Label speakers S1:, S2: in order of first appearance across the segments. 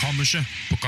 S1: Kammerset på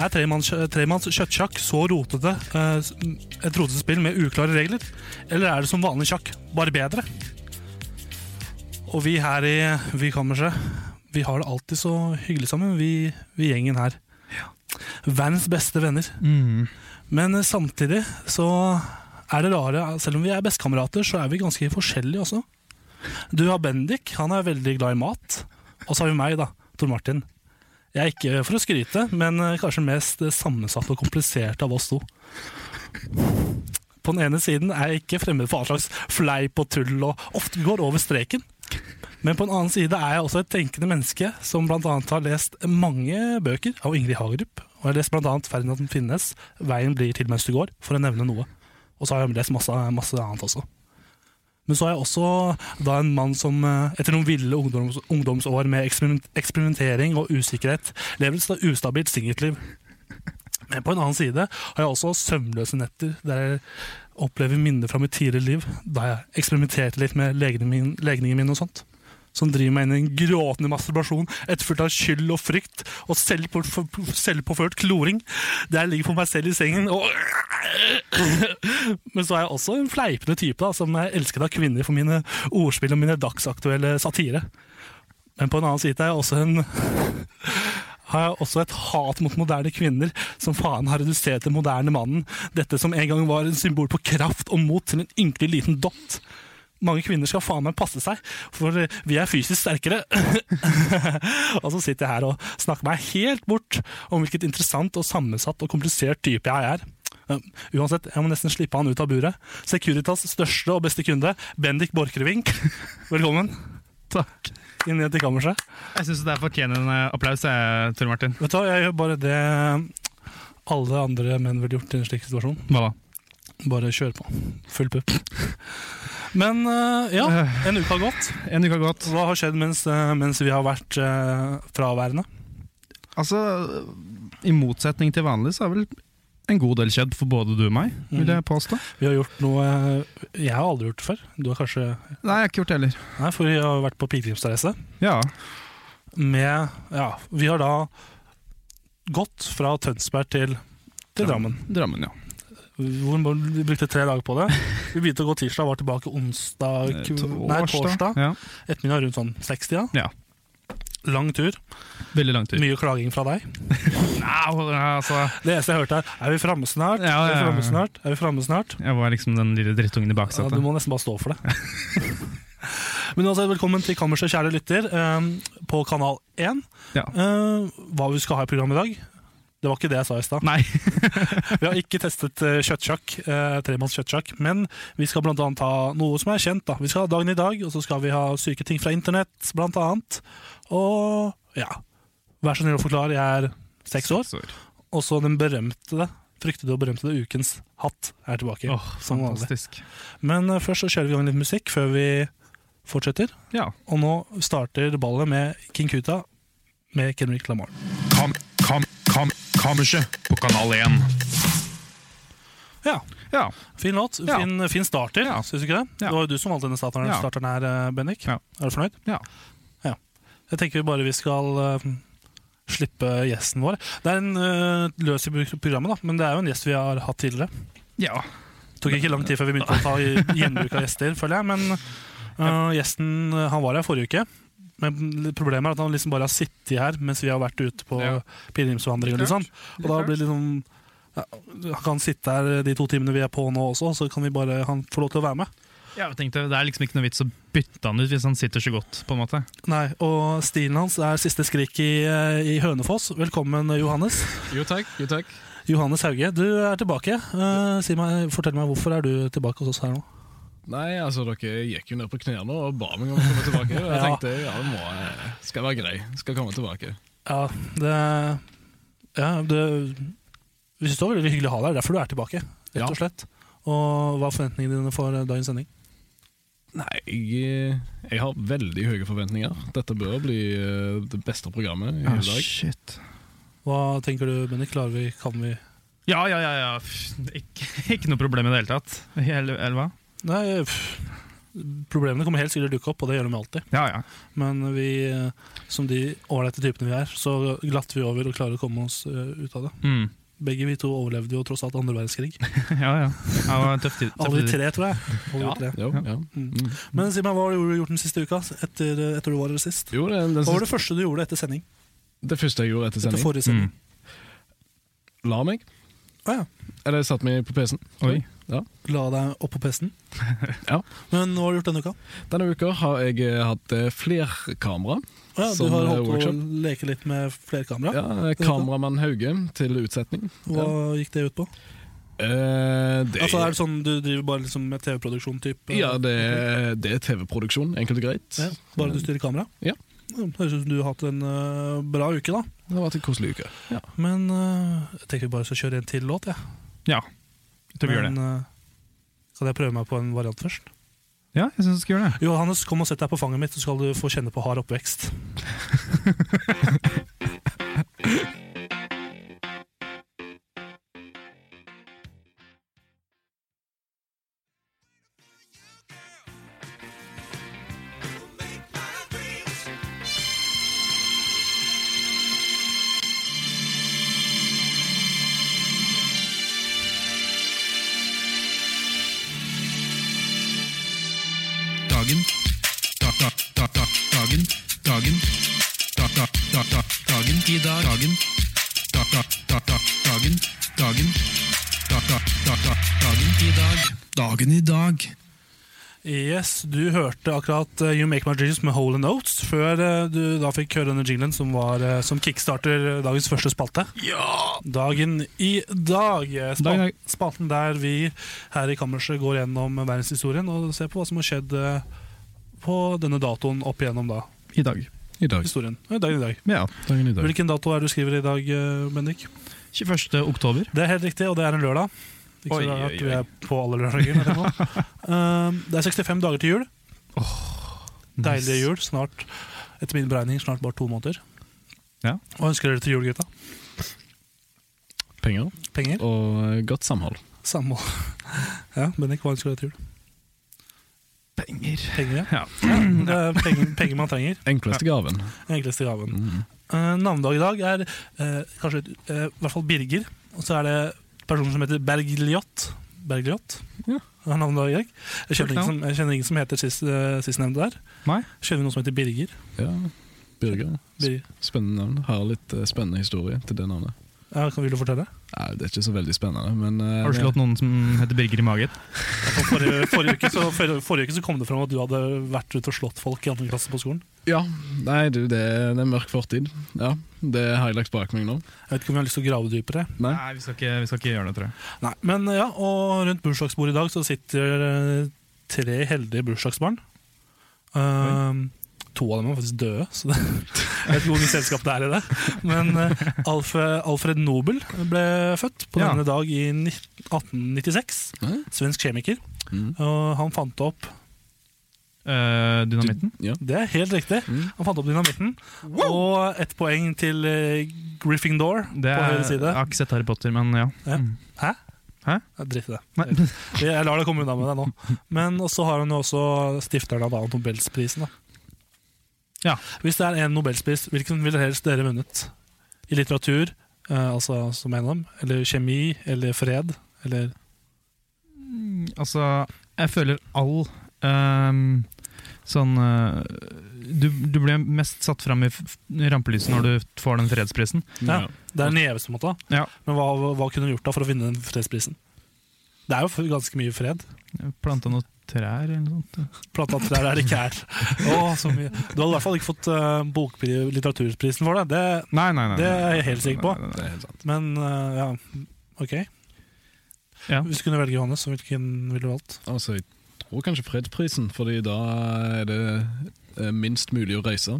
S2: er tremanns, tremanns kjøttsjakk så rotete eh, s- et rotete spill med uklare regler? Eller er det som vanlig sjakk, bare bedre? Og vi her i Vi Kammerset vi har det alltid så hyggelig sammen, vi, vi gjengen her. Verdens beste venner. Men eh, samtidig så er det rare, selv om vi er bestekamerater, så er vi ganske forskjellige også. Du har Bendik, han er veldig glad i mat. Og så har vi meg, da, Tor Martin. Jeg er ikke for å skryte, men eh, kanskje mest eh, sammensatt og komplisert av oss to. På den ene siden er jeg ikke fremmed for all slags fleip og tull og ofte går over streken. Men på en annen side er jeg også et tenkende menneske som bl.a. har lest mange bøker av Ingrid Hagerup. Og jeg har lest bl.a. 'Ferdinand Finnes', 'Veien blir til mens du går', for å nevne noe. Og så har jeg lest masse, masse annet også. Men så er jeg også da en mann som eh, etter noen ville ungdoms ungdomsår med eksperiment eksperimentering og usikkerhet lever et sta- ustabilt singelliv. Men på en annen side har jeg også søvnløse netter der jeg opplever minner fra mitt tidligere liv, da jeg eksperimenterte litt med legene min- legningen min og sånt som driver meg inn i en gråtende masturbasjon etterfulgt av skyld og frykt og selvpåf- selvpåført kloring. Der jeg ligger for meg selv i sengen og Men så er jeg også en fleipende type da, som er elsket av kvinner for mine ordspill og mine dagsaktuelle satire. Men på en annen side er jeg også en har jeg også et hat mot moderne kvinner, som faen har redusert den moderne mannen. Dette som en gang var en symbol på kraft og mot til en ynkelig liten dott. Mange kvinner skal faen meg passe seg, for vi er fysisk sterkere. og så sitter jeg her og snakker meg helt bort om hvilket interessant og sammensatt og komplisert type jeg er. Um, Uansett, jeg må nesten slippe han ut av buret. Securitas største og beste kunde, Bendik Borchgrevink. Velkommen
S3: Takk.
S2: inn igjen til kammerset.
S3: Jeg syns det fortjener en eh, applaus, jeg, Tor Martin.
S2: Vet du hva, jeg gjør bare det alle andre menn ville gjort i en slik situasjon.
S3: Hva da?
S2: Bare kjør på. Full pupp. Men eh, ja, en uke har gått.
S3: En uke har gått.
S2: Hva har skjedd mens, eh, mens vi har vært eh, fraværende?
S3: Altså, i motsetning til vanlig, så har vel en god del skjedd for både du og meg, vil jeg påstå.
S2: Vi har gjort noe eh, jeg har aldri gjort det før. Du har kanskje
S3: Nei, jeg har ikke gjort det heller.
S2: Nei, for vi har vært på pilegrimsreise
S3: Ja.
S2: med Ja, vi har da gått fra Tønsberg til, til Drammen.
S3: Drammen, ja.
S2: Hvor vi brukte tre dager på det. Vi begynte å gå tirsdag, var tilbake onsdag
S3: Eh,
S2: Nei, torsdag.
S3: Ja.
S2: ettermiddag rundt sånn 60, da.
S3: Ja.
S2: Lang tur.
S3: Veldig lang tur.
S2: Mye klaging fra deg.
S3: Nei, altså,
S2: Det eneste jeg hørte, er 'er vi framme snart?'
S3: Ja,
S2: Er vi
S3: ja, ja.
S2: framme snart? Er vi framme snart?
S3: jeg var liksom den lille drittungen i
S2: Ja,
S3: baksetet.
S2: du må nesten bare stå for det. Men altså, velkommen til kammerset, kjære lytter, eh, på kanal 1.
S3: Ja.
S2: Eh, hva vi skal ha i programmet i dag? Det var ikke det jeg sa i stad.
S3: Nei.
S2: Vi har ikke testet eh, kjøttsjakk, eh, tremanns kjøttsjakk, men vi skal blant annet ha noe som er kjent. da. Vi skal ha dagen i dag, og så skal vi ha syke ting fra internett, blant annet. Og ja, vær så snill å forklare, jeg er seks år.
S3: Sår.
S2: Og så den berømte, fryktede og berømte ukens hatt er tilbake.
S3: Åh,
S2: som vanlig.
S3: fantastisk.
S2: Men eh, først så kjører vi i gang litt musikk før vi fortsetter.
S3: Ja.
S2: Og nå starter ballet med King Kuta med Kendrick Lamar.
S1: Kam, kam, kam, kammerset på Kanal 1.
S2: Ja,
S3: ja.
S2: Fin låt.
S3: Ja.
S2: Fin, fin starter,
S3: Ja.
S2: syns du ikke det?
S3: Ja.
S2: Det var jo du som valgte denne starteren,
S3: Ja.
S2: starteren her, eh, Bendik.
S3: Ja.
S2: Er du fornøyd?
S3: Ja.
S2: Ja. Jeg tenker vi bare vi skal eh, slippe gjesten vår. Det er en eh, løs i pro- programmet, da, men det er jo en gjest vi har hatt tidligere.
S3: ja.
S2: Det tok ikke lang tid før vi begynte å ta i- gjenbruk av gjester, føler jeg. Men eh, gjesten eh, han var her forrige uke. Men problemet er at han liksom bare har sittet her mens vi har vært ute på
S3: Ja.
S2: pilegrimsvandring. Og, litt sånn. og da blir det liksom ja, Han kan sitte her de to timene vi er på nå også, så kan vi bare han får lov til å være med.
S4: Ja, jeg tenkte, Det er liksom ikke noe vits å bytte han ut hvis han sitter så godt. på en måte.
S2: Nei, Og stilen hans er 'Siste skrik i, eh, i Hønefoss'. Velkommen, eh, Johannes.
S5: Jo takk, jo takk.
S2: Johannes Hauge, du er tilbake. Eh, si meg, fortell meg, hvorfor er du tilbake hos oss her nå?
S5: Nei, altså dere gikk jo ned på knærne og ba meg om å komme tilbake. Og jeg
S2: Ja.
S5: tenkte ja, det må jeg skal være grei. Skal komme tilbake.
S2: Ja, det Ja, det Vi syns det var veldig hyggelig å ha deg, derfor du er tilbake, rett
S5: Ja.
S2: og slett. Og hva er forventningene dine for eh, dagens sending?
S5: Nei, jeg, jeg har veldig høye forventninger. Dette bør bli eh, det beste programmet
S2: Ah,
S5: i hele dag.
S3: shit.
S2: Hva tenker du, Benny? Klarer vi, kan vi
S4: Ja, ja, ja. ja. Pff, Ikke, ikke noe problem i det hele tatt. Eller, eller hva?
S2: Nei, pff, problemene kommer helt sikkert dukke opp, og det gjør de alltid.
S4: Ja, ja.
S2: Men vi, eh, som de ålreite typene vi er, så glatter vi over og klarer å komme oss eh, ut av det.
S4: Mm.
S2: Begge vi to overlevde jo tross alt andre verdenskrig.
S4: ja, ja. ja det var en tøff tid. tøff
S2: Alle vi
S4: tid.
S2: tre, tror jeg. Alle vi
S5: Ja,
S2: tre.
S5: jo, ja. Mm.
S2: Men si meg, hva har du gjort den siste uka? Etter, etter du var her sist?
S5: jo det, den
S2: Hhva var
S5: siste,
S2: det første du gjorde etter sending?
S5: det første jeg gjorde etter
S2: Etter
S5: sending,
S4: Mm.
S2: forrige sending?
S5: la meg. Mm.
S2: Å ja.
S5: Eller satte meg på PC-en.
S4: Oi.
S5: Ja.
S2: La deg opp på pesten?
S5: Ja.
S2: Men hva har du gjort denne uka?
S5: Denne uka har jeg eh, hatt eh, flerkamera.
S2: Å Ja, du
S5: Som,
S2: har
S5: eh,
S2: holdt på å
S5: workshop.
S2: leke litt med flerkamera.
S5: Ja, eh, kameramann Hauge til utsetning.
S2: Hva gikk det ut på?
S5: Eh, det,
S2: Altså, er det sånn Du driver bare liksom med TV-produksjon? type?
S5: ja, det, er- det er TV-produksjon, enkelt og greit.
S2: Ja, bare du styrer kamera?
S5: Ja.
S2: Høres ut som du har hatt en eh, bra uke, da.
S5: Det har vært en koselig uke.
S2: Men eh, jeg tenker vi bare skal kjøre en til låt, jeg.
S4: Ja, jeg tror vi gjør det.
S2: Men, eh, kan jeg prøve meg på en variant først?
S4: Ja, jeg synes vi skal gjøre det.
S2: Johannes, kom og sett deg på fanget mitt, så skal du få kjenne på hard oppvekst.
S1: Dagen. Da, da, da, da, dagen. Dagen. Da, da, da, da, dagen. I dag. Dagen. Da, da, da, da, dagen. Dagen. Da, da, da, da, dagen. I dag. Dagen i dag.
S2: Yes, du hørte akkurat eh, You Make My Dreams med Hole and Oats, før eh, du da fikk høre denne jinglen som, var, eh, som kickstarter eh, dagens første spalte. Dagen i dag. eh, Spal
S4: Dag, dag.
S2: Spalten der vi her i kammerset går gjennom verdenshistorien og ser på hva som har skjedd eh, på denne datoen opp igjennom da,
S4: I dag.
S5: I dag.
S2: historien. Eh, Dagen i dag.
S4: Ja.
S5: Dagen i dag.
S2: Hvilken dato er det du skriver i dag, eh, Bendik?
S4: 21. oktober.
S2: Det er helt riktig, og det er en lørdag. Ikke
S4: Oi,
S2: så rart
S4: oi,
S2: vi er på alle lørdager. eller noe. Um, det er 65 dager til jul. Deilige jul. Snart, etter min beregning, snart bare to måneder.
S4: Ja.
S2: Hva ønsker dere til jul, gutta?
S5: Penger
S2: Penger?
S5: og eh, godt samhold.
S2: Samme Ja, Bennik, hva ønsker dere til jul?
S4: Penger.
S2: Penger, ja.
S4: Ja.
S2: Det er penger, penger man trenger.
S5: Enkleste gaven. Mm.
S2: Enkleste gaven. Uh, navnedag i dag er eh, kanskje eh, i hvert fall Birger. Og så er det personer som heter Bergliot. Bergliot
S5: Ja.
S2: har navnedag i dag.
S4: Kult
S2: Jeg kjenner ingen som, jeg kjenner ingen som heter sist, eh, sistnevnte der.
S4: Nei.
S2: Kjenner vi noen som heter Birger?
S5: Ja. Birger.
S2: Birger.
S5: Spennende navn. Har litt eh, spennende historie til det navnet.
S2: Ja, kan Vil du fortelle?
S5: Nei, det er ikke så veldig spennende, men eh,
S4: Har du slått noen som heter Birger i magen?
S2: For forrige, forrige, uke, så, forrige, forrige uke så kom det fram at du hadde vært ute og slått folk i andre klasse på skolen.
S5: Ja. Nei, du, det, det er mørk fortid. Ja, Det har jeg lagt bak meg nå.
S2: Jeg vet ikke om jeg har lyst til å grave dypere.
S5: Nei.
S4: vi skal, ikke, vi skal ikke gjøre det, tror jeg.
S2: Nei, men ja, Og rundt bursdagsbordet i dag så sitter eh, tre heldige bursdagsbarn. Ehm, to av dem er faktisk døde, så det, jeg vet ikke hvor mye selskap det er i det. Men eh, Alf, Alfred Nobel ble født på
S4: Ja.
S2: denne dag i 19- 1896.
S5: Nei?
S2: Svensk kjemiker.
S5: Mm.
S2: Og han fant opp
S4: Eh, dynamitten?
S5: Ja.
S2: Det er helt riktig.
S5: Mm.
S2: Han fant opp dynamitten. Og ett poeng til eh, Gryffindor
S4: Det
S2: på
S4: er,
S2: høyre side.
S4: Jeg har ikke sett Harry Potter, men ja.
S2: Ja.
S4: Mm.
S2: Hæ?
S4: Hæ?
S2: Ja, Drit i det.
S4: Nei.
S2: Jeg- Jeg lar deg komme unna med det nå. Men så har han jo også stifteren av da Nobelsprisen. Da.
S4: Ja.
S2: Hvis det er en nobelspris, hvilken ville helst dere vunnet? I litteratur, eh, altså som en av dem, eller kjemi, eller fred, eller
S4: Altså, jeg føler all ehm, Sånn eh, du, du blir mest satt fram i f- f- rampelyset når du får den fredsprisen.
S2: Ja. Det er den gjeveste måten.
S4: Ja.
S2: Men hva, hva kunne du gjort da for å vinne den fredsprisen? Det er jo f- ganske mye fred.
S4: Planta noen trær eller noe sånt. eh?
S2: Plata at trær er ikke her. Å, så mye. Du hadde i hvert fall ikke fått uh, bokpri- litteraturprisen for det. det.
S4: Nei, nei, nei.
S2: Det er jeg helt sikker på.
S4: Nei, nei,
S5: Det er helt sant.
S2: Men eh, ja, OK.
S4: nei. Ja.
S2: Hvis du kunne velge Johannes, så hvilken ville du valgt?
S5: Altså, jeg tror kanskje fredsprisen, Fordi da er det eh, minst mulig å reise.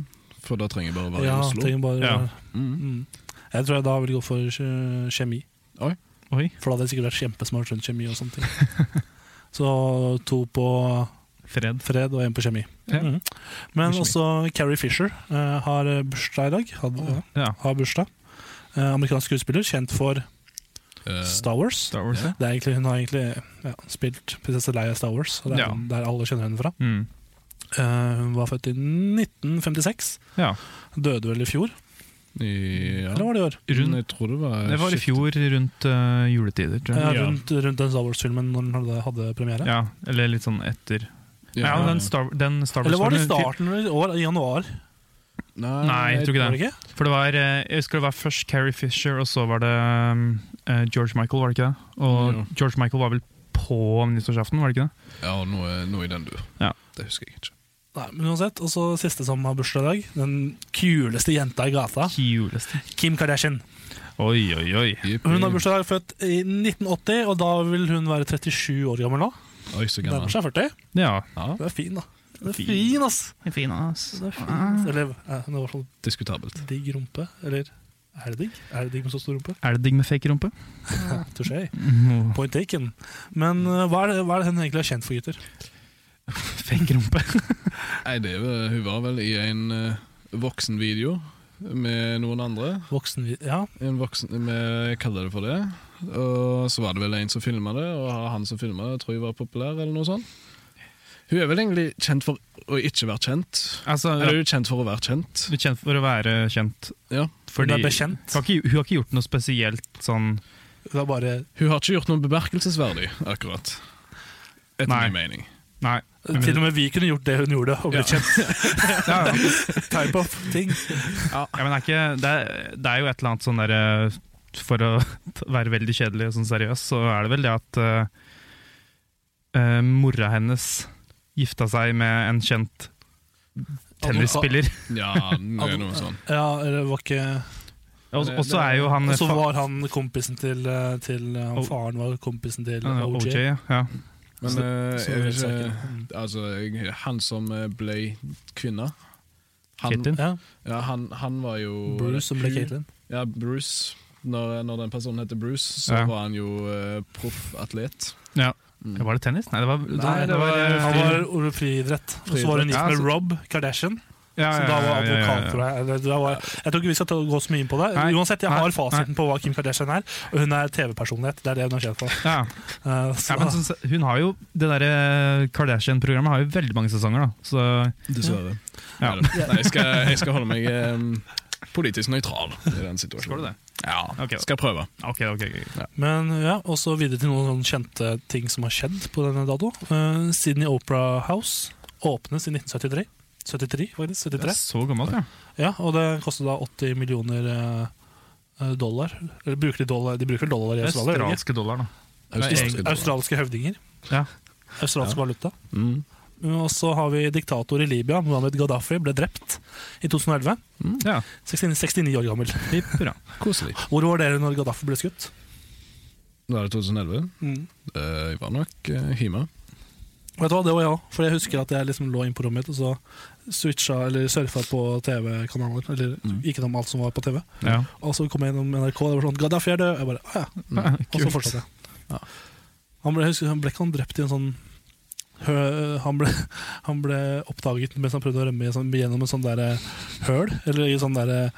S5: For da trenger jeg bare å være
S2: Ja,
S5: i Oslo.
S2: tenk bare,
S4: Ja.
S5: Mm.
S2: mm. Jeg tror jeg da ville gå for eh, kjemi.
S4: Oi.
S2: For da hadde jeg sikkert vært kjempesmart rundt kjemi og sånne ting. Så to på
S4: Fred.
S2: fred og én på kjemi.
S4: Ja.
S2: Mhm. Men
S4: Kjemi.
S2: også Carrie Fisher eh, har bursdag i dag. Hadde,
S4: Ja.
S2: Har bursdag. Eh, amerikansk skuespiller, kjent for
S5: Eh,
S2: Star Wars.
S4: Star Wars, ja.
S2: Det er egentlig, hun har egentlig ja, spilt prinsesse Leia i Star Wars, og det er
S4: Ja.
S2: der alle kjenner henne fra.
S4: Mm.
S2: Eh, hun var født i 1956.
S4: ja.
S2: Døde vel i fjor,
S5: Eh, ja.
S2: eller var det i år?
S4: Rundt,
S5: Jeg tror det var,
S4: det var i
S5: shit.
S4: fjor rundt eh, juletider, tror
S2: Eh,
S4: jeg.
S5: Ja.
S2: rundt, rundt den Star Wars-filmen når den hadde, hadde premiere.
S4: Ja, eller litt sånn etter. Ja,
S5: ja.
S4: den Star, den Star Wars
S2: Eller var det i starten i år, i januar?
S5: Nei,
S4: Nei, jeg tror ikke
S2: Var
S4: det.
S2: det ikke?
S4: For det var, eh, jeg husker det var først Carrie Fisher, og så var det um, eh, George Michael, var det ikke det? Og
S5: Jo.
S4: George Michael var vel på nyttårsaften, var det ikke det?
S5: Ja, noe, noe i den dur.
S4: Ja.
S5: Det husker jeg ikke.
S2: Nei, men uansett, Og så siste som har bursdag i dag, den kuleste jenta i gata,
S4: Juleste.
S2: Kim Kardashian.
S4: Oi, oi, oi.
S5: Yippee.
S4: Mm.
S2: Hun har bursdag i dag, født i 1980, og da vil hun være 37 år gammel nå.
S5: Oi, så gammel.
S2: Nærmer seg 40.
S4: Ja.
S5: Ja,
S2: Hun er fin, da. Hun er fin, ass!
S4: Fin, ass.
S2: Hun er fin, ass. Eller eh, hun har i hvert fall
S5: diskutabelt.
S2: digg rumpe. Eller er det digg? Er det digg med så stor rumpe?
S4: Er det digg med fake rumpe?
S2: Touché. Point taken. Men eh, hva, er det, hva er det hun egentlig er kjent for, gutter?
S4: fake rumpe.
S5: Nei, det var, hun var vel i en eh, voksenvideo med noen andre.
S2: Voksen... Ja,
S5: En voksen, med, jeg kaller det for det. Og så var det vel en som filma det, og han som filma det, tror jeg var populær, eller noe sånt. Hun er vel egentlig kjent for å ikke være kjent.
S4: Altså,
S5: Eller hun er kjent for å være kjent.
S4: du er kjent for å være kjent.
S5: Ja.
S4: Fordi,
S2: Hun er bekjent.
S4: Hun har, ikke, hun har ikke gjort noe spesielt sånn
S2: hun er bare
S5: Hun har ikke gjort noe bemerkelsesverdig, akkurat. Etter
S4: Nei.
S5: min mening.
S4: Nei.
S2: Til og med vi kunne gjort det hun gjorde, og blitt kjent.
S4: Ja, ja.
S2: Type of ting.
S4: Ja, men det er, ikke, det, er, det er jo et eller annet sånn der eh, For å være veldig kjedelig og sånn seriøs, så er det vel det at eh, eh, mora hennes gifta seg med en kjent tennisspiller.
S5: Ja, det er noe sånn.
S2: Ja, eller var ikke
S4: Og og så er jo han
S2: Og så
S4: fa-
S2: var han kompisen til, eh, til eh,
S4: O-
S2: han Faren var kompisen til
S4: han er
S2: OJ.
S4: OJ. ja. Ja.
S2: Mm.
S5: Men
S2: Så-
S5: eh,
S2: så
S5: jeg
S2: det
S5: vet
S2: er
S5: ikke
S2: saken. Mm.
S5: Altså, jeg- han som eh, ble kvinne han,
S4: Caitlyn.
S2: Ja,
S5: ja, han, han var jo
S2: Bruce som ble
S5: Hun-
S2: Caitlyn.
S5: Ja, Bruce. Når, når den personen heter Bruce, så
S4: Ja.
S5: var han jo eh, proff atlet.
S4: Ja.
S5: Mm.
S4: Var det tennis? Nei, det var,
S5: Nei, det var-
S4: eh,
S2: Han var ord- friidrett. Og så var hun gift
S4: Ja,
S2: med
S4: så-
S2: Rob Kardashian,
S4: ja,
S2: som
S4: ja,
S2: da
S4: ja, ja,
S2: var
S4: ja,
S2: advokat. tror jeg. Eller, da var, jeg tror ikke vi skal ta, gå så mye inn på det.
S4: Nei.
S2: Uansett, jeg
S4: Nei.
S2: har fasiten på hva Kim Kardashian er, og hun er TV-personlighet. Det er det hun er kjent for.
S4: Ja.
S2: Eh,
S4: Ja,
S2: så,
S4: men sånn, se- hun har jo, Det derre Kardashian-programmet har jo veldig mange sesonger, da. Så
S5: Dessverre.
S4: Ja.
S5: Nei, jeg skal, jeg skal holde meg em, politisk nøytral i den situasjonen.
S4: Skal du det?
S5: Ja,
S4: Ok, da.
S5: skal prøve.
S4: Ok, ok, ok.
S2: men ja, Og så videre til noen sånne kjente ting som har skjedd på denne dato. Eh, Sydney Opera House åpnes i 1973. 73, faktisk.
S4: Det er
S2: 73.
S4: så gammelt, ja.
S2: Ja, og det koster da 80 millioner eh, dollar. Eller bruker de dollar? De bruker dollar i Australia? gjør de ikke?
S4: Australske dollar, da.
S5: Australske dollar.
S2: Australske høvdinger.
S4: Ja.
S2: Australsk valuta.
S5: Mm.
S2: Og så har vi diktator i Libya, Mohammed Gaddafi, ble drept i 2011.
S4: Ja,
S2: 69, 69 år gammel.
S4: Bra.
S5: Koselig.
S2: Hvor var dere når Gaddafi ble skutt?
S5: Da er det 2011. Eh, Jeg var nok eh, hjemme.
S2: Vet du hva, Det var jeg òg, for jeg husker at jeg liksom lå inne på rommet mitt og så switcha eller surfa på TV-kanaler. Eller
S5: Mm.
S2: gikk gjennom alt som var på TV.
S4: Ja.
S2: Og så kom jeg gjennom NRK, og det var sånn 'Gaddafi er død'. Jeg bare, «Å ja. Og så fortsatte jeg.
S5: Ja.
S2: Han, ble, jeg husker, han ble ikke han drept i en sånn hø, han, ble, han ble oppdaget mens han prøvde å rømme i en sånn- gjennom en sånn der eh, høl. Eller i sånn der eh,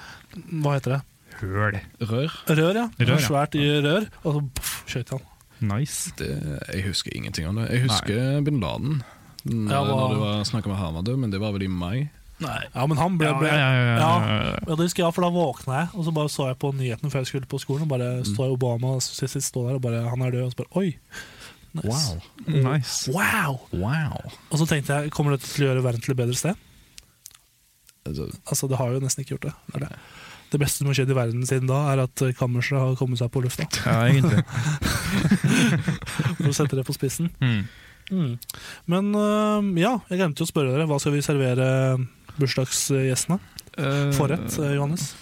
S2: Hva heter det?
S4: Høl.
S5: Rør.
S2: Rør, ja.
S4: Rør, ja.
S2: Svært i rør. Og så pff, skjøt han.
S4: Nice.
S5: Det, eh, jeg husker ingenting om det. Jeg husker bin Laden. N-
S2: Ja, hva-
S5: Når det var snakk om at han var død, men det var vel i mai.
S2: Ja, men han ble,
S4: Ja,
S2: ble
S4: ja, ja, ja, ja, ja.
S2: Ja, det husker jeg, for da våkna jeg, og så bare så jeg
S4: Mm.
S2: på nyhetene før jeg skulle på skolen. Og bare står Obama og sitter stå der og bare 'Han er død', og så bare 'oi'.
S5: Wow.
S4: Nice.
S2: Wow!
S5: Wow.
S2: Og så tenkte jeg, kommer dette til å gjøre verden til et bedre sted?
S5: Altså,
S2: Altså, det har jo nesten ikke gjort det. Det, er det. det beste som har skjedd i verden siden da, er at eh, kammerset har kommet seg på lufta.
S4: Ja, egentlig.
S2: For å sette det på spissen.
S4: Mm.
S2: Mm. Men eh, ja, jeg glemte jo å spørre dere. Hva skal vi servere bursdagsgjestene? Forrett, eh, Johannes?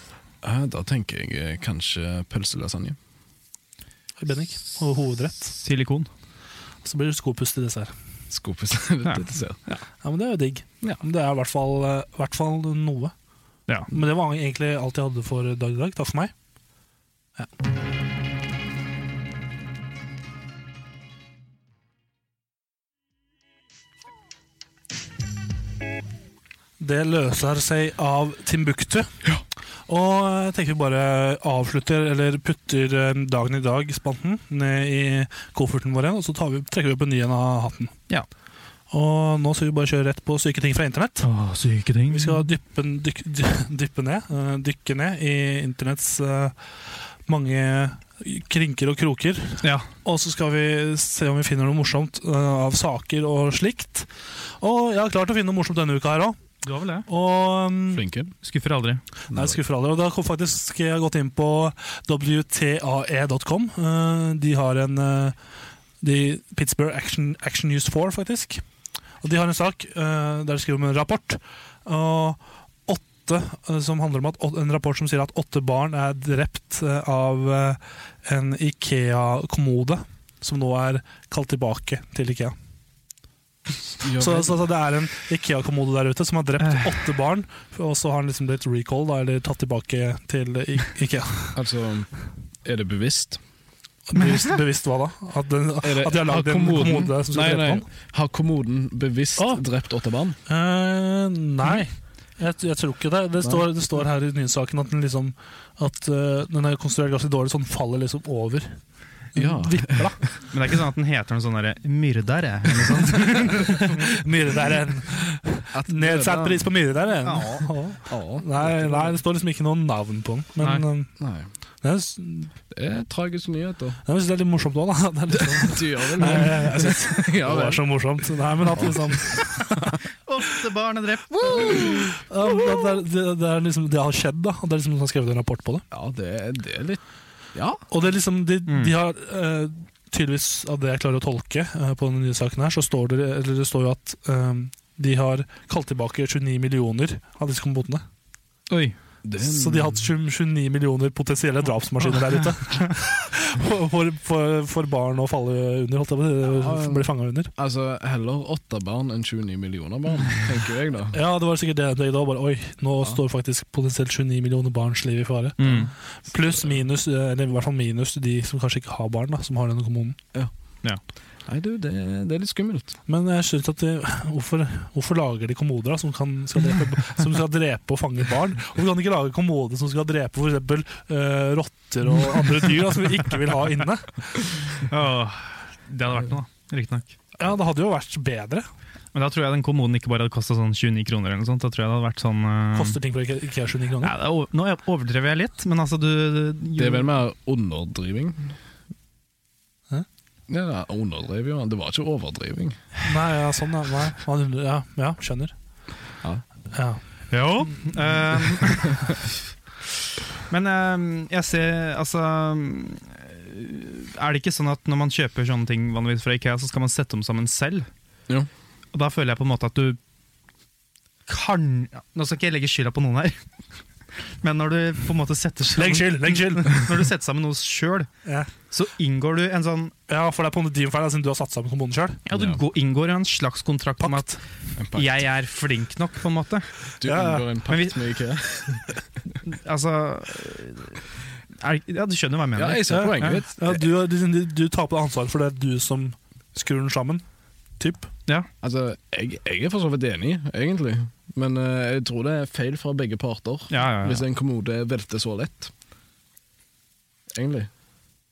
S5: eh, da tenker jeg eh, kanskje pølselasagne.
S2: Bennik? Og hovedrett?
S4: Silikon.
S2: Så blir det skopust i dessert.
S5: Skopes
S4: Ja.
S5: til dessert.
S2: Ja, men Det er jo digg.
S5: Ja.
S2: Men Det er i hvert fall, eh, i hvert fall noe.
S4: Ja.
S2: Men det var egentlig alt jeg hadde for dag i dag. Takk for meg. Det løser seg av Timbuktu. Og eh, jeg tenker vi bare avslutter, eller putter eh, dagen i dag-spanten ned i kofferten vår igjen, og så tar vi, trekker vi opp en ny en av hatten.
S4: Ja.
S2: Og nå skal vi bare kjøre rett på syke ting fra internett.
S4: Å, syke ting.
S2: Vi skal dyppe, dyk, dy- dyppe ned, eh, dykke ned i internetts eh, mange krinker og kroker.
S4: Ja.
S2: Og så skal vi se om vi finner noe morsomt eh, av saker og slikt. Og jeg har klart å finne noe morsomt denne uka her òg.
S4: Du har vel det?
S2: Og mm,
S5: Flinke.
S4: Skuffer aldri.
S2: Nei, skuffer aldri. Og da kom faktisk jeg har gått inn på wtae.com. E Eh, De har en eh, de Pittsburgh Action, Action News 4, faktisk. Og de har en sak eh, der de skriver om en rapport. Og åtte eh, som handler om at, En rapport som sier at åtte barn er drept eh, av eh, en Ikea-kommode. Som nå er kalt tilbake til Ikea.
S5: Ja,
S2: Så, altså-
S5: vel.
S2: så, så det er en Ikea-kommode der ute som har drept åtte barn, og så har han liksom blitt recall, da, eller tatt tilbake til I- Ikea.
S5: altså, er det bevisst?
S2: Bevisst, bevisst hva da? At, den,
S5: Er det,
S2: at de har lagd en kommode som
S5: nei,
S2: skal drepe
S5: nei,
S2: ham?
S5: Har kommoden bevisst
S2: Å.
S5: drept åtte barn?
S2: Eh, nei. Jeg, jeg tror ikke det. Det
S5: Nei.
S2: står, det står her i nyhetssaken at den liksom At eh, den er konstruert ganske dårlig, så den faller liksom over.
S5: Ja.
S2: Vipper, da.
S4: Men det er ikke sånn at den heter noe sånn derre myrdere.
S2: Myre der en Nedsatt pris på myre der en. Nei, nei, det står liksom ikke noe navn på den. Men eh,
S5: Nei.
S2: det er,
S5: Det er tragiske nyheter.
S2: jeg synes det er litt morsomt òg, da. Det er litt sånn
S5: Du gjør vel
S2: Nei,
S5: det?
S2: jeg synes det
S5: Ja, vel.
S2: var så morsomt. Nei, men at liksom
S4: Åtte barn er drept!
S2: ja, men at det, er- det, det er liksom Det har skjedd, da. Og Det er liksom noen som har skrevet en rapport på det.
S5: ja det, det er litt Ja.
S2: Og det er liksom De,
S4: Mm.
S2: de har eh, tydeligvis, av det jeg klarer å tolke eh, på denne nye saken her, så står det, eller det står jo at eh, de har kalt tilbake 29 millioner av disse kommodene.
S4: Oi.
S5: Det er en-
S2: Så de har hatt 29 millioner potensielle drapsmaskiner der ute. For- for, for, for barn å falle under, holdt jeg på å si. Bli fanga under.
S5: Altså, heller åtte barn enn 29 millioner barn, tenkte jeg da.
S2: Ja, det var sikkert det jeg tenkte òg. Oi, nå står faktisk potensielt 29 millioner barns liv i fare.
S4: Mm.
S2: Pluss minus, eh, eller i hvert fall minus de som kanskje ikke har barn, da, som har denne kommunen.
S5: Nei, du, det, det er litt skummelt.
S2: Men jeg synes at de, hvorfor, hvorfor lager de kommoder da, som, kan, skal drepe, som skal drepe og fange barn? Hvorfor kan de ikke lage kommoder som skal drepe for eksempel eh, rotter og andre dyr da, som vi ikke vil ha inne?
S4: Åh, det hadde vært noe, da. Riktignok.
S2: Ja, Det hadde jo vært bedre.
S4: Men da tror jeg den kommoden ikke bare hadde kosta sånn 29 kroner. eller noe sånt. Da tror jeg det hadde vært sånn... eh,
S2: Koster ting for ikke ikke er 29
S4: ja,
S2: kroner.
S4: det er over, Nå overdrev jeg litt, men altså du
S5: Det er vel mer underdriving.
S2: Hæ?
S5: Ja, det er underdrev jo, det var ikke overdriving.
S2: Nei, ja, sånn, ja. Nei. Man undrer- Ja, ja, skjønner.
S5: Ja.
S2: Ja.
S4: Jo. eh, men eh, jeg ser Altså eh, Er det ikke sånn at når man kjøper sånne ting vanligvis fra Ikea, så skal man sette dem sammen selv?
S5: Jo.
S4: Og da føler jeg på en måte at du kan Nå skal ikke jeg legge skylda på noen her. Men når du på en måte setter
S2: Legg
S4: sammen,
S2: skyld! Legg skyld!
S4: når du setter sammen noe sjøl,
S2: Ja.
S4: så inngår du en sånn
S2: ja, for det er på en måte din feil, da, siden du har satt sammen kommunen sjøl.
S4: Ja, du
S5: Ja.
S4: går- inngår en slags kontrakt om at
S5: En pakt.
S4: jeg er flink nok, på en måte.
S5: Du
S2: Ja, ja.
S5: inngår en
S4: Men vi-
S5: pakt med Ikea.
S4: Altså er, Ja, du skjønner hva jeg mener.
S5: Ja, jeg ser poenget ditt.
S2: Ja, du, du, du tar på deg ansvaret for det er du som skrur den sammen. Typ.
S5: Altså, jeg, jeg er for så vidt enig, egentlig. Men eh, jeg tror det er feil fra begge parter.
S4: Ja, ja, ja.
S5: Hvis en kommode velter så lett. Egentlig.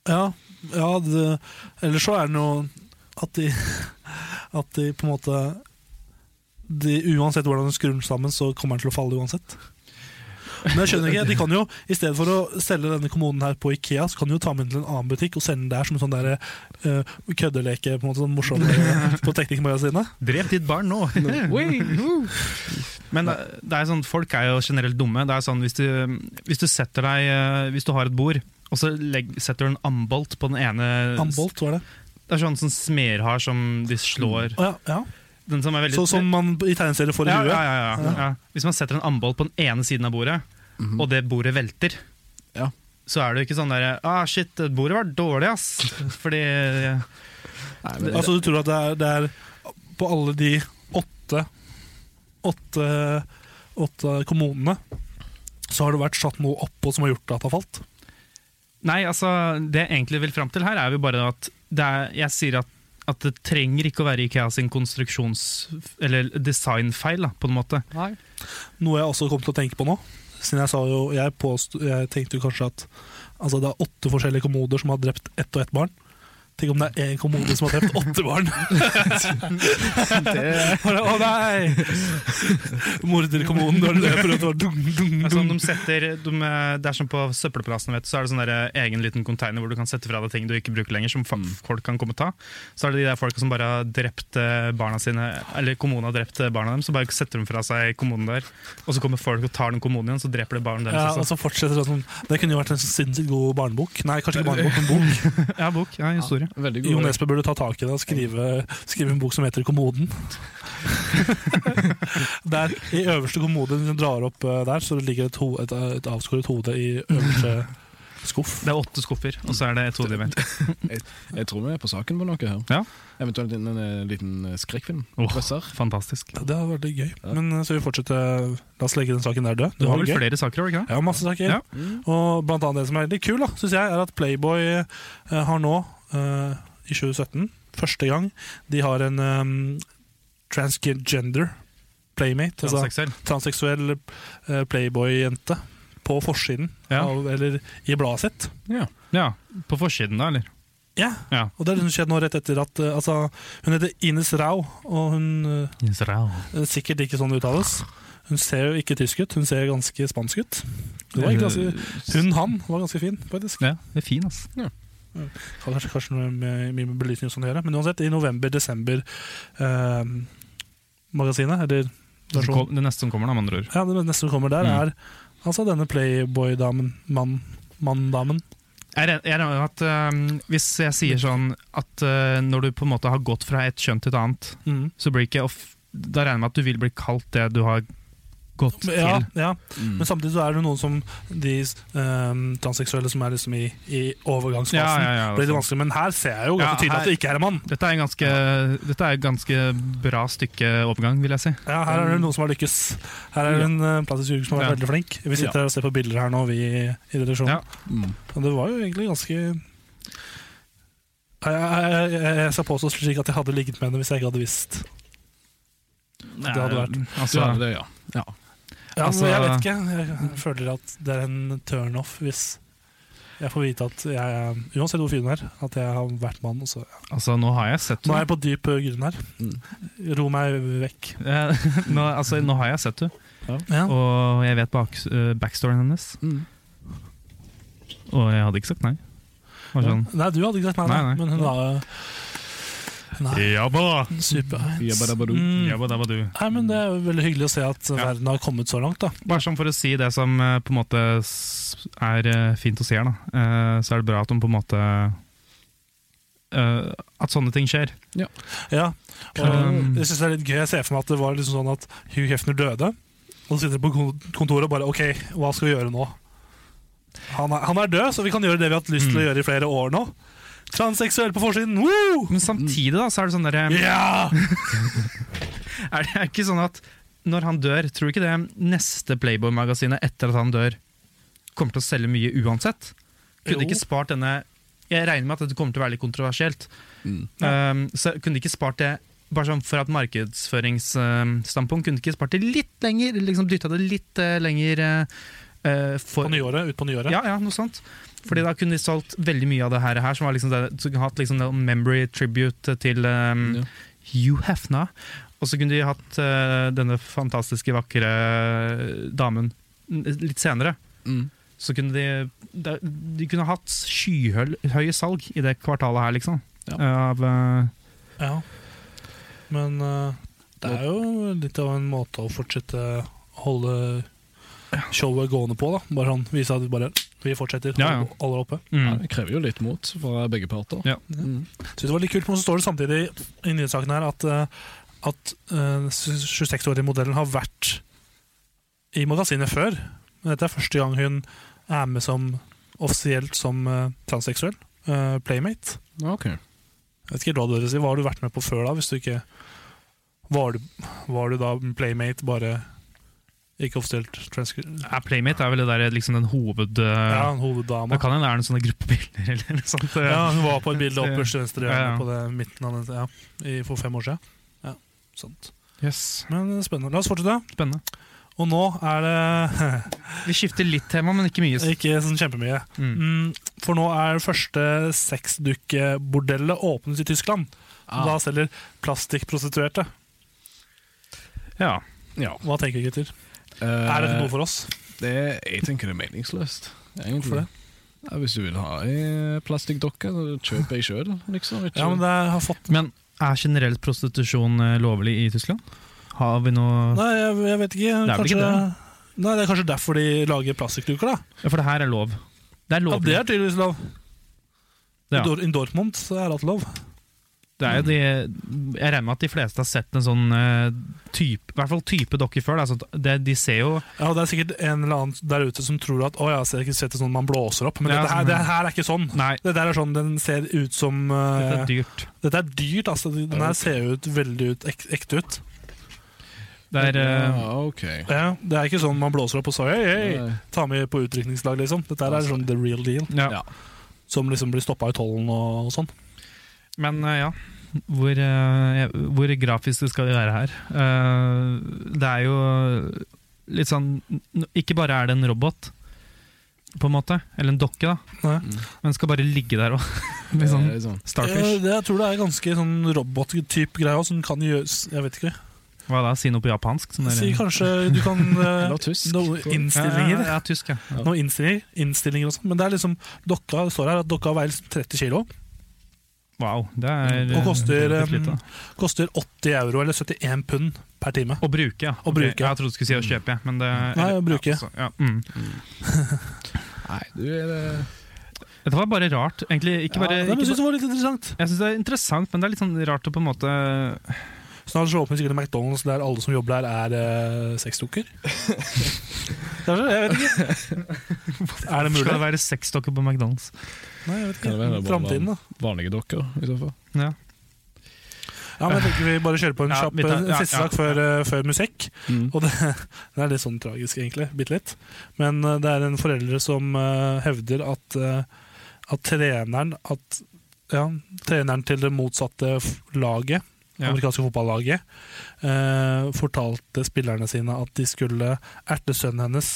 S2: Ja, ja det, ellers så er det noe at de, at de på en måte de, Uansett hvordan du skrur den sammen, så kommer den til å falle uansett. Men jeg skjønner ikke, de kan jo, i stedet for å selge denne kommunen her på Ikea, så kan de jo ta med den til en annen butikk og sende den der som en sånn der, eh, køddeleke på en måte sånn morsom eh, på teknikkmagasinet.
S4: Drep ditt barn nå! Oi, woo. Men eh, det er sånn, folk er jo generelt dumme. Det er sånn, hvis du, hvis du setter deg eh, Hvis du har et bord, og så legg, setter du en ambolt på den ene
S2: Ambolt, var det.
S4: Det er sånn, sånn smerhar som de slår
S2: Å, ja, ja.
S4: Den som er veldig
S2: Så Sånn som man i tegneserier får i
S4: ja, ja,
S2: huet.
S4: ja, ja, ja. Hvis man setter en ambolt på den ene siden av bordet, og det bordet velter,
S5: Ja.
S4: så er det jo ikke sånn derre ah, 'Shit, bordet var dårlig, ass'. Fordi
S5: Nei, men,
S2: Altså, du tror at det er, det er på alle de åtte, åtte, åtte kommunene så har det vært satt noe oppå som har gjort at det har falt.
S4: Nei, altså, det jeg egentlig vil fram til her, er jo bare at det er, jeg sier at, at det trenger ikke å være IKEA sin konstruksjons- eller designfeil, da, på en måte.
S2: Noe jeg også kom til å tenke på nå. Siden jeg sa jo, jeg, påstod, jeg tenkte jo kanskje at altså det er åtte forskjellige kommoder som har drept ett og ett barn. Tenk om det er én kommode som har drept åtte barn! Bare, Å nei! Morderkommoden når du løper rundt og bare dung, dung,
S4: Altså,
S2: dung.
S4: de setter, de, det er som på søppelplassen, vet du, så er det sånn der egen liten container hvor du kan sette fra deg ting du ikke bruker lenger, som fa- folk kan komme og ta. Så er det de der folka som bare har drept eh, barna sine, eller kommunen har drept eh, barna dem, så bare setter de fra seg kommunen der, og så kommer folk og tar den kommunen igjen, så dreper de barna
S2: Ja,
S4: deres.
S2: og
S4: også.
S2: så fortsetter det sånn. Det kunne jo vært en sinnssykt god barnebok. Nei, kanskje ikke barnebok, men bok.
S4: ja bok. Ja, historie.
S5: veldig
S2: Jo
S5: god.
S2: Nesbø burde ta tak i det og skrive, skrive en bok som heter 'Kommoden'. der, I øverste kommode hvis du drar opp eh, der, så ligger et, ho et, eh, et avskåret hode i øverste skuff.
S4: Det er åtte skuffer, og så er det et hode i vent.
S5: Jeg tror vi er på saken på noe her.
S4: Ja.
S5: Eventuelt en, en, eh, liten eh, skrekkfilm.
S4: Åh.
S5: Presser.
S4: Fantastisk.
S2: Det hadde vært litt gøy. Men eh, så vi fortsetter. La oss legge den saken der død.
S4: Du har
S2: det
S4: vel
S2: gøy.
S4: flere saker, har du ikke det?
S2: Ja, masse saker.
S4: Ja.
S2: Og blant annet det som er litt kul, da, synes jeg, er at Playboy eh, har nå, eh, i 2017, første gang, de har en eh, transgender playmate. altså-
S4: Transseksuell.
S2: transseksuell eh, playboy-jente på forsiden,
S4: Ja.
S2: av, eller i bladet sitt.
S4: Ja, på forsiden da, eller?
S2: Ja.
S4: Ja.
S2: Og det har liksom skjedd nå rett etter at eh, altså, Hun heter Ines Rau, og hun eh, er sikkert ikke sånn det uttales. Hun ser jo ikke tysk ut, hun ser ganske spansk ut. Hun, var egentlig ganske, hun han var ganske fin, faktisk.
S4: Ja, det er fin, ass.
S2: Har kanskje, kanskje noe med, mye med belysning og sånn å gjøre. Men uansett, i november-desember-magasinet, eller
S4: Det
S2: versjonen
S4: neste som kommer da, med andre ord.
S2: Ja, det neste som kommer der
S4: Mm.
S2: er altså denne playboy-damen, mann, manndamen.
S4: Jeg re- jeg regner med at øhm, Hvis jeg sier sånn at øh, når du på en måte har gått fra et kjønn til et annet,
S2: Mm.
S4: så blir ikke off da regner jeg med at du vil bli kalt det du har gått til.
S2: Ja, ja,
S5: Mm.
S2: men samtidig så er det noen som de ehm, transseksuelle som er liksom i, i overgangsfasen.
S4: Ja, ja, ja,
S2: blir
S4: det er
S2: litt
S4: sant.
S2: vanskelig, Men her ser jeg jo
S4: Ja,
S2: ganske tydelig
S4: her-
S2: at det ikke er en mann.
S4: Dette er en ganske, dette er et ganske bra stykke overgang, vil jeg si.
S2: Ja, her er det noen som har lykkes. Her er det en eh, plastisk kirurg som har
S4: Mm. Ja.
S2: vært veldig flink. Vi sitter her og ser på bilder her nå, vi i redaksjonen.
S4: Ja.
S5: Mm.
S2: Og det var jo egentlig ganske jeg, jeg, jeg, jeg, jeg skal påstå slik at jeg hadde ligget med henne hvis jeg ikke hadde visst.
S4: Det
S2: hadde vært-
S5: Du
S4: altså,
S5: hadde det, ja.
S2: Ja,
S4: Altså-
S2: men jeg vet ikke. Jeg føler at det er en turnoff hvis jeg får vite at jeg Uansett hvor fin hun er, at jeg har vært mann. og så-
S4: altså, nå har jeg sett
S2: Nå er
S4: henne.
S2: jeg på dyp øh, grunn her. Ro meg vekk.
S4: Eh, Nå, altså, nå har jeg sett henne,
S2: Ja.
S4: og jeg vet bak, øh, backstoryen hennes.
S5: Mm.
S4: Og jeg hadde ikke sagt nei. Var sånn,
S2: Nei, du hadde ikke sagt nei,
S4: Nei,
S2: nei,
S4: nei.
S2: men hun var Nei,
S4: Jabba!
S2: super.
S5: Jabba-dabba-doo.
S2: Mm.
S4: Jabba, dabba, du.
S2: Nei, men Det er jo veldig hyggelig å se at verden har kommet så langt. da
S4: Bare sånn for å si det som eh, på en måte s- er eh, fint å se her, da. eh, Så er det bra at de på en måte eh, At sånne ting skjer.
S2: Ja,
S4: Um.
S2: og jeg synes det er litt gøy Jeg ser for meg at det var liksom sånn at Hugh Hefner døde, og så sitter de på kon- kontoret og bare OK, hva skal vi gjøre nå? Han er, han er død, så vi kan gjøre det vi har hatt lyst
S4: Mm.
S2: til å gjøre i flere år nå. Transseksuell på forsiden! Woo!
S4: Men samtidig da, så er det sånn derre
S2: Ja!
S4: Er det ikke sånn at når han dør, tror du ikke det neste Playboy-magasinet etter at han dør, kommer til å selge mye uansett? Kunne de
S2: Jo.
S4: ikke spart denne Jeg regner med at dette kommer til å være litt kontroversielt.
S5: Mm.
S4: Um, så kunne de ikke spart det bare sånn for at markedsføringsstandpunkt kunne de ikke spart det litt lenger, liksom dytta det litt eh, lenger eh, eh, for,
S2: På nyåret, ut på nyåret.
S4: Ja, ja, noe sånt. Fordi da kunne de solgt veldig mye av det her, her som var liksom det, som hatt liksom en memory tribute til um,
S5: Mm. Ja.
S4: Hugh Hefna. Og så kunne de hatt eh, denne fantastiske, vakre damen litt senere,
S5: Mm.
S4: så kunne de da- De kunne hatt skyhøye salg i det kvartalet her, liksom.
S5: Ja.
S4: Av, eh,
S2: Ja. Men eh, det er jo litt av en måte å fortsette å holde showet gående på. da Bare sånn, Vise at vi bare vi fortsetter.
S4: Ja, ja.
S2: Alle oppe.
S5: Ja,
S4: mm.
S5: det krever jo litt mot fra begge parter.
S4: Ja.
S5: Mm.
S2: Så det var litt kult, men så står det samtidig i nyhetssaken her at, eh, at eh, 26-årige modellen har vært i magasinet før. Men dette er første gang hun er med som offisielt som eh, transseksuell. eh, Playmate.
S5: Ok.
S2: Jeg vet ikke helt hva dere sier. Hva har du vært med på før da, hvis du ikke Var du, var du da playmate, bare ikke offisielt transkur...
S4: Ja, Playmate er vel det der, liksom den hoved...
S2: Ja,
S4: eh,
S2: en
S4: Da
S2: hoveddama.
S4: kan hende det er noen sånne gruppebilder eller noe sånt. eh.
S2: Ja, hun var på et bilde opp til venstre
S4: Ja, ja.
S2: på det midten av den, ja, i, for fem år siden. Ja, sant.
S4: Yes.
S2: Men eh, spennende. La oss fortsette.
S4: Spennende.
S2: Og nå er det
S4: Vi skifter litt tema, men ikke mye.
S2: ikke sånn kjempemye.
S4: Mm.
S2: Mm, for nå er første sexdukkebordellet åpnet i Tyskland. som Da
S5: Ah,
S2: selger plastikkprostituerte.
S4: Ja.
S5: ja.
S2: Hva tenker du, gutter? Er
S4: Eh,
S2: dette noe for oss?
S5: Ah, eh, Det, jeg tenker det er meningsløst. Egentlig.
S2: Hvorfor det?
S5: Ja, hvis du vil ha ei plastikkdokke, så kjøp ei sjøl, liksom. Ikke.
S2: Ja, men det har fått
S4: Men er generelt prostitusjon eh, lovlig i Tyskland? Har vi noe
S2: Nei, jeg, jeg vet ikke.
S4: vel
S2: Kanskje,
S4: ikke det,
S2: Nei, det er kanskje derfor de lager plastikkduker, da.
S4: Ja, For det her er lov. Det er
S2: Ja,
S4: lovlig.
S2: det er tydeligvis lov.
S4: Ja.
S2: I Dor- I Dortmund så er alt lov.
S4: Det er jo de, jeg regner med at de fleste har sett en sånn eh, type, i hvert fall type dokker før. Da. Så at det, de ser jo
S2: Ja, og Det er sikkert en eller annen der ute som tror at å, ja, så er det ikke sett ut som man blåser opp, men
S4: Ja,
S2: dette, her,
S4: sånn.
S2: det her er ikke sånn.
S4: Nei,
S2: Det der er sånn, Den ser ut som
S4: dette
S2: eh,
S4: er dyrt.
S2: Dette er dyrt, altså. Den her ser jo ut veldig ut, ek, ekte ut.
S4: Det er, eh,
S5: ja, ok.
S2: Ja, det er ikke sånn man blåser opp og så hei, hei,
S5: Nei.
S2: ta med på utdrikningslag, liksom. Dette her er sånn the real deal,
S4: ja.
S5: Ja.
S2: som liksom blir stoppa i tollen og, og sånn.
S4: Men eh, ja, hvor, eh, hvor grafisk det skal være her. Eh, det er jo litt sånn n- Ikke bare er det en robot, på en måte, eller en dokke, da,
S2: Nei.
S4: men skal bare ligge der òg. Litt sånn
S5: Det er sånn.
S4: Starfish.
S2: Eh, det, jeg tror det er ganske sånn robot-type greie også, som kan gjøres Jeg vet ikke.
S4: Hva da, si noe på japansk? Sånn der-
S2: Si kanskje du kan eh,
S5: Eller tysk.
S2: Noen
S4: Ja, ja,
S2: innstillinger.
S4: Ja, ja, tysk, ja.
S2: Noen innstillinger, innstillinger og sånn. Men det er liksom dokka det står her at dokka veier liksom 30 kilo.
S4: Wow. Det er
S2: Og koster,
S4: relativt
S2: um,
S4: lite.
S2: Koster 80 euro eller 71 pund per time.
S4: Å bruke, ja.
S2: Å bruke.
S4: Ok, Jeg trodde du skulle si å kjøpe, jeg, men det
S2: Nei, å bruke.
S4: Ja, så, ja, mm.
S5: Nei, du er det
S4: Dette var bare rart. Egentlig ikke bare
S2: Nei, men
S4: ikke
S2: jeg synes
S4: bare-
S2: det var litt interessant.
S4: Jeg syns det er interessant, men det er litt sånn rart å på en måte
S2: Snart så åpner sikkert en McDonald's der alle som jobber der, er eh, sexdukker. Kanskje? Jeg vet ikke. Er det
S4: Skal
S2: mulig?
S4: det være sexdokker på McDonald's?
S2: Nei, jeg vet
S5: Kan det være
S2: ikke. Framtiden, da.
S5: vanlige dokker, i så fall.
S4: Ja.
S2: Ja, men jeg tenker Vi bare kjører på en
S4: Ja,
S2: kjapp
S4: vi tar-
S2: eh,
S4: ja,
S2: siste
S4: ja.
S2: sak før, eh, før musikk. Og det, det er litt sånn tragisk, egentlig. Bitte litt. Men eh, det er en forelder som eh, hevder at, eh, at treneren At ja, treneren til det motsatte f- laget,
S4: Ja.
S2: amerikanske fotballaget, eh, fortalte spillerne sine at de skulle erte sønnen hennes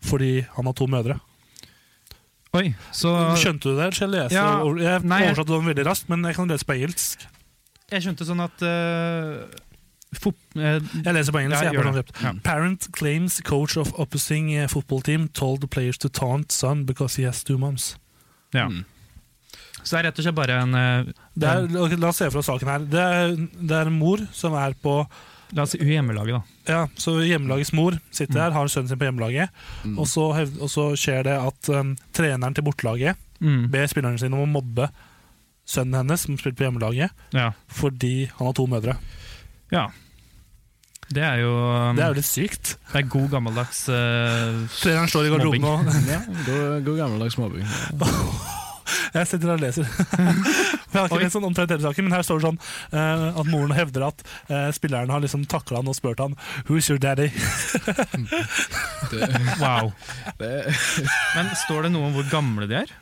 S2: fordi han har to mødre.
S4: Oi, så
S2: Skjønte du det? eller Skal jeg lese?
S4: Ja,
S2: over- jeg
S4: nei, jeg-
S2: oversatte det veldig raskt, men jeg kan lese på engelsk.
S4: Jeg skjønte sånn at eh, fot, eh,
S2: Jeg leser på engelsk.
S4: Ja,
S2: jeg
S4: gjør
S2: bare
S4: det.
S2: sånn kjapt. Parent claims coach of opposing eh, football team told the players to taunt son because he has two moms.
S4: ja.
S5: Mm.
S4: Så det er rett og slett bare en eh,
S2: Det er, ok, la oss se fra saken her. Det er, det er en mor som er på
S4: La oss si hjemmelaget, da.
S2: ja, så Hjemmelagets mor sitter der, har sønnen sin på hjemmelaget. Og, så hev, og så skjer det at um, treneren til bortelaget
S4: Mm.
S2: ber spillerne sine om å mobbe sønnen hennes, som spilte på hjemmelaget,
S4: Ja.
S2: fordi han har to mødre.
S4: ja. Det er jo um,
S2: Det er jo litt sykt.
S4: det er god gammeldags eh,
S2: Treneren står i garderoben
S4: mobbing.
S2: og
S5: Ja, god, god gammeldags mobbing.
S2: Jeg sitter her og leser. Jeg har ikke lest sånn omtrent hele saken, men her står det sånn eh, at moren hevder at eh, spilleren har liksom takla han og spurt han Who's your daddy?
S5: Det,
S4: Wow.
S5: det,
S4: Men står det noe om hvor gamle de er?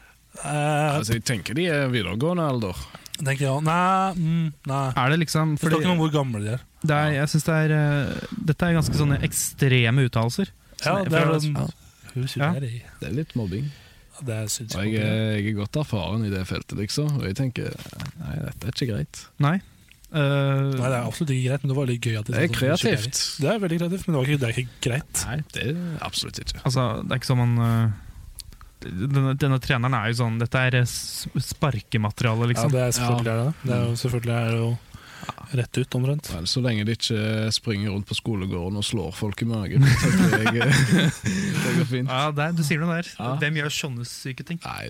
S2: Eh,
S5: altså, jeg tenker de er videregående alder.
S2: tenker jeg også. Nei, mm, nei.
S4: Er det liksom
S2: Det står ikke noe om hvor gamle de er.
S4: Det er, jeg synes det er eh, Dette er ganske sånne ekstreme uttalelser.
S2: Ja,
S4: Sånn,
S2: det er
S4: for-
S2: sånn Who's your
S4: Ja.
S2: daddy?
S5: Det er litt mobbing.
S2: Ja, Det er syns
S5: Og jeg, er- jeg er godt erfaren i det feltet, liksom. Og jeg tenker nei, dette er ikke greit.
S4: Nei. Eh,
S2: Nei, det er absolutt ikke greit, men det var litt gøy at de
S5: Det er
S2: sa sånn,
S5: kreativt.
S2: Det er veldig kreativt, men det, var ikke, det er ikke greit.
S5: Nei, det er absolutt ikke.
S4: altså, det er ikke som man eh, denne, denne treneren er jo sånn Dette er eh, s- sparkemateriale,
S2: Ja,
S4: liksom.
S2: det er selvfølgelig er det det. det.
S5: Mm.
S2: er jo Selvfølgelig er det jo rett ut, omtrent.
S5: Vel, så lenge de ikke springer rundt på skolegården og slår folk i magen. tenker Jeg, det går fint.
S4: Ja, det er, Du sier noe der.
S5: Ja.
S4: Hvem gjør sånne syke ting?
S5: Nei,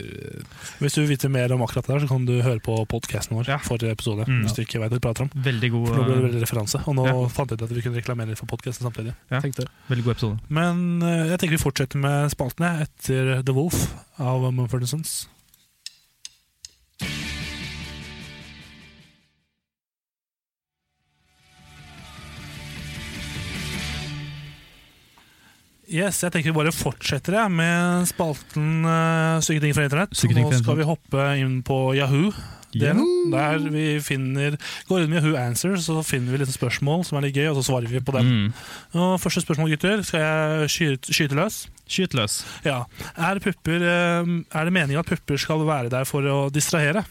S2: Hvis du vil vite mer om akkurat det her, så kan du høre på podkasten vår
S4: Ja.
S2: forrige episode.
S4: Mm.
S2: Hvis du ikke vet hva vi prater om.
S4: Veldig god,
S2: For nå ble det
S4: eh,
S2: veldig referanse, og nå
S4: Ja.
S2: fant jeg ut at vi kunne reklamere litt for podkasten samtidig.
S4: Ja.
S5: tenk det.
S4: veldig god episode.
S2: Men eh, jeg tenker vi fortsetter med spaltene etter The Wolf av Mumford Sons. Yes, jeg tenker vi bare fortsetter jeg, med spalten uh, Syke ting fra internett.
S4: Syke ting
S2: Nå
S4: fra
S2: skal vi hoppe inn på Yahoo. delen, Der vi finner, går inn med Yahoo Answers, så finner vi litt spørsmål som er litt gøy, og så svarer vi på dem.
S4: Mm.
S2: Og første spørsmål, gutter. Skal jeg skyte, skyte løs?
S4: Skyt løs.
S2: Ja. Er, pupper, eh, er det meningen at pupper skal være der for å distrahere?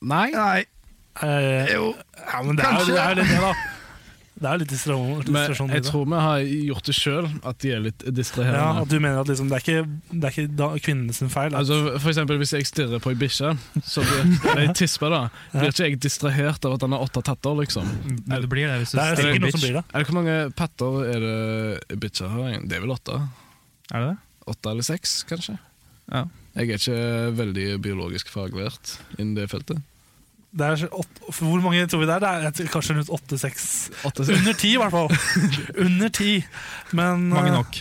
S5: Nei,
S2: Eh,
S5: jo.
S2: ja, men det er jo det er jo litt det, da. Det er jo litt distrahon- distrasjon. i
S5: Men jeg
S2: det.
S5: tror vi har gjort det sjøl, at de er litt
S2: ja,
S5: distraherende.
S2: at du mener at liksom, det er ikke, det er ikke da, kvinnen sin feil? at-
S5: Altså, for eksempel Hvis jeg stirrer på ei bikkje, så blir jeg tisper, da. Blir ikke jeg distrahert av at han har åtte tatter, liksom?
S4: Men det blir det hvis du
S2: Mm. det er
S4: stenger
S2: sikkert noe
S4: bitch.
S2: som blir det.
S5: Eller Hvor mange patter er det bikkjer har? egentlig? Det er vel åtte?
S4: Er det det?
S5: Åtte eller seks, kanskje?
S4: Ja.
S5: Jeg er ikke veldig biologisk faglært innen det feltet.
S2: det er, så- åt- for hvor mange tror vi det er? Det er jeg tror kanskje rundt åtte-seks.
S5: Åtte,
S2: Under ti, i hvert fall. Under ti. Men,
S4: Mange
S2: eh,
S4: nok.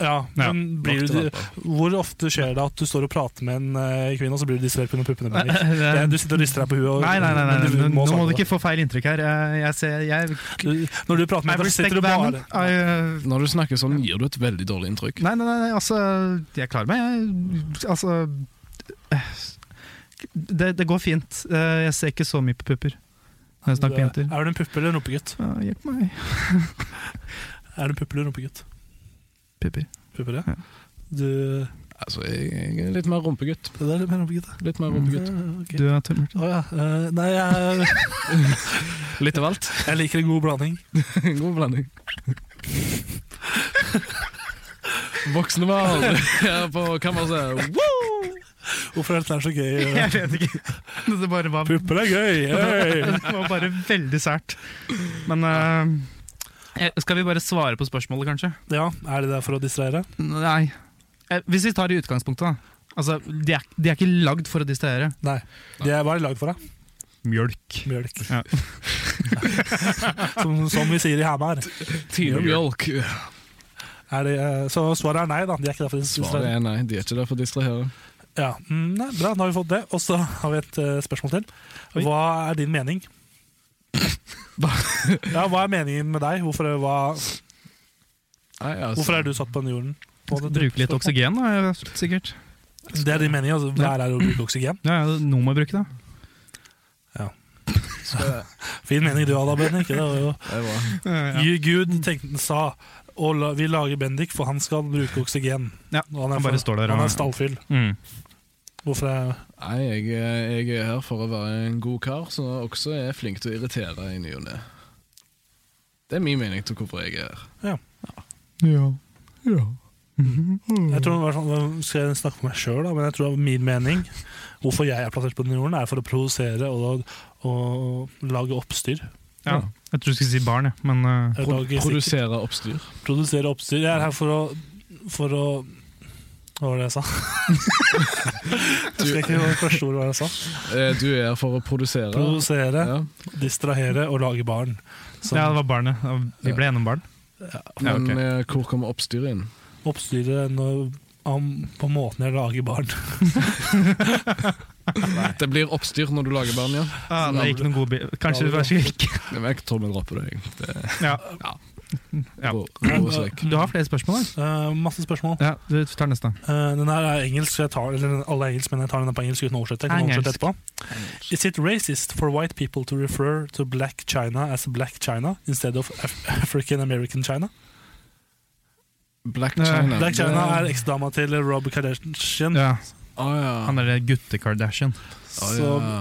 S2: Ja,
S4: Ja,
S2: men blir du, hvor ofte skjer det at du står og prater med en eh, kvinne, og så blir du distrahert pga. puppene? Bendik? Det- Du sitter og rister deg på huet. Og,
S4: Nei, nei, nei, nei,
S2: men
S4: nei. nå
S2: svare
S4: må du
S2: på
S4: ikke få feil inntrykk her. Jeg, jeg ser, jeg,
S2: det. Du- Når du prater
S4: I
S2: med henne, så sitter
S4: respect
S2: du
S4: Bannon.
S2: bare
S4: I, uh,
S5: Når du snakker sånn, gir du et veldig dårlig inntrykk.
S4: Nei, nei, nei, nei, altså Jeg klarer meg, jeg. Altså eh, det, det går fint. Eh, Jeg ser ikke så mye på pupper når jeg snakker med jenter.
S2: Er du en puppe eller en rumpegutt?
S4: Ah, Hjelp meg.
S2: Er du en puppe eller en rumpegutt?
S4: Pupper.
S2: Pupper, ja.
S4: Ja.
S2: Du
S5: Altså, jeg, jeg er litt mer rumpegutt.
S2: Det der er mer rumpegutt, da.
S5: Litt mer rumpegutt.
S2: Ok.
S4: Du er tømmer.
S2: Å ja. eh, nei, jeg,
S5: Litt av alt.
S2: jeg liker en god blanding.
S5: God blanding. Voksne mann her på kammerset.
S2: Hvorfor er dette her så gøy?
S4: Jeg vet ikke. Det bare var,
S2: Pupper er gøy! Hey.
S4: det var bare veldig sært. Men eh, eh, Skal vi bare svare på spørsmålet, kanskje?
S2: Ja, er det der for å distrahere?
S4: Nei. Eh, Hvis vi tar det i utgangspunktet, da. Altså, de er, de er ikke lagd for å distrahere.
S2: Nei. Det er bare lagd for deg.
S4: Mjølk.
S2: Mjølk.
S4: Ja.
S2: som, som vi sier i Hamar.
S5: Tine Mjølk.
S2: Er det, eh, så svaret er nei, da. De er ikke der for å
S5: Svaret
S2: distrahere.
S5: er nei, de er ikke der for å distrahere.
S2: Ja, mm, nei, Bra, da har vi fått det. Og så har vi et eh, spørsmål til.
S4: Oi.
S2: Hva er din mening? ja, Hva er meningen med deg? Hvorfor, hva,
S4: Altså-
S5: Nei, altså,
S2: hvorfor er du satt på den jorden? På den
S4: Bruke litt
S2: spørsmål.
S4: oksygen, da, sikkert.
S2: Det er din mening, altså. Hva er det å bruke oksygen?
S4: Ja, ja, Noe må jeg bruke, da.
S2: Fin mening du hadde, Bendik. Det var jo
S5: Det er bra.
S4: Ja.
S2: Gud- Gud tenkte, sa og la, vi lager Bendik, for han skal bruke oksygen.
S4: Ja,
S2: Og han, er
S4: han bare
S2: for-
S4: står der og-
S2: Han er stallfyll.
S4: Mm.
S2: Hvorfor er
S5: Nei, jeg, eh, jeg er her for å være en god kar, som også er flink til å irritere i ny og ne. Det er min mening til hvorfor jeg er her.
S2: Jeg tror, i hvert fall- nå skal jeg snakke for meg selv, da, men jeg tror min mening Hvorfor jeg er plassert på den jorden, er for å provosere og, og lage oppstyr.
S4: Ja. Jeg tror du skulle si barn, jeg. Men eh,
S2: Jeg
S5: Pro
S2: lager sikkert-
S5: produsere oppstyr.
S2: Produsere oppstyr. Jeg er her for å For å Hva var det jeg sa? jeg husker ikke hva det første ordet var jeg sa.
S5: Eh, Du er her for å produsere.
S2: Provosere,
S5: Ja.
S2: distrahere og lage barn. Så
S4: ja, det var barnet. Ja, Vi ble gjennom barn. Ja,
S5: Men
S4: ok.
S5: eh, hvor kommer oppstyret inn?
S2: oppstyret når om, på måten jeg lager barn.
S5: Det blir oppstyr når du lager barn, ja.
S4: Ah, det gikk noen gode bi Kanskje vi bare ikke
S5: Men jeg tror vi dropper det. jeg. Det
S4: ja. Ja.
S5: går, går oss vekk.
S4: Du har flere spørsmål her.
S2: Eh, masse spørsmål.
S4: Ja, du tar neste.
S2: Eh, den her er engelsk, så jeg tar, eller alle er engelsk, men jeg tar den på engelsk uten å oversette. Jeg kan
S4: Engelsk.
S2: oversette etterpå. Is it racist for white people to refer to black China as black China instead of Af African American China?
S5: Black
S4: Nei,
S5: China.
S2: Black China er eksdama til Rob Kardashian,
S4: Ja,
S5: Å ja.
S4: Han er gutte-Kardashian.
S5: Å,
S2: så
S5: ja.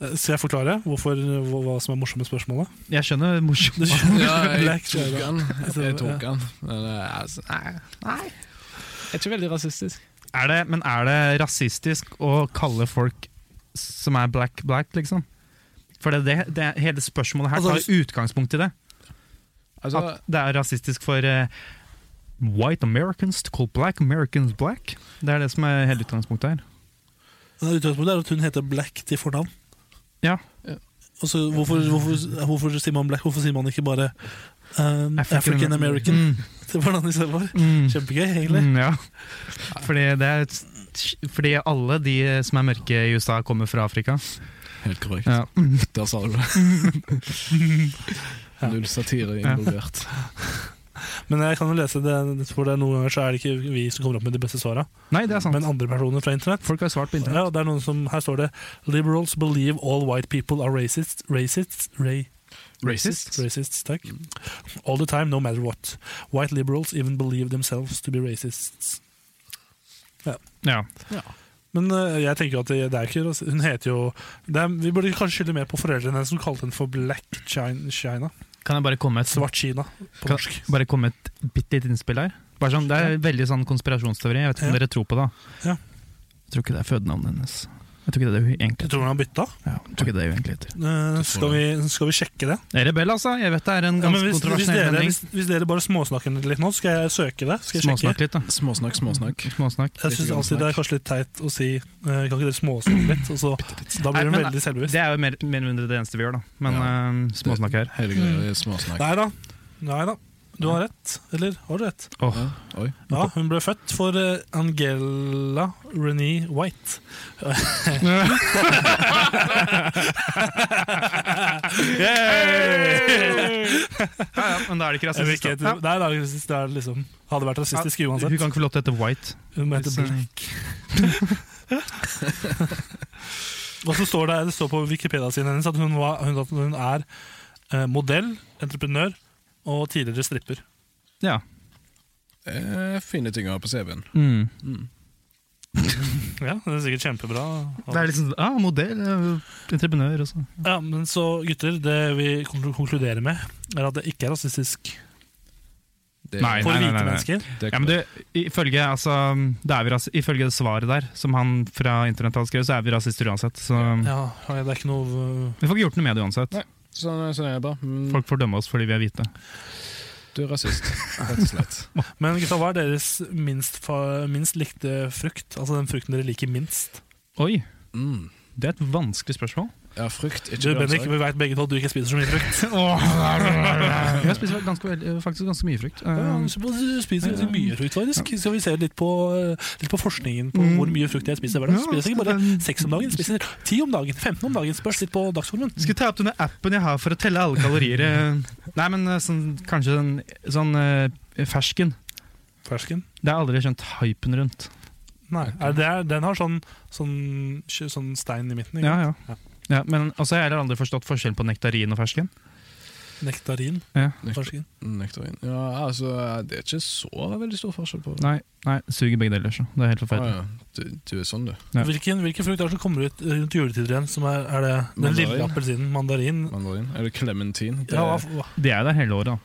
S2: Eh, Skal jeg forklare hvorfor, hva, hva som er morsomt med spørsmålet?
S4: Jeg skjønner morsomt.
S5: Ja, jeg
S2: Black
S5: tok
S2: Shadow.
S5: den. Jeg
S2: Så, ja.
S5: tok den. Men det er altså, nei, nei. Jeg er ikke veldig rasistisk.
S4: Er det, men er det rasistisk å kalle folk som er black, black, liksom? For det, er det, det er- hele spørsmålet her
S2: Altså,
S4: tar
S2: hvis-
S4: utgangspunkt i det.
S5: Altså,
S4: At det er rasistisk for eh, white Americans to call black Americans black. Det er det som er hele utgangspunktet her.
S2: Men Utgangspunktet er at hun heter Black til fornavn.
S4: Ja.
S5: Ja.
S2: Og så hvorfor, hvorfor, hvorfor sier man Black? Hvorfor sier man ikke bare um,
S4: African-
S2: African American til fornavn istedenfor?
S4: Mm, mm,
S2: Kjempegøy, egentlig.
S4: mm, ja. Fordi, det er, fordi alle de eh, som er mørke i USA, kommer fra Afrika.
S5: helt korrekt.
S4: Ja.
S5: Der sa du det. Null satire involvert.
S2: Men jeg kan jo lese det, for det er noen ganger så er det ikke vi som kommer opp med de beste svara,
S4: Nei, det er sant.
S2: men andre personer fra internett.
S4: Folk har svart på internett.
S2: Ja, det er noen som, Her står det 'Liberals believe all white people are racists, racists, ra
S4: Racist?
S2: racists takk. all the time, no matter what. White liberals even believe themselves to be racists.
S4: Ja.
S2: Men eh, jeg tenker jo at det, det er ikke ras- Hun heter jo det er, Vi burde kanskje skylde mer på foreldrene hennes som kalte henne for Black China. China.
S4: Kan jeg bare komme med et
S2: Svart Kina, på
S4: Kan-
S2: norsk.
S4: bare komme et bitte lite innspill her? Bare sånn, det er veldig sånn konspirasjonsteori. Jeg vet ikke om
S2: Ja.
S4: dere tror på det. da.
S2: Ja.
S4: Jeg tror ikke det er fødenavnet hennes. Jeg tror ikke det er det hun egentlig
S2: Jeg tror hun har bytta.
S4: ja, jeg tror ikke det er hun egentlig heter.
S2: Eh, skal, vi, skal vi sjekke det?
S4: Jeg er rebell, altså. Jeg vet det er en
S2: Ja, men
S4: ganske
S2: hvis, hvis,
S4: kontroversiell
S2: dere,
S4: mening.
S2: hvis, hvis dere bare småsnakker litt nå, skal jeg søke det. Skal jeg sjekke
S4: Småsnakk litt, da.
S5: Småsnakk, småsnakk.
S4: Småsnakk.
S2: Jeg syns alltid det er kanskje litt teit å si eh, Kan ikke dere småsnakke litt? Og så, da
S4: Nei,
S2: blir hun
S4: men-
S2: veldig selvbevisst.
S4: Det er jo mer, mer eller mindre det eneste vi gjør, da. Men
S5: Ja.
S4: eh, småsnakk her.
S5: Hele greia er småsnakk.
S2: Nei da. Nei da. Du har rett. Eller har du rett?
S4: Åh,
S5: Ja, oi.
S2: Ja, hun ble født for eh, Angela Renee White.
S4: ja, ja, men da er det ikke
S2: Jeg vil ikke
S4: rasistisk.
S2: hete-
S4: da.
S2: Nei, det er rasistisk. Det er liksom, hadde vært rasistisk
S4: Ja, Hun
S2: uansett.
S4: kan ikke få lov til å hete White.
S2: Hun må hete
S4: Så-
S2: Black. Og så står det, det står på Wikipedia-siden hennes at hun, var, hun, at hun er eh, modell, entreprenør og tidligere stripper.
S4: Ja.
S5: Eh, Fine ting å ha på CV-en.
S4: Mm.
S2: Ja, Det er sikkert kjempebra.
S4: Det er liksom, ja, modell, eh, entreprenør også.
S2: Ja, men så gutter, det vi kon- konkluderer med, er at det ikke er rasistisk
S5: Det,
S4: Nei.
S2: for hvite
S4: nei, nei.
S2: mennesker.
S5: det,
S4: Ja, men du, ifølge, altså, det er vi ras ifølge det svaret der, som han fra internett hadde skrevet, så er vi rasister uansett. Så
S2: Ja, det er ikke noe øh,
S4: vi får ikke gjort noe med det uansett.
S5: Nei. sånn, sånn er det bare. Mm,
S4: Folk får dømme oss fordi vi er hvite.
S5: Du er rasist, rett og slett.
S2: Men gutta, hva er deres minst, fa- minst likte frukt? Altså den frukten dere liker minst?
S4: Oi,
S5: Mm.
S4: det er et vanskelig spørsmål.
S5: Ja, frukt,
S2: Du,
S5: ikke
S2: Bendik,
S5: grønnsak.
S2: vi vet begge to at du ikke spiser så mye frukt.
S4: Jeg spiser ganske, veldig- faktisk ganske mye frukt.
S2: Ja,
S4: Eh,
S2: så du spiser ganske mye frukt, faktisk. Skal vi se litt på, eh, litt på forskningen på
S4: Mm. altså,
S2: hvor mye frukt jeg spiser hver dag. Spiser jeg ikke bare seks om dagen, spiser jeg ti om dagen, 15 om dagen. Spørs litt på dagsformen.
S4: Skulle ta opp denne appen jeg har for å telle alle kalorier. eh. Nei, men eh, sånn, kanskje sånn, sånn eh, fersken.
S2: Fersken?
S4: Det har jeg aldri skjønt hypen rundt.
S2: Nei. Er det, er- den har sånn, sånn, sånn stein i midten. Ikke?
S4: Ja, ja. ja men også har jeg heller aldri forstått forskjellen på nektarin og fersken.
S2: Nektarin.
S4: Ja.
S2: Fersken.
S5: Nektarin. Ja, altså, det er ikke så veldig stor forskjell på det.
S4: Nei, nei suger begge deler. Så. Det er helt
S5: Ah,
S4: forferdelig.
S5: ja. du, du er sånn, du.
S4: Ja.
S2: Hvilken, hvilken frukt er det som kommer ut eh, rundt juletider igjen? Som er, er det den
S5: Mandarin.
S2: lille appelsinen? Mandarin?
S5: Mandarin. Eller clementin. Det,
S2: Ja, hva, hva?
S4: De er der hele året, da.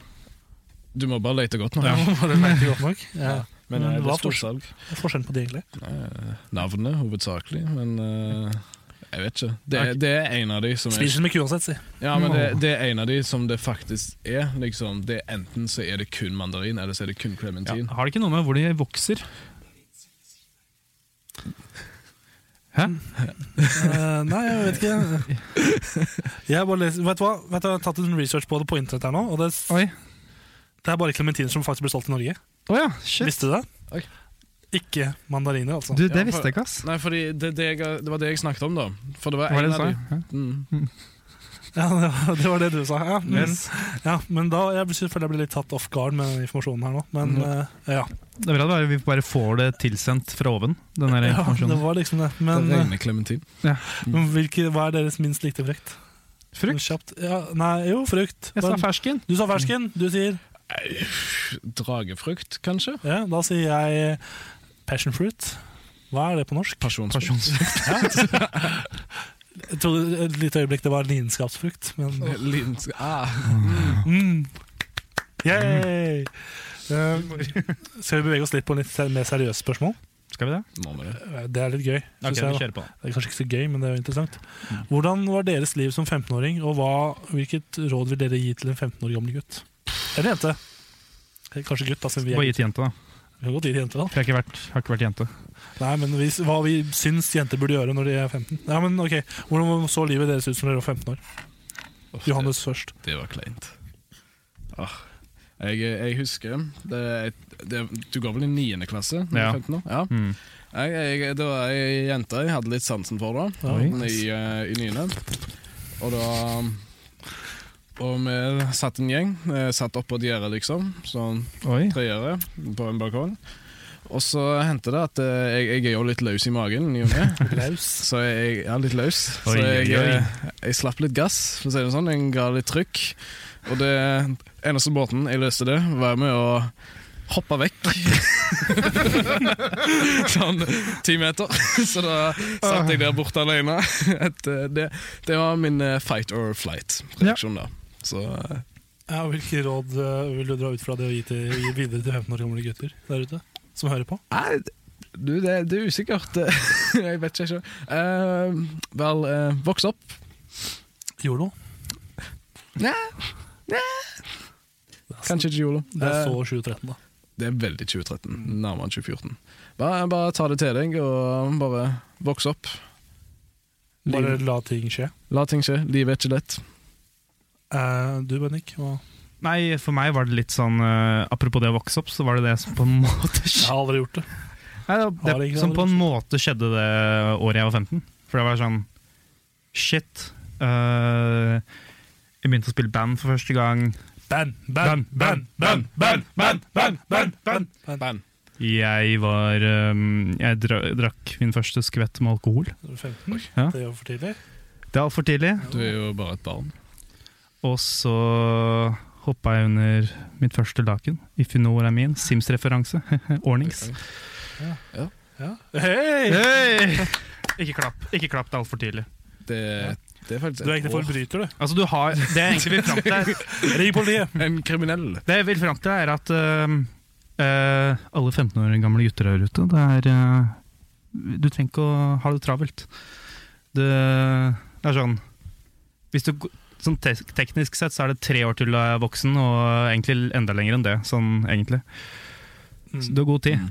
S5: du må bare lete godt nå.
S2: Var det merkelig godt nok? Ja.
S5: Men
S2: Men
S5: eh, det
S2: hva
S5: er
S2: for-
S5: storsalg.
S2: Hva er forskjellen på de, egentlig?
S5: Eh, Navnet, hovedsakelig. Men eh, jeg vet ikke. Det,
S4: Ok.
S5: det er en av de som er
S2: Spiser dem ikke uansett, si.
S5: Ja, men det, det er en av de som det faktisk er. Liksom, det er Enten så er det kun mandarin, eller så er det kun
S4: Ja.
S5: clementin.
S4: Har det ikke noe med hvor de vokser? Hæ?
S2: Eh, nei, jeg vet ikke. Jeg bare leser, vet du hva? Vet du, jeg har tatt en research på det på internett her nå, og det,
S4: Oi.
S2: det er bare klementiner som faktisk blir solgt i Norge.
S4: Å ja, shit.
S2: Visste du det?
S5: Oi.
S2: Ikke mandariner, altså.
S4: Du,
S5: Ja,
S4: det visste jeg ikke, ass.
S5: Nei, fordi det, det, jeg, det var det jeg snakket om, da. For det var
S4: Hva var
S5: en
S4: det du
S5: av
S4: sa?
S5: de. Mm.
S2: Ja, det var- det var det du sa. Ja, mm. ja men da Jeg føler jeg ble litt tatt off guard med den informasjonen her nå, men eh, ja.
S4: Det er bra det bare- vi bare får det tilsendt fra oven, den der
S2: ja. Det
S4: informasjonen.
S2: var liksom det.
S5: Den
S2: Men, eh,
S5: rene clementin.
S2: men hvilke, hva er deres minst likte frukt?
S4: Frukt?
S2: Kjapt. Ja, nei, jo, frukt.
S4: Jeg sa
S2: Men-
S4: fersken.
S2: Du sa fersken. Du sier
S5: Dragefrukt, kanskje?
S2: Ja, da sier jeg passion fruit. Hva er det på norsk?
S5: Pasjonsfrukt.
S4: Pasjonsfrukt.
S2: Jeg trodde et lite øyeblikk det var lidenskapsfrukt, men
S5: Lidensk- Ah.
S2: Mm. Yay!
S4: Mm.
S2: Eh, skal vi bevege oss litt på litt ser- mer seriøse spørsmål?
S4: Skal vi det?
S5: Nå med det.
S2: Eh, Det er litt gøy.
S4: Ok,
S2: synes
S4: vi
S2: jeg, da.
S4: kjører på.
S2: det er kanskje ikke så gøy, men det er jo interessant. Hvordan var deres liv som 15-åring, og hva, hvilket råd vil dere gi til en 15 år gammel gutt? Eller jente? Eh, Kanskje gutt, da, siden vi,
S4: Bare
S2: er,
S4: gi til jente, da.
S2: vi kan godt gi det jente. da.
S4: For jeg har ikke vært, har ikke vært jente.
S2: Nei, men vi, hva vi syns jenter burde gjøre når de er 15. Ja, men ok, Hvordan så livet deres ut som dere var 15 år?
S5: Uff, det-
S2: Johannes først.
S5: Det var kleint. Ah. Jeg, jeg husker det, det, Du går vel i 9. klasse? når du er
S4: Ja.
S5: 15 år? ja.
S4: Mm.
S5: Jeg, jeg, det var ei jente jeg hadde litt sansen for da,
S2: Oi.
S5: i, eh, i Nyne. Og da Og vi satt en gjeng, eh, satt oppå et gjerde, liksom, sånn
S4: Oi.
S5: tregjerde på en balkong. Og så hendte det at eh, jeg, jeg er jo litt løs i magen, i og med,
S2: Laus.
S5: så jeg jeg er litt løs. Så
S4: Oi,
S5: jeg,
S4: oi, oi.
S5: eh, jeg slapp litt gass, for å si det sånn. Jeg ga litt trykk. Og det eneste måten jeg løste det, var med å hoppe vekk. sånn ti meter. Så da satt jeg der borte alene. Et, eh, det, det var min eh, fight or flight-reaksjon da. Så eh,
S2: Ja, og Hvilke råd eh, vil du dra ut fra det å gi, til, gi videre til 15 år gamle gutter der ute? Som hører på?
S5: Nei, du, det, det er usikkert. jeg vet ikke. ikke. Eh, vel, eh, voks opp.
S2: Jolo.
S5: Nei,
S2: Det er så-
S5: kanskje ikke jolo.
S2: Det er
S5: Eh,
S2: så 2013, da.
S5: det er veldig 2013. Nærmere 2014. Bare, bare ta det til deg, og bare voks opp.
S2: Bare
S5: Liv,
S2: la ting skje.
S5: la ting skje. Livet er ikke lett.
S2: Eh, du, Bennik? Hva?
S4: Nei, for meg var det litt sånn eh, Apropos det å vokse opp, så var det det som på en måte
S2: Jeg
S4: skjedde
S2: har aldri gjort det.
S4: Nei, det,
S2: Har
S4: det,
S2: ikke
S4: Som
S2: det,
S4: på en måte skjedde det året jeg var 15. For det var sånn Shit. eh, jeg begynte å spille band for første gang.
S2: Ban, ban, ban, ban, ban, ban, ban, ban, ban.
S5: Band.
S4: Jeg var eh, Jeg dra, drakk min første skvett med alkohol.
S2: 15?
S4: Ja.
S2: Det er jo for tidlig.
S4: Det var altfor tidlig.
S5: Du er jo bare et barn.
S4: Og så hoppa jeg under mitt første laken. If you know what I mean. Sims-referanse. Ordnings.
S2: Ja. Hei!
S4: Hey! Ikke klapp. Ikke klapp, det er altfor tidlig.
S5: Det, det er faktisk
S2: Du er egentlig
S5: år.
S2: forbryter, du.
S4: Altså, du har Det jeg egentlig vil fram til,
S2: Ring politiet!
S5: En kriminell.
S4: Det jeg vil fram til er at øhm, øh, alle 15 år gamle gutter der ute, det er øh, Du trenger ikke å ha det travelt. Det, det er sånn Hvis du g- Sånn te teknisk sett så er det tre år til du er voksen, og egentlig enda lenger enn det. Sånn egentlig. Så
S2: Mm.
S4: du har god tid.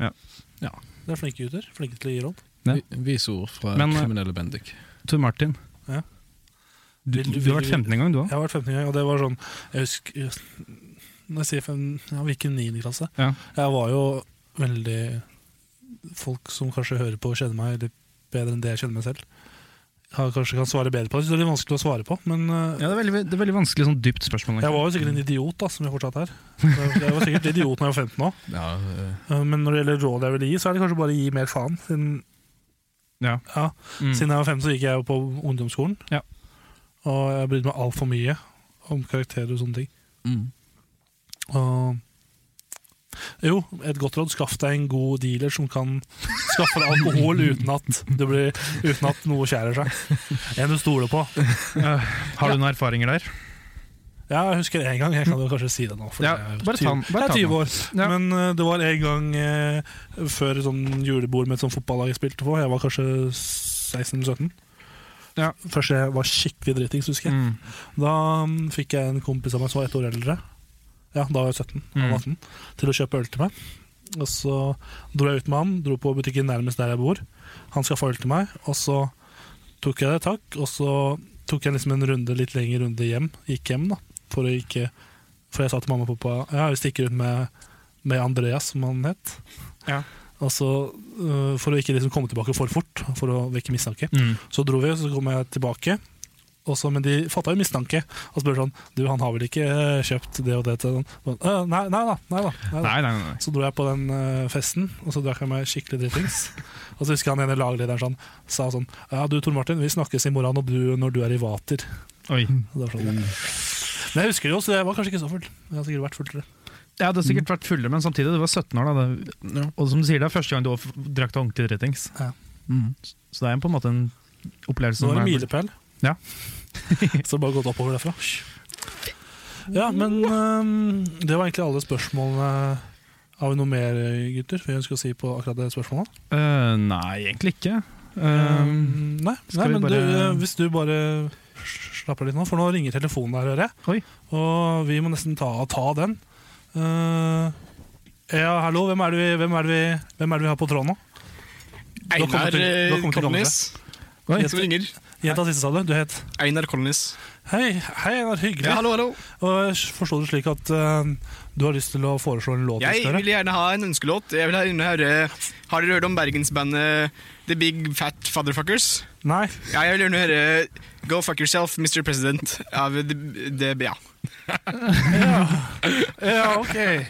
S2: Det er flinke gutter. Flinke til å gi råd.
S4: Ja.
S5: Vi- Vise ord fra
S4: Men, eh,
S5: kriminelle Bendik.
S4: Tor Martin,
S2: Ja.
S4: du,
S2: Vil du-
S4: du, har vært
S2: vil du-
S4: 15 en gang, du òg?
S2: Jeg har vært 15 gang, og det var sånn Jeg husker Når jeg sier fem, ja, vi gikk i 9. klasse.
S4: Ja.
S2: Jeg var jo veldig Folk som kanskje hører på, kjenner meg litt bedre enn det jeg kjenner meg selv. Jeg kanskje kan svare bedre på det. Så det er litt vanskelig å svare på, men eh,
S4: Ja, det er veldig, det er veldig vanskelig sånn dypt spørsmål.
S2: jeg var jo sikkert en idiot, da, som jeg fortsatt er. Jeg var sikkert idiot når jeg var 15 òg.
S5: Ja, eh,
S2: Men når det gjelder råd jeg vil gi, så er det kanskje bare å gi mer faen. Siden,
S4: Ja.
S2: Ja,
S4: Mm.
S2: siden jeg var 15, så gikk jeg jo på ungdomsskolen.
S4: Ja.
S2: Og jeg brydde meg altfor mye om karakterer og sånne ting.
S5: mm.
S2: Og jo, et godt råd. Skaff deg en god dealer som kan skaffe deg alkohol uten at, det blir, uten at noe skjærer seg. En du stoler på.
S4: Øh, har du noen erfaringer der?
S2: Ja, jeg husker en gang, jeg kan jo kanskje si det nå. For
S4: Ja,
S2: jeg er jo
S4: bare ta den, bare
S2: jeg
S4: ta
S2: er
S4: den.
S2: 20 år,
S4: Ja.
S2: men eh, det var en gang eh, før sånn julebord med et sånt fotballag jeg spilte på. Jeg var kanskje 16-17.
S4: Ja.
S2: Først jeg var skikkelig dritings, husker jeg.
S4: Mm.
S2: Da mm, fikk jeg en kompis av meg som var ett år eldre. Ja, da var jeg 17,
S4: Mm.
S2: han var 18, til å kjøpe øl til meg. Og så dro jeg ut med han, dro på butikken nærmest der jeg bor. Han skaffa øl til meg, og så tok jeg det, takk. Og så tok jeg liksom en runde, litt lengre runde hjem, gikk hjem, da. For å ikke For jeg sa til mamma og pappa Ja, vi stikker ut med, med Andreas, som han het.
S4: Ja.
S2: Og så, øh, for å ikke liksom komme tilbake for fort, for å vekke mistanke.
S4: Mm.
S2: Så dro vi, så kom jeg tilbake. Og så- men de fatta jo mistanke og spurte sånn Du, han har vel ikke eh, kjøpt det og det til den? Sånn, «Øh, nei, nei da. Nei da, nei da.
S4: Nei, nei, nei.
S2: Så dro jeg på den eh, festen, og så drakk jeg meg skikkelig dritings. og så husker jeg han ene laglederen sånn, sa sånn Ja, du Tor Martin, vi snakkes i morgen og du, når du er i vater.
S4: Oi.
S2: Og det var sånn, Men jeg husker det jo, så jeg var kanskje ikke så full. Jeg har sikkert vært fullere.
S4: Jeg hadde sikkert vært fullere, men samtidig, du var 17 år da. Mm. Det, og som du sier, det er første gang du har f- drakk deg ordentlig dritings.
S2: Ja.
S4: Så det er på en måte en opplevelse.
S2: Det
S4: som
S2: var en
S4: er-
S2: milepæl.
S4: Ja.
S2: Så bare gått oppover derfra. Ja, men ehm, det var egentlig alle spørsmålene. Har vi noe mer, gutter? Vi ønsker å si på akkurat det spørsmålet.
S4: Eh, nei, egentlig ikke. Eh,
S2: Ehm, nei,
S4: skal
S2: nei
S4: vi
S2: men
S4: bare-
S2: du, eh, hvis du bare slapper litt nå, for nå ringer telefonen der, hører jeg.
S4: Oi.
S2: Og vi må nesten ta, ta den. Eh, ja, hallo, hvem er det vi, hvem er det vi, hvem er det vi har på tråden nå? Du har kommet
S6: Einar
S2: til- du har
S6: eh,
S2: kommet til
S6: Kolnis.
S4: Oi.
S6: Som ringer.
S2: Jenta siste, sa du. Du het
S6: Einar Kolnis.
S2: Hei, hei, det var hyggelig.
S6: Ja, hallo, hallo.
S2: Og jeg forstår det slik at eh, du har lyst til å foreslå en låt vi
S6: Jeg
S2: skal
S6: vil
S2: gjøre?
S6: gjerne ha en ønskelåt. Jeg vil gjerne høre Har dere hørt om bergensbandet The Big Fat Fatherfuckers?
S2: Nei.
S6: Ja, jeg vil gjerne høre Go Fuck Yourself, Mr. President av The, the Ja.
S2: Ja, ok. Eh,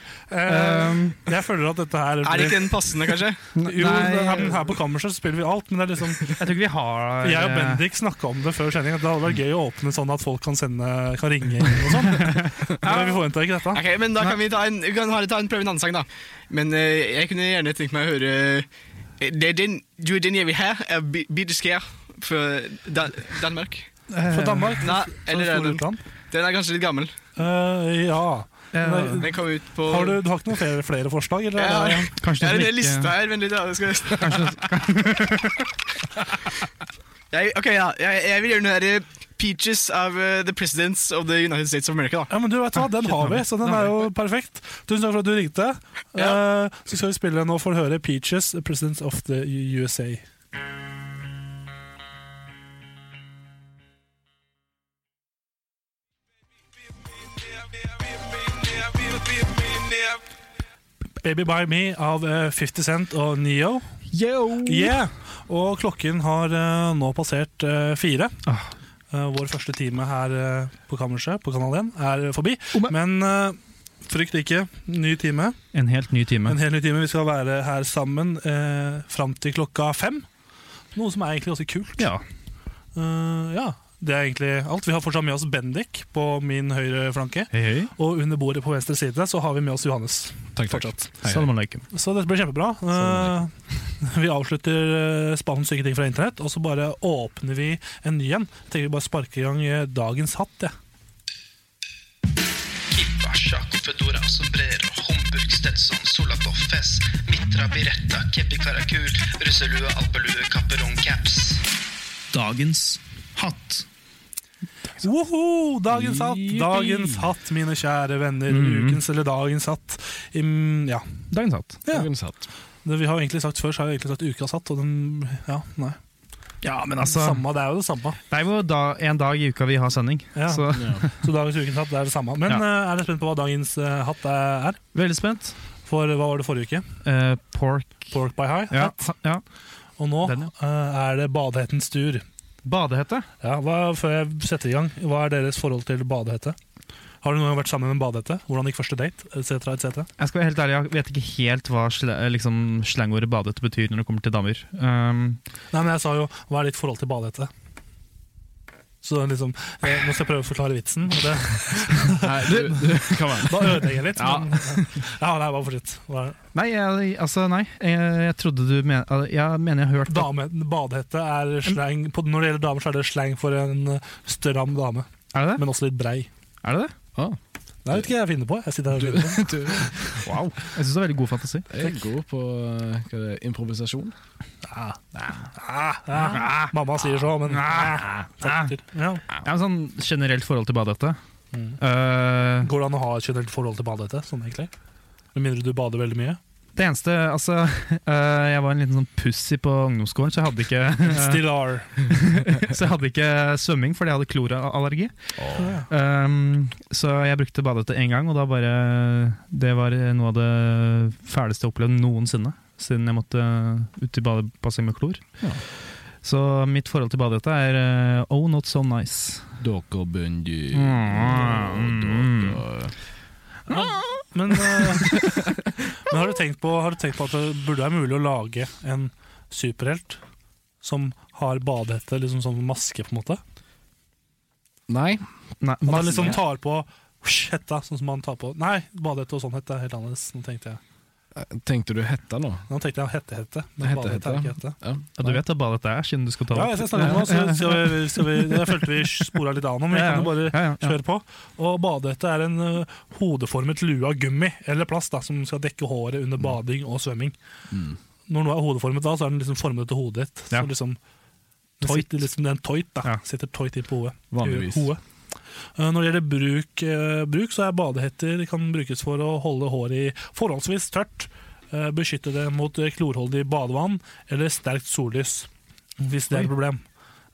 S2: jeg føler at dette her
S6: Um, Er ikke den passende, kanskje?
S2: Jo, her,
S4: nei,
S2: her på kammerset spiller vi alt, men det er liksom
S4: jeg tror ikke vi har eh,
S2: Jeg og Bendik snakka om det før sending, at det hadde vært gøy å åpne sånn at folk kan, sende, kan ringe inn og sånn. Men vi forventa ikke dette.
S6: Ok, men Da kan vi ta en, vi kan bare ta en prøve en annen sang, da. Men eh, jeg kunne gjerne tenkt meg å høre eh, Det er den, du er den jeg vil ha, er Bi- Bidskea fra Dan Danmark.
S2: For Danmark
S6: Eh, Nei,
S2: så
S6: eller er
S2: store
S6: den,
S2: utland.
S6: den er kanskje litt gammel.
S2: Eh, ja.
S4: Eh,
S6: Den kom ut på
S2: Har du, du har ikke noen flere, flere forslag? Eller?
S6: Ja, ja.
S4: kanskje
S6: Det er
S4: noe
S6: en
S4: som
S6: del liste her, vent litt. da, det skal- jeg, ok, ja. Jeg, jeg vil gjøre den der Peaches av eh, The Presidents of the United States of America. da
S2: Ja, men du vet hva, Den har vi, så den er jo perfekt. Tusen takk for at du ringte. Eh, så skal vi spille nå for å høre Peaches, President of the USA. Baby by me av eh, 50 Cent og Neo. Yeah. Og klokken har eh, nå passert eh, fire. Eh, vår første time her eh, på kammerset på Kanal 1 er forbi. Men eh, frykt ikke, ny time.
S4: en helt ny time.
S2: En hel ny time. Vi skal være her sammen uh, fram til klokka fem. Noe som er egentlig ganske kult.
S4: Ja.
S2: Eh, ja, Det er egentlig alt. Vi har fortsatt med oss Bendik på min høyre flanke.
S4: Hei, hei.
S2: Og under bordet på venstre side så har vi med oss Johannes.
S5: Takk, takk.
S2: Fortsatt.
S5: Hei, hei.
S4: Salam alaikum.
S2: Så dette blir kjempebra. Eh, vi avslutter uh, Spann syke ting fra internett, og så bare åpner vi en ny en. Jeg tenker vi bare sparker i gang eh, dagens hatt, jeg.
S7: Kibasha, Confedora, Sombrero, Homburg, Stetson, Solato, Fez, Mitra, Biretta, Kepi Karakul, russelue, alpelue, kapperong, caps.
S4: Dagens hatt.
S2: Woho! Dagens hatt, dagens hatt, mine kjære venner.
S4: Mhm.
S2: Ukens eller dagens hatt. Im, ja.
S4: Dagens hatt.
S2: Ja.
S5: Dagens hatt.
S2: Det vi har egentlig sagt før, så har vi egentlig sagt ukas hatt, og den Ja, nei.
S4: Ja, men altså
S2: samme, det er jo det samme.
S4: Det er jo da, en dag i uka vi har sending.
S2: Ja.
S4: Så
S2: Så dagens ukens hatt det er det samme. Men
S4: Ja.
S2: eh, er dere spent på hva dagens eh, hatt er?
S4: veldig spent.
S2: For hva var det forrige uke?
S4: Eh, pork
S2: Pork by high.
S4: Ja.
S2: hatt.
S4: ja.
S2: Og nå
S4: Den, ja.
S2: eh, er det badehettens tur.
S4: Badehette.
S2: Ja, hva, før jeg setter i gang, hva er deres forhold til badehette? Har du noen gang vært sammen med en badehette? Hvordan gikk første date? Et cetera, et cetera.
S4: Jeg skal være helt ærlig, jeg vet ikke helt hva sle, liksom, slangordet badehette betyr når det kommer til damer. Um,
S2: Nei, men jeg sa jo, hva er ditt forhold til badehette? Så det er liksom, eh, Nå skal jeg prøve å forklare vitsen. og Det,
S5: Nei, du, du, kom an.
S2: da ødelegger jeg litt. Men, eh, ja, nei, bare fortsett. Hva er det?
S4: nei, jeg, altså, nei. Jeg, jeg trodde du men, al- Jeg mener jeg har hørt
S2: Dame, badehette er slang på, Når det gjelder damer, så er det slang for en eh, stram dame,
S4: Er det det?
S2: men også litt brei.
S4: Er det det?
S2: Det vet ikke jeg finner på. Jeg sitter her og finner på.
S5: Du,
S4: Wow. Jeg syns det er veldig god fantasi.
S5: jeg er god på eh, hva er det, improvisasjon. Ah,
S2: Ja, mamma sier så, men Takk til. ja.
S4: Jeg har sånn generelt forhold til badehette.
S2: Mm.
S4: Eh,
S2: Går det an å ha et generelt forhold til badehette? Sånn egentlig? Med mindre du bader veldig mye?
S4: det eneste Altså, eh, jeg var en liten sånn pussy på ungdomsskolen, så jeg hadde ikke
S2: Still are.
S4: Så jeg hadde ikke svømming fordi jeg hadde klorallergi. Um, så jeg brukte badehette én gang, og da bare Det var noe av det fæleste jeg opplevde noensinne. Siden jeg måtte ut i badebasseng med klor. Så mitt forhold til badehette er uh, Oh, not so nice.
S5: Dere Bundy.
S4: Mm.
S5: Dere-
S2: Men, eh, men har, du tenkt på, har du tenkt på at det burde være mulig å lage en superhelt som har badehette liksom som maske, på en måte?
S5: Nei.
S4: Nei,
S2: At han
S4: masse-
S2: liksom tar på hetta, sånn som han tar på Nei, badehette og sånn hette er helt annerledes. Nå tenkte jeg
S5: eh, Tenkte du hetta nå?
S2: Nå tenkte jeg hette-hette. men
S5: Hette,
S2: bare
S5: hette,
S2: er ikke
S5: ja.
S2: hette.
S5: Ja.
S4: Ja, du vet da bare dette er, siden du skal ta
S2: Ja,
S4: opp.
S2: jeg skal snakke om det, nå, så skal vi, skal vi, jeg følte vi spora litt av nå, men vi kan jo bare
S4: Ja, ja, ja.
S2: kjøre på. Og badehette er en ø, hodeformet lue av gummi eller plast da, som skal dekke håret
S4: Mm.
S2: under bading og svømming. Når noe er hodeformet da, så er den liksom formet til hodet ditt.
S4: Ja.
S2: Så liksom, det
S4: Tøyt.
S2: sitter liksom, det er en tøyt da,
S4: Ja.
S2: sitter tøyt inn på hodet.
S5: Vanligvis.
S2: Hodet. Uh, Når det gjelder bruk, eh, bruk, så er badehetter de kan brukes for å holde håret i forholdsvis tørt, eh, beskytte det mot eh, klorholdig badevann eller sterkt sollys, hvis det er et problem.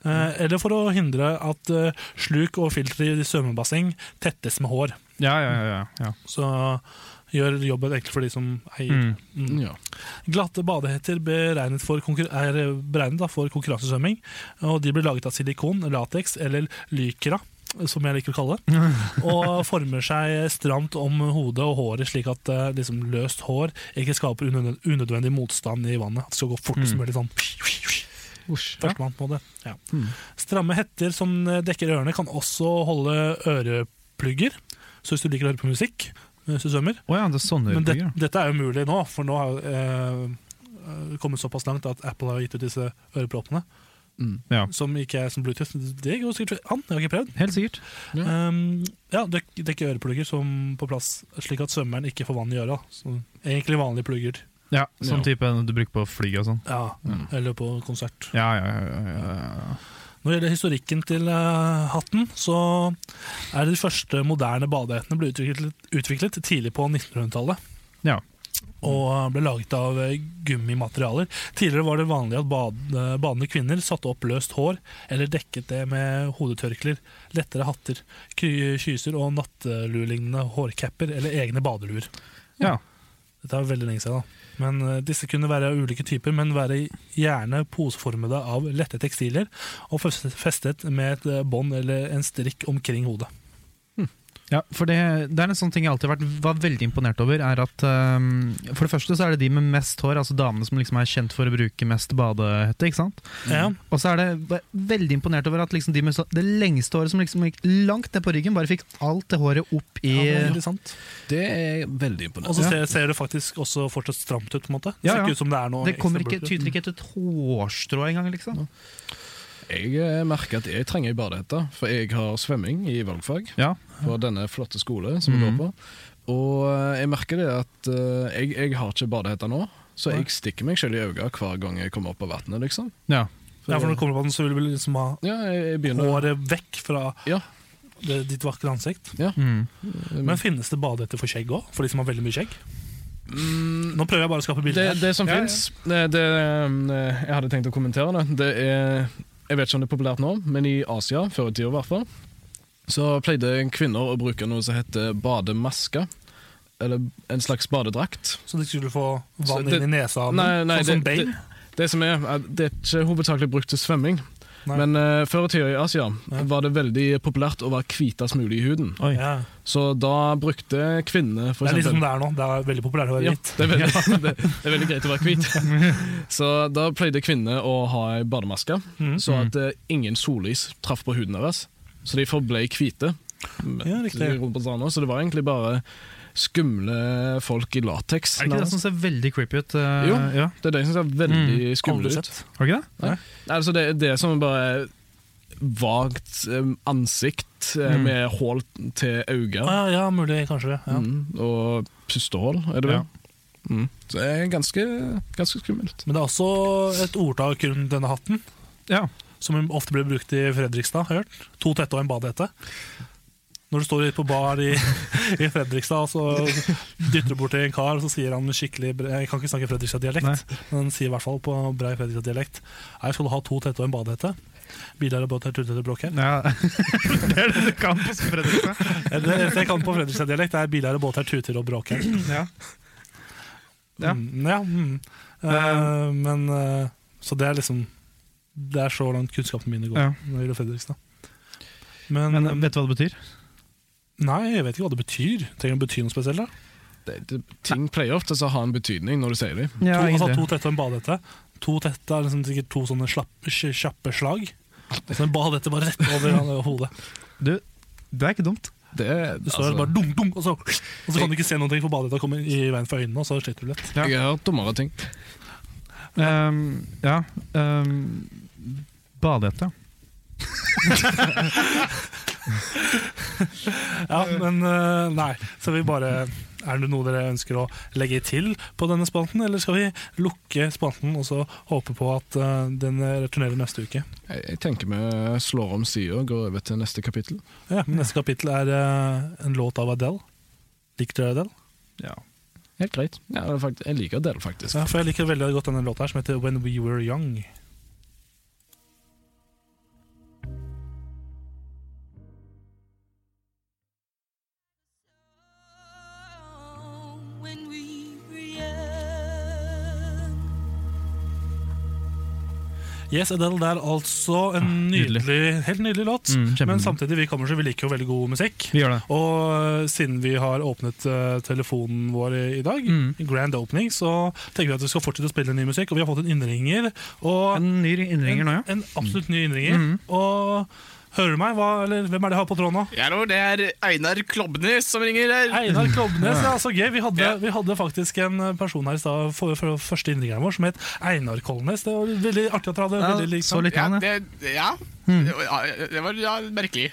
S2: Eh, Eller for å hindre at eh, sluk og filtre i svømmebasseng tettes med hår.
S4: Ja, ja, ja, ja, ja.
S2: Så gjør jobben enkelt for de som eier.
S4: Mm.
S2: Mm.
S5: Ja.
S2: Glatte badehetter beregnet for konkur- er beregnet da, for konkurransesvømming. og De blir laget av silikon, lateks eller lykra, som jeg liker å kalle det. Og former seg stramt om hodet og håret, slik at eh, liksom, løst hår ikke skaper unød- unødvendig motstand i vannet. At det skal gå fortest
S4: Mm.
S2: mulig sånn.
S4: Ja. Mm.
S2: Førstemann på det. Ja. Stramme hetter som dekker ørene, kan også holde øreplugger. Så hvis du liker å høre på musikk mens du svømmer,
S4: Å ja, det er sånne
S2: men det,
S4: øreplugger.
S2: dette er jo mulig nå, for nå har eh, eh, kommet såpass langt at Apple har gitt ut disse øreproppene.
S5: Mm.
S4: Ja.
S2: Som ikke er som Bluetooth. Det går sikkert an, jeg har ikke prøvd.
S4: Helt sikkert.
S5: Ja.
S2: Um, ja, dekk, dekke øreplugger som på plass, slik at svømmeren ikke får vann i øra. Så, egentlig vanlige plugger.
S4: Ja,
S5: Ja.
S4: Sånn type du bruker på fly og sånn.
S2: Ja, Eller på konsert.
S4: Ja, ja, ja, ja, ja.
S2: Når det gjelder historikken til eh, hatten, så er det de første moderne badehettene ble utviklet, utviklet tidlig på 1900-tallet.
S4: Ja.
S2: Og ble laget av eh, gummimaterialer. Tidligere var det vanlig at bad- eh, badende kvinner satte opp løst hår, eller dekket det med hodetørklær, lettere hatter, ky- kyser og natteluelignende hårcapper eller egne badeluer.
S4: Ja.
S2: Dette er veldig lenge siden, da. Men eh, disse kunne være av ulike typer, men være gjerne poseformede av lette tekstiler og fes- festet med et eh, bånd eller en strikk omkring hodet.
S4: Ja, for det, det er en sånn ting jeg alltid har vært, var veldig imponert over. er at ehm, For det første så er det de med mest hår, altså damene som liksom er kjent for å bruke mest badehette. ikke sant?
S5: Mm.
S2: Ja,
S4: Og så er det ve- veldig imponert over at liksom de med så, det lengste håret som liksom gikk langt ned på ryggen, bare fikk alt det håret opp i
S2: ja, det
S4: ja,
S2: er veldig sant.
S5: Det er veldig
S2: Og så
S5: imponerende.
S2: ser, ser det faktisk også fortsatt stramt ut. på en måte. Det
S4: Ja,
S2: ser
S4: ja.
S2: ikke ut som det er noe
S4: Det kommer
S2: ekstra
S4: ikke,
S2: bulker.
S4: tyter ikke etter et hårstrå engang, liksom.
S5: Jeg eh, merker at jeg trenger ei badehette, for jeg har svømming i valgfag.
S4: Ja,
S5: på denne flotte skolen som vi går
S4: Mhm.
S5: på. Og eh, jeg merker det at eh, jeg, jeg har ikke badehette nå, så jeg stikker meg selv i øynene hver gang jeg kommer opp av vannet. Liksom.
S4: ja.
S2: Ja, for når du kommer på den, så vil du liksom ha
S5: Ja, jeg, jeg begynner
S2: håret vekk fra
S5: Ja.
S2: det, ditt vakre ansikt.
S4: Mm.
S2: Men finnes det badehetter for skjegg òg? For de som har veldig mye skjegg?
S5: Mm,
S2: Nå prøver jeg bare å skape
S5: det,
S2: bilder. her.
S5: det som fins det, det, eh, Jeg hadde tenkt å kommentere det. det er, jeg vet ikke om det er populært nå, men i Asia, før i tida i hvert fall, så pleide kvinner å bruke noe som heter bademaske. Eller en slags badedrakt.
S2: Så du ikke skulle få
S5: Så
S2: vann
S5: det-
S2: inn i nesa? av den,
S5: Nei, nei,
S2: sånn som
S5: det-
S2: Bane?
S5: Det som er, er- det er ikke hovedsakelig brukt til svømming,
S2: Nei.
S5: men eh, før i tida i Asia
S2: Ja.
S5: var det veldig populært å være hvitest mulig i huden.
S4: Oi.
S2: Ja.
S5: Så da brukte kvinnene for
S2: det er liksom litt som
S5: eksempel
S2: det er nå. Det er veldig populært å være
S5: ja,
S2: hvitt.
S5: det, er veldig, det, det er veldig greit å være hvit. Så da pleide kvinner å ha ei bademaske,
S4: Mm.
S2: Mhm.
S5: så at eh, ingen sollys traff på huden deres. Så de forble hvite.
S2: Ja, riktig.
S5: Rundt på stranda, Så det var egentlig bare skumle folk i lateks.
S4: Er det ikke det som Mm. ser veldig creepy ut? eh,
S5: Jo.
S4: Ja.
S5: Det er de som ser veldig skumle
S2: Mm. Aldri
S5: ut.
S2: sett.
S4: Har du ikke det?
S5: Nei, Altså det, det er som bare vagt eh, ansikt eh,
S4: Mm.
S5: med hull til øyne.
S2: Ah, ja, mulig, kanskje det. Ja.
S5: Mm, og pustehull, er det vel.
S4: Ja.
S5: Mm. Så det er ganske, ganske skummelt.
S2: Men det er også et ordtak rundt denne hatten,
S4: Ja.
S2: som ofte blir brukt i Fredrikstad. har jeg hørt. To tette og en badehette. Når du står på bar i, i Fredrikstad, så dytter du bort til en kar, og så sier han skikkelig bre- Jeg kan ikke snakke Fredrikstad-dialekt, men han sier i hvert fall på brei Fredrikstad-dialekt Nei, skal du ha to tette og en badehette? Biler og båter, tullete bråk her.
S4: ja. det er det du kan på Fredrikstad.
S2: Det eneste jeg kan på Fredrikstad-dialekt, er biler og båter, tuter og bråker.
S4: Ja. Ja. Um,
S2: Mm, ja mm. Eh, men eh, Så det er liksom Det er så langt kunnskapen min går
S4: Ja.
S2: når det gjelder Fredrikstad. Men,
S4: Men eh, vet du hva det betyr?
S2: nei, jeg vet ikke hva det betyr. Trenger det å bety noe spesielt? da?
S5: Det, det, ting pleier ofte å ha en betydning når du sier det.
S2: To, altså, to tette og en badehette. To tette er liksom sikkert to sånne slapp, kj- Altså, kjappe slag. Så en badehette bare rett over han- hodet.
S4: Du, det er ikke dumt.
S5: Det er altså,
S2: Du
S4: Altså.
S2: står der bare dunk, dunk, og så, og så kan du ikke se noen ting, for badehetta kommer i veien for øynene. og så sliter du lett.
S4: Ja.
S5: Jeg har hørt dummere ting.
S4: Ehm, ja um, Badehette.
S2: Ja, men eh, nei, så vi bare Er det noe dere ønsker å legge til på denne spalten, eller skal vi lukke spalten og så håpe på at eh, den returnerer neste uke?
S5: Jeg, jeg tenker vi slår om sida og går over til neste kapittel.
S2: Ja, men Neste kapittel er eh, en låt av Adele. Liker dere Adele?
S4: Ja.
S5: Helt greit. Ja, det er fakt- jeg liker Adele, faktisk.
S2: Ja, for jeg liker veldig godt denne låta her, som heter When We Were Young.
S8: When we were young.
S2: Yes, Adele der altså. En
S4: Ah, nydelig.
S2: nydelig, helt nydelig låt.
S4: Mm, kjempe-
S2: men samtidig, vi kommer så vi liker jo veldig god musikk.
S4: Vi gjør det.
S2: Og eh, siden vi har åpnet eh, telefonen vår i, i dag,
S4: Mm.
S2: grand opening, så tenker vi at vi skal fortsette å spille ny musikk. Og vi har fått en innringer. Og
S4: En ny innringer nå, ja. Mm.
S2: en absolutt ny innringer. Og hører du meg? Hva, eller, hvem er det jeg har på tråden nå?
S6: Ja, nå, det er Einar Klobnes som ringer her.
S2: Einar Klobnes, ja, så gøy. Vi hadde,
S6: Ja.
S2: vi hadde faktisk en eh, person her i stad for, for første innringeren vår som het Einar Kolnes. Det var veldig artig at dere hadde
S4: Ja,
S2: veldig lik
S4: så
S2: navn. Hmm.
S4: litt
S6: Ja,
S4: han, sånn. ja.
S6: det, ja. ja det var ja, merkelig.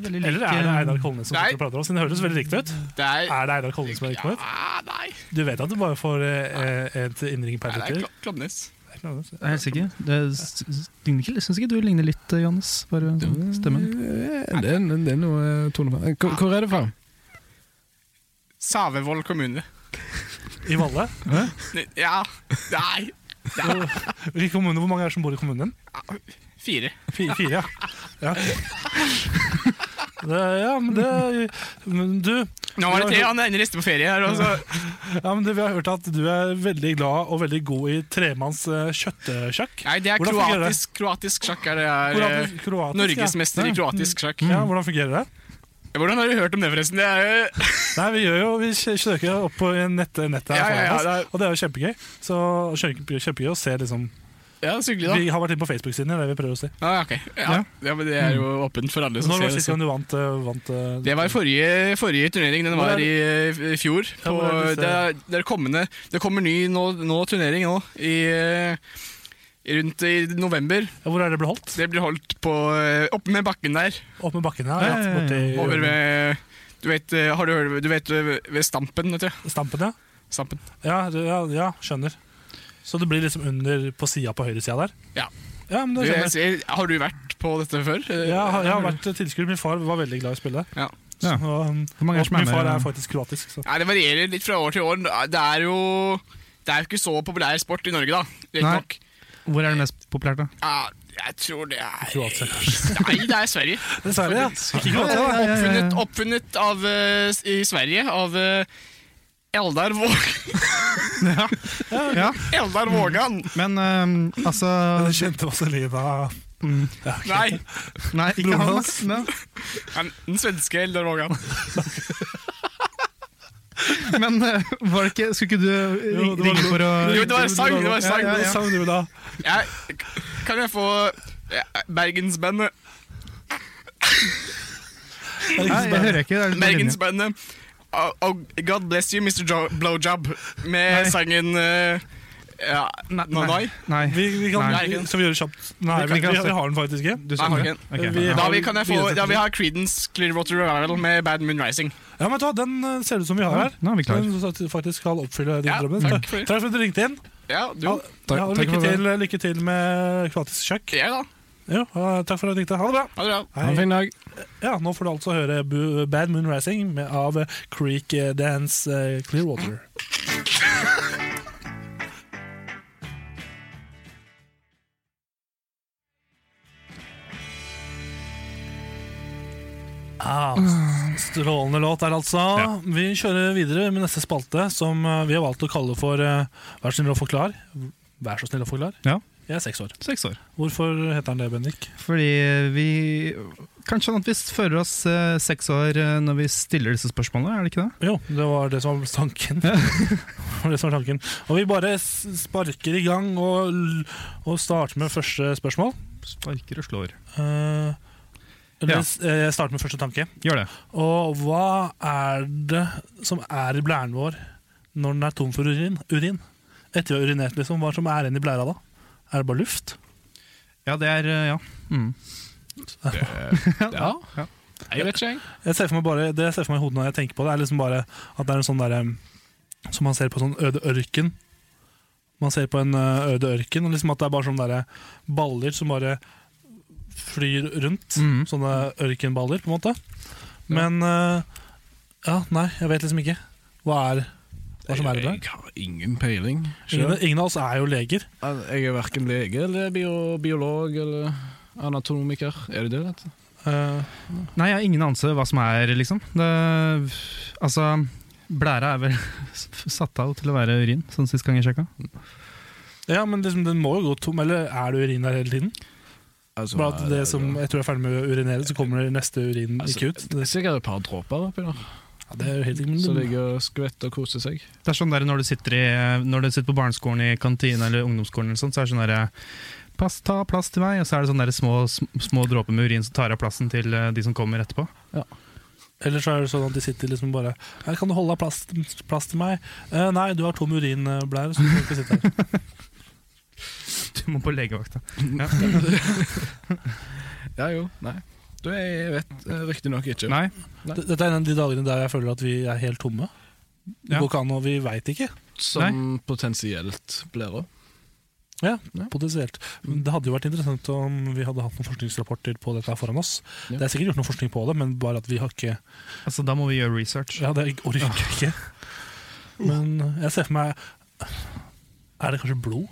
S2: Eller er det Einar Kolnes som
S6: Nei.
S2: sitter og prater om oss? Det høres veldig riktig ut.
S6: Det er
S2: Er det Einar Kolnes som er riktig ut?
S6: Ja, nei.
S2: Du vet at du bare får eh, et innring per
S6: nei det er
S2: lytter?
S6: Klo- Klobnes.
S2: Klobnes, ja.
S4: Jeg er helt sikker. Det s- s- ligner ikke, syns ikke du ligner litt, eh, Johannes? Bare stemmen.
S5: Eh, Det, er- det er noe eh, tonefall. Hvor, hvor er det fra?
S6: Savevoll kommune.
S2: I Valle?
S6: Ja. Nei. Ja.
S2: I kommunen, hvor mange er det som bor i kommunen din?
S6: Fire.
S2: Fire, fire ja. ja. Det, ja, men det men du,
S6: Nå var det tre, han ender neste på ferie her. altså. Og så.
S2: ja, men du, vi har hørt at du er veldig glad og veldig god i tremanns eh, kjøttsjakk.
S6: Nei, det er
S2: Hvordan fungerer det?
S6: kroatisk, kroatisk sjakk. Er det er eh,
S2: Kroatisk- kroatisk, ja.
S6: Norgesmester i kroatisk sjakk.
S2: Ja, hvordan fungerer det?
S6: Hvordan har du hørt om det, forresten? Det er jo
S2: Nei, Vi gjør jo, vi kj- søker opp på nettet, nettet her
S6: Ja, ja, ja,
S2: foran
S6: det
S2: oss, og det er jo kjempegøy. Så kjempe, Kjempegøy å se liksom
S6: ja, så hyggelig, da.
S2: Vi har vært inne på Facebook-siden, det er det vi prøver å si.
S6: Ja, ok. ja. ja, men det er jo åpent for alle som
S2: Mm. Når var
S6: ser
S2: det
S6: det.
S2: sist
S6: så-
S2: gang du vant? eh, vant eh,
S6: Det var i forrige, forrige turnering. Den
S2: Hvor er
S6: var i, eh, i fjor.
S2: Ja,
S6: På,
S2: hvor er det du
S6: det, er, det, er kommende, det kommer ny nå, nå turnering nå. I, eh, rundt i november.
S2: Hvor er det ble holdt?
S6: Det blir holdt på eh, oppe med bakken der.
S2: Opp med bakken her?
S4: Ja,
S2: Ja,
S4: ja, ja,
S2: borti-
S6: Over ved Du vet, eh, har du, hørt- du vet eh, ved Stampen, vet du.
S2: Stampen, ja.
S6: Stampen.
S2: Ja, det- ja, ja, skjønner. Så det blir liksom under på sida på høyresida der?
S6: Ja.
S2: Ja, men
S6: Du,
S2: det
S6: jeg,
S2: skjønner jeg.
S6: ser- har du vært på dette før? Eh,
S2: Ja, jeg har- jeg har vært tilskuer. Min far var veldig glad i å spille.
S6: Ja.
S4: Ja.
S2: Så, um,
S4: Hvor mange er
S2: og
S4: som er
S2: min far
S4: med?
S2: er faktisk kroatisk, så
S6: Nei, Det varierer litt fra år til år. Det er jo Det er jo ikke så populær sport i Norge, da. Rett
S4: Nei.
S6: nok.
S4: Hvor er det mest populært, da?
S6: Ja, jeg tror det er
S2: Kroatia,
S6: Nei, det er Sverige.
S2: Dessverre, ja. Ikke
S6: Det
S2: kroater,
S6: var
S2: da.
S6: Oppfunnet, oppfunnet av, eh, s- i Sverige av eh, Eldar, Våg
S4: Ja,
S6: Eldar Vågan.
S4: men ehm, altså
S2: Den kjente Vazelina
S6: Nei,
S4: Nei, ikke han. da. Men,
S6: men den svenske Eldar Vågan.
S4: men eh, var det ikke, skulle ikke du
S2: Jo, det var-
S4: ringe for å
S6: Jo, det var en sang! Det var en sang.
S4: Ja, ja, ja.
S2: Sang du da?
S6: Jeg, kan jeg få ja, Bergensbandet
S4: Nei, jeg hører ikke. Det er litt på linje.
S6: Bergensbandet oh, oh, God bless you, Mr. Jo Blowjob, med
S4: Nei.
S6: sangen eh, ja, Nanai. Nei,
S4: Nei.
S2: Vi, vi kan,
S4: Nei.
S2: vi- skal vi gjøre det kjapt? Nei,
S4: Vi kan
S2: vi, vi,
S4: ikke ha-
S2: vi har den faktisk ikke.
S4: Du
S6: jeg
S4: sa
S6: har
S4: det?
S6: ikke
S4: Ok,
S2: Vi
S4: ja.
S6: Da vi, kan jeg få,
S4: videre
S6: da vi har Creedence Clearwater Revival med Bad Moon Rising.
S2: Ja, men ta, Den eh, ser det ut som vi har her.
S4: Nå er vi klar.
S2: Den som faktisk skal oppfylle din
S6: Ja,
S2: drømmen.
S6: takk for det.
S2: Takk for at du ringte inn.
S6: Ja, du.
S2: Ha- ja, og
S5: takk
S2: lykke,
S5: for det.
S2: til, lykke til med kroatisk sjakk.
S6: Ja, da.
S2: Jo, eh, takk for at du ringte. Ha det bra.
S6: Ha det bra.
S5: Ha en
S2: Hei.
S5: fin dag.
S2: Ja, nå får du altså høre Bu- Bad Moon Rising med, av eh, Creek eh, Dance eh, Clearwater. Ah, strålende låt der, altså. Vi kjører videre med neste spalte, som eh, vi har valgt å kalle for eh, Vær så snill å forklar. Vær så snill å forklar.
S4: Ja.
S2: Jeg er seks år.
S4: Seks år.
S2: Hvorfor heter den det, Bendik?
S4: Fordi vi Kanskje sånn at vi føler oss eh, seks år eh, når vi stiller disse spørsmålene, er det ikke det?
S2: Jo, det var det som var tanken. det var det som var tanken. Og vi bare s- sparker i gang og, l- og starter med første spørsmål.
S4: Sparker og slår.
S2: Eh, Eller,
S4: Ja.
S2: s- eh, Jeg starter med første tanke.
S4: Gjør det.
S2: Og hva er det som er i blæren vår når den er tom for urin? urin? Etter vi har urinert, liksom. Hva som er igjen i blæra da? Er det bare luft?
S4: Ja, det er eh, Ja. Mm.
S5: Ja. Jeg vet ikke, jeg.
S2: Jeg ser for meg bare, det jeg ser for meg i hodet når jeg tenker på det, er liksom bare at det er en sånn derre Som man ser på sånn øde ørken. Man ser på en ø, øde ørken, og liksom at det er bare sånne derre baller som bare flyr rundt.
S4: Mhm.
S2: Sånne ørkenballer, på en måte. Men ø, Ja, nei, jeg vet liksom ikke. Hva er hva som er i det?
S5: Jeg har ingen peiling.
S2: Ingen,
S5: Selv.
S2: ingen av oss er jo leger.
S5: Jeg er verken lege eller bio, biolog eller anatomiker. Er det det, vet du?
S2: Eh,
S4: Nei, jeg har ingen anelse hva som er, liksom. Det, altså, blæra er vel satt av til å være urin, sånn sist gang jeg sjekka.
S2: ja, men liksom, den må jo gå tom, eller er det urin der hele tiden?
S5: Altså,
S2: Bare at det som etter du er ferdig med å urinere, så kommer det neste urin
S5: Altså,
S2: ikke ut.
S5: Det er
S2: Det,
S5: sikkert et par dråper oppi der
S2: ja, det er jo helt
S5: som
S2: men,
S5: ligger og skvetter og koser seg.
S4: Det er sånn der når du sitter, i, når du sitter på barneskolen i kantina eller ungdomsskolen, eller sånt, så er det sånn derre Pass, ta plass til meg, og så er det sånne der små, sm- små dråper med urin som tar av plassen til eh, de som kommer etterpå.
S2: Eller så er det sånn at de sitter liksom bare «Her, 'Kan du holde av plass, plass til meg?' «Eh, 'Nei, du har tom urinblære, så du kan ikke sitte her'.
S4: Du må på legevakta.
S5: Ja jo, nei. Du, jeg vet riktignok ikke.
S4: Nei,
S2: D- Dette er en av de dagene der jeg føler at vi er helt tomme. Det
S4: Ja.
S2: går ikke an, og vi veit ikke,
S5: Som potensielt blære.
S2: potensielt. Men Det hadde jo vært interessant om vi hadde hatt noen forskningsrapporter på dette her foran oss.
S5: Ja.
S2: Det er sikkert gjort noe forskning på det, men bare at vi har ikke
S4: altså da må vi gjøre research.
S2: Ja, det orker jeg ikke. Men jeg ser for meg Er det kanskje blod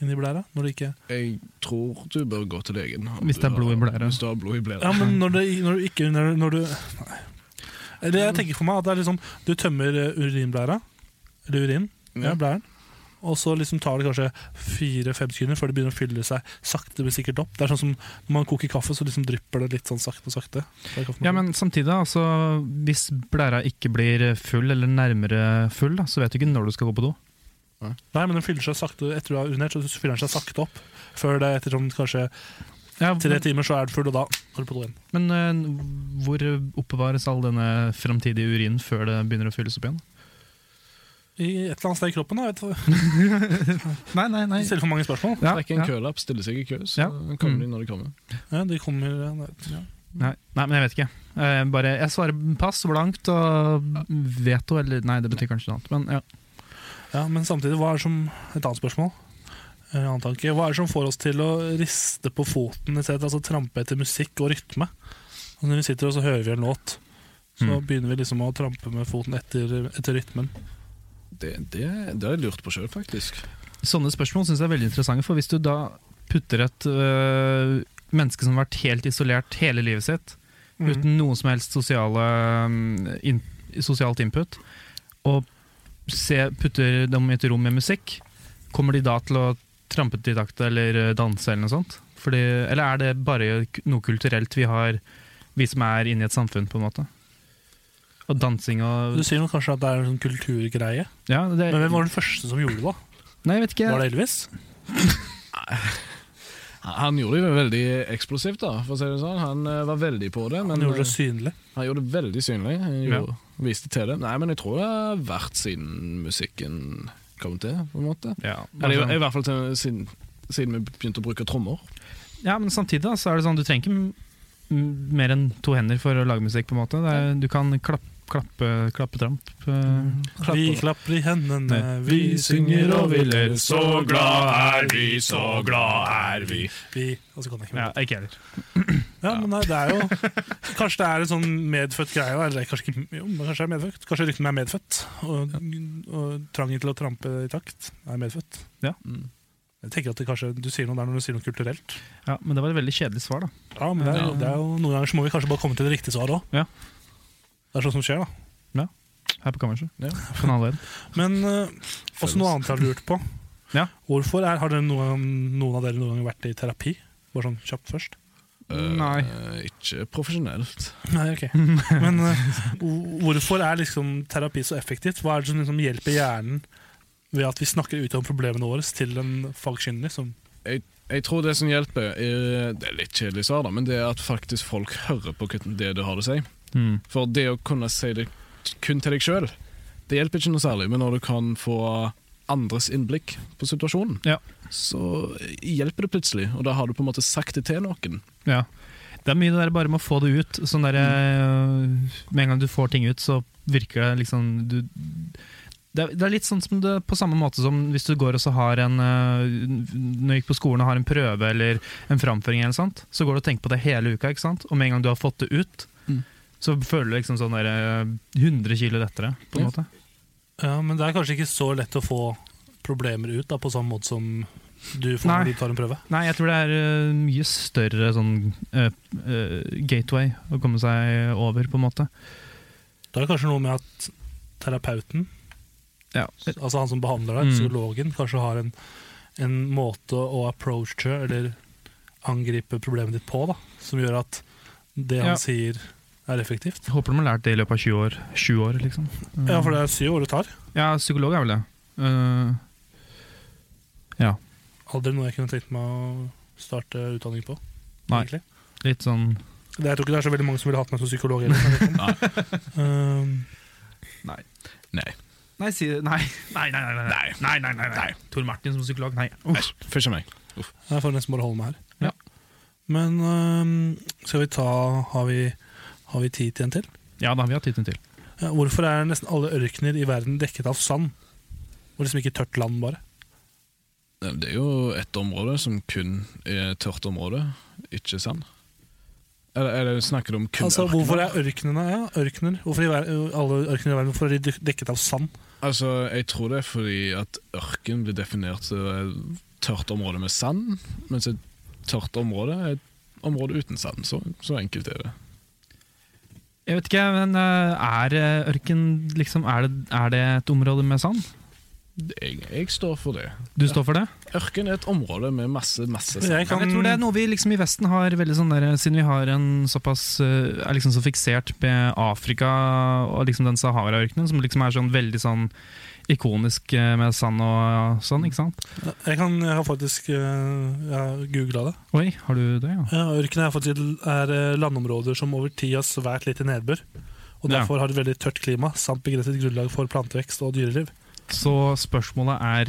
S2: inni blæra? Når det ikke
S5: Jeg tror du bør gå til legen. om
S4: Hvis det er
S5: du har-
S4: blod i blæra.
S5: Hvis du har blod i blæra.
S2: Ja, men når, det, når du ikke Når, når du Nei. Eller jeg tenker for meg at det er liksom Du tømmer eh, urinblæra, eller urin, ja.
S5: Ja.
S2: blæren, og så liksom tar det kanskje fire-fem sekunder før det begynner å fylle seg sakte, men sikkert opp. Det er sånn som når man koker kaffe, så liksom drypper det litt sånn sakte og sakte. Det er kaffemaskinen.
S4: Ja, men samtidig, da, altså, hvis blæra ikke blir full, eller nærmere full, da, så vet du ikke når du skal gå på do.
S2: Nei, men den fyller seg sakte etter du har urinert, så fyller den seg sakte opp. Før det etter sånn kanskje
S4: Ja,
S2: tre timer, så er den full, og da går du på do igjen.
S4: Men eh, hvor oppbevares all denne framtidige urinen før det begynner å fylles opp igjen?
S2: I et eller annet sted i kroppen. Da, vet du.
S4: Nei, nei, nei.
S2: Jeg stiller for mange spørsmål.
S4: Ja,
S5: Trekk en
S4: ja.
S5: kølapp, stille seg i kø, så
S4: Ja.
S5: kommer
S4: Mm.
S5: de når de kommer.
S2: Ja, de kommer ja, nei, ja.
S4: Nei, nei, men jeg vet ikke. Eh, bare, jeg svarer pass blankt og veto, eller nei, det betyr kanskje noe annet. Men ja.
S2: ja, Men samtidig, hva er det som Et annet spørsmål. Eh, En annen tanke. Hva er det som får oss til å riste på foten i stedet? Altså trampe etter musikk og rytme. Altså, når vi sitter og så hører vi en låt, så
S4: Mm.
S2: begynner vi liksom å trampe med foten etter, etter rytmen.
S5: Det, det, det har jeg lurt på sjøl, faktisk.
S4: Sånne spørsmål synes jeg er veldig interessante, for hvis du da putter et øh, menneske som har vært helt isolert hele livet sitt,
S2: Mhm.
S4: uten noen som helst sosiale, mm, in, sosialt input, og se, putter dem i et rom med musikk, kommer de da til å trampe til takt eller øh, danse eller noe sånt? Fordi, eller er det bare k- noe kulturelt vi har, vi som er inne i et samfunn, på en måte? Og dansing og
S2: Du sier nok kanskje at det er en sånn kulturgreie,
S4: ja, det,
S2: men hvem var den første som gjorde det? da?
S4: Nei, jeg vet ikke.
S2: Var det Elvis?
S5: Han gjorde det jo veldig eksplosivt, da, for å si det sånn. Han eh, var veldig på det, men eh,
S2: Han gjorde det synlig.
S5: Han gjorde det veldig synlig. Han gjorde, Viste til det. Nei, men jeg tror det har vært siden musikken kom til, på en måte.
S4: Ja,
S5: Eller
S4: altså-
S5: i, i hvert fall til, siden, siden vi begynte å bruke trommer.
S4: Ja, men samtidig da, så er det sånn, du trenger ikke m- mer enn to hender for å lage musikk, på en måte. Det er, du kan klapp, klappe, klappetramp. eh.
S2: Vi klapper i hendene,
S4: Nei.
S2: vi synger og vi ler.
S5: så glad er vi, så glad er vi.
S2: Vi, og så kan jeg ikke mer.
S4: Ja, ikke heller.
S2: Ja, men nei, det er jo Kanskje det er en sånn medfødt greie. da, Eller kanskje, ikke, jo, men kanskje det er medfødt Kanskje rytmen er medfødt, og, og trangen til å trampe i takt er medfødt.
S4: Ja.
S5: Mm.
S2: Jeg tenker at det kanskje, Du sier noe der når du sier noe kulturelt.
S4: Ja, men det var et veldig kjedelig svar, da.
S2: Ja, men det er, det er jo, Noen ganger så må vi kanskje bare komme til det riktige svaret òg.
S4: Ja.
S2: Det er sånt som skjer, da.
S4: Her på kammerset.
S5: Ja.
S4: På den andre veien.
S2: Men eh, også noe annet jeg har lurt på.
S4: Ja.
S2: Hvorfor er, Har dere noen, noen av dere noen gang vært i terapi? Bare sånn kjapt først.
S5: Eh,
S4: Nei.
S5: ikke profesjonelt.
S2: Nei, ok. Men eh, hvor- hvorfor er liksom terapi så effektivt? Hva er det som liksom liksom? hjelper hjernen ved at vi snakker ut om problemene våre til en fagkyndig? Som,
S5: Jeg Jeg tror det som hjelper, er, det er litt kjedelig svar, da, men det er at faktisk folk hører på kun det du har å si.
S4: Mm.
S5: For det å kunne si det kun til deg sjøl, det hjelper ikke noe særlig. Men når du kan få andres innblikk på situasjonen,
S4: Ja.
S5: så hjelper det plutselig. Og da har du på en måte sagt det til noen.
S4: Ja. Det er mye det der bare med å få det ut. Sånn
S5: Mm.
S4: der, eh, Med en gang du får ting ut, så virker det liksom du, det, er, det er litt sånn som det, på samme måte som hvis du går og så har en eh, Når du gikk på skolen og har en prøve eller en framføring, eller sant? så går du og tenker på det hele uka. ikke sant? Og med en gang du har fått det ut,
S5: Mm.
S4: så føler du liksom sånn der, eh, 100 kilo lettere. på en
S5: Ja.
S4: måte.
S2: Ja, men det er kanskje ikke så lett å få problemer ut da, på samme måte som du får
S4: Nei.
S2: når du tar en prøve.
S4: Nei, jeg tror det er eh, mye større sånn eh, eh, gateway å komme seg over, på en måte.
S2: Da er det kanskje noe med at terapeuten,
S4: Ja.
S2: altså han som behandler
S4: Mm.
S2: deg, psykologen, kanskje har en, en måte å approache eller angripe problemet ditt på, da, som gjør at det han
S4: Ja.
S2: sier er effektivt.
S4: Håper de har lært det i løpet av 20 år. 20 år liksom.
S2: Ja, for det er syv år det tar.
S4: Ja, psykolog er vel det. Eh,
S2: Aldri noe jeg kunne tenkt meg å starte utdanning på.
S4: Nei.
S2: egentlig.
S4: litt sånn
S2: Det- Jeg tror ikke det er så veldig mange som ville hatt meg som psykolog. Heller, um,
S4: Nei, si det. Nei. Nei, nei, nei. nei. nei, nei, nei, nei. Tor Martin som psykolog, nei. Uff.
S5: Først og meg.
S2: Jeg får nesten bare holde meg her.
S4: Ja.
S2: Men øhm, skal vi ta Har vi, har vi tid til en til?
S4: Ja, da har vi hatt tiden til.
S2: Ja, Hvorfor er nesten alle ørkener i verden dekket av sand? Og liksom ikke tørt land, bare.
S5: Det er jo et område som kun er tørt område, ikke sand. Eller, eller snakker du om kun
S2: Altså,
S5: ørkener?
S2: Hvorfor er ørkenene ja, ørkener? Hvorfor i ver alle ørkener i verden hvorfor er de dek- dekket av sand?
S5: Altså, jeg tror det er fordi at ørken blir definert som et tørt område med sand, mens et tørt område er et område uten sand. Så, så enkelt er det.
S4: Jeg vet ikke, men eh, er eh, ørken liksom er det, er det et område med sand?
S5: Jeg, jeg står for det.
S4: Du står for det?
S5: Ørken er et område med masse, masse sand.
S2: Jeg
S4: Ja,
S2: kan,
S4: men jeg tror det er noe vi liksom i Vesten har veldig sånn der, Siden vi har en såpass eh, er liksom så fiksert med Afrika og liksom den Sahara-ørkenen, som liksom er sånn veldig sånn ikonisk eh, med sand og sånn, ikke sant?
S2: jeg kan jeg har faktisk øh, Jeg har googla det.
S4: Oi, har du det, ja?
S2: Ja, ørken er faktisk er øh, landområder som over tid har svært lite nedbør. Og
S4: Ja.
S2: derfor har et veldig tørt klima samt begrenset grunnlag for plantevekst og dyreliv.
S4: Så spørsmålet er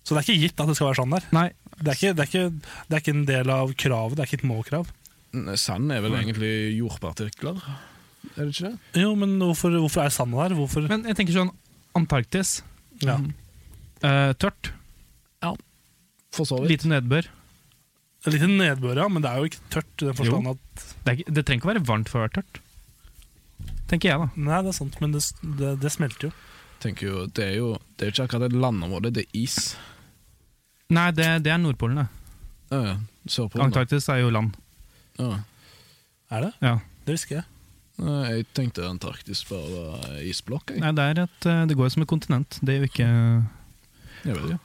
S2: Så det er ikke gitt at det skal være sånn der.
S4: Nei,
S2: Det er, ikke, det, er ikke, det er ikke en del av kravet, det er ikke et må-krav.
S5: Nei, Sand er vel egentlig jordpartikler, er det ikke det?
S2: Jo, men hvorfor, hvorfor er sanda der? Hvorfor?
S4: men jeg tenker sånn Antarktis.
S2: ja.
S4: eh, tørt.
S5: For så vidt.
S4: Lite nedbør.
S2: Litt nedbør, ja, men det er jo ikke tørt i den forstand at
S4: Det, er, ikke- det trenger ikke å være varmt for å være tørt. Tenker jeg, da.
S2: Nei, det er sant, men det, det, det smelter jo.
S5: Tenker jo, det er jo det er jo ikke akkurat et landområde, det er is.
S4: Nei, det, det er Nordpolen, det.
S5: Ja, ja. Sørpolen. da.
S4: Antarktis er jo land.
S5: Ja.
S2: Er det?
S4: Ja.
S2: Det husker jeg.
S5: Nei, Jeg tenkte Antarktis bare var isblokk. Jeg.
S4: Nei, det, er et, eh, det går jo som et kontinent. Det er jo ikke
S5: Jeg vet ikke.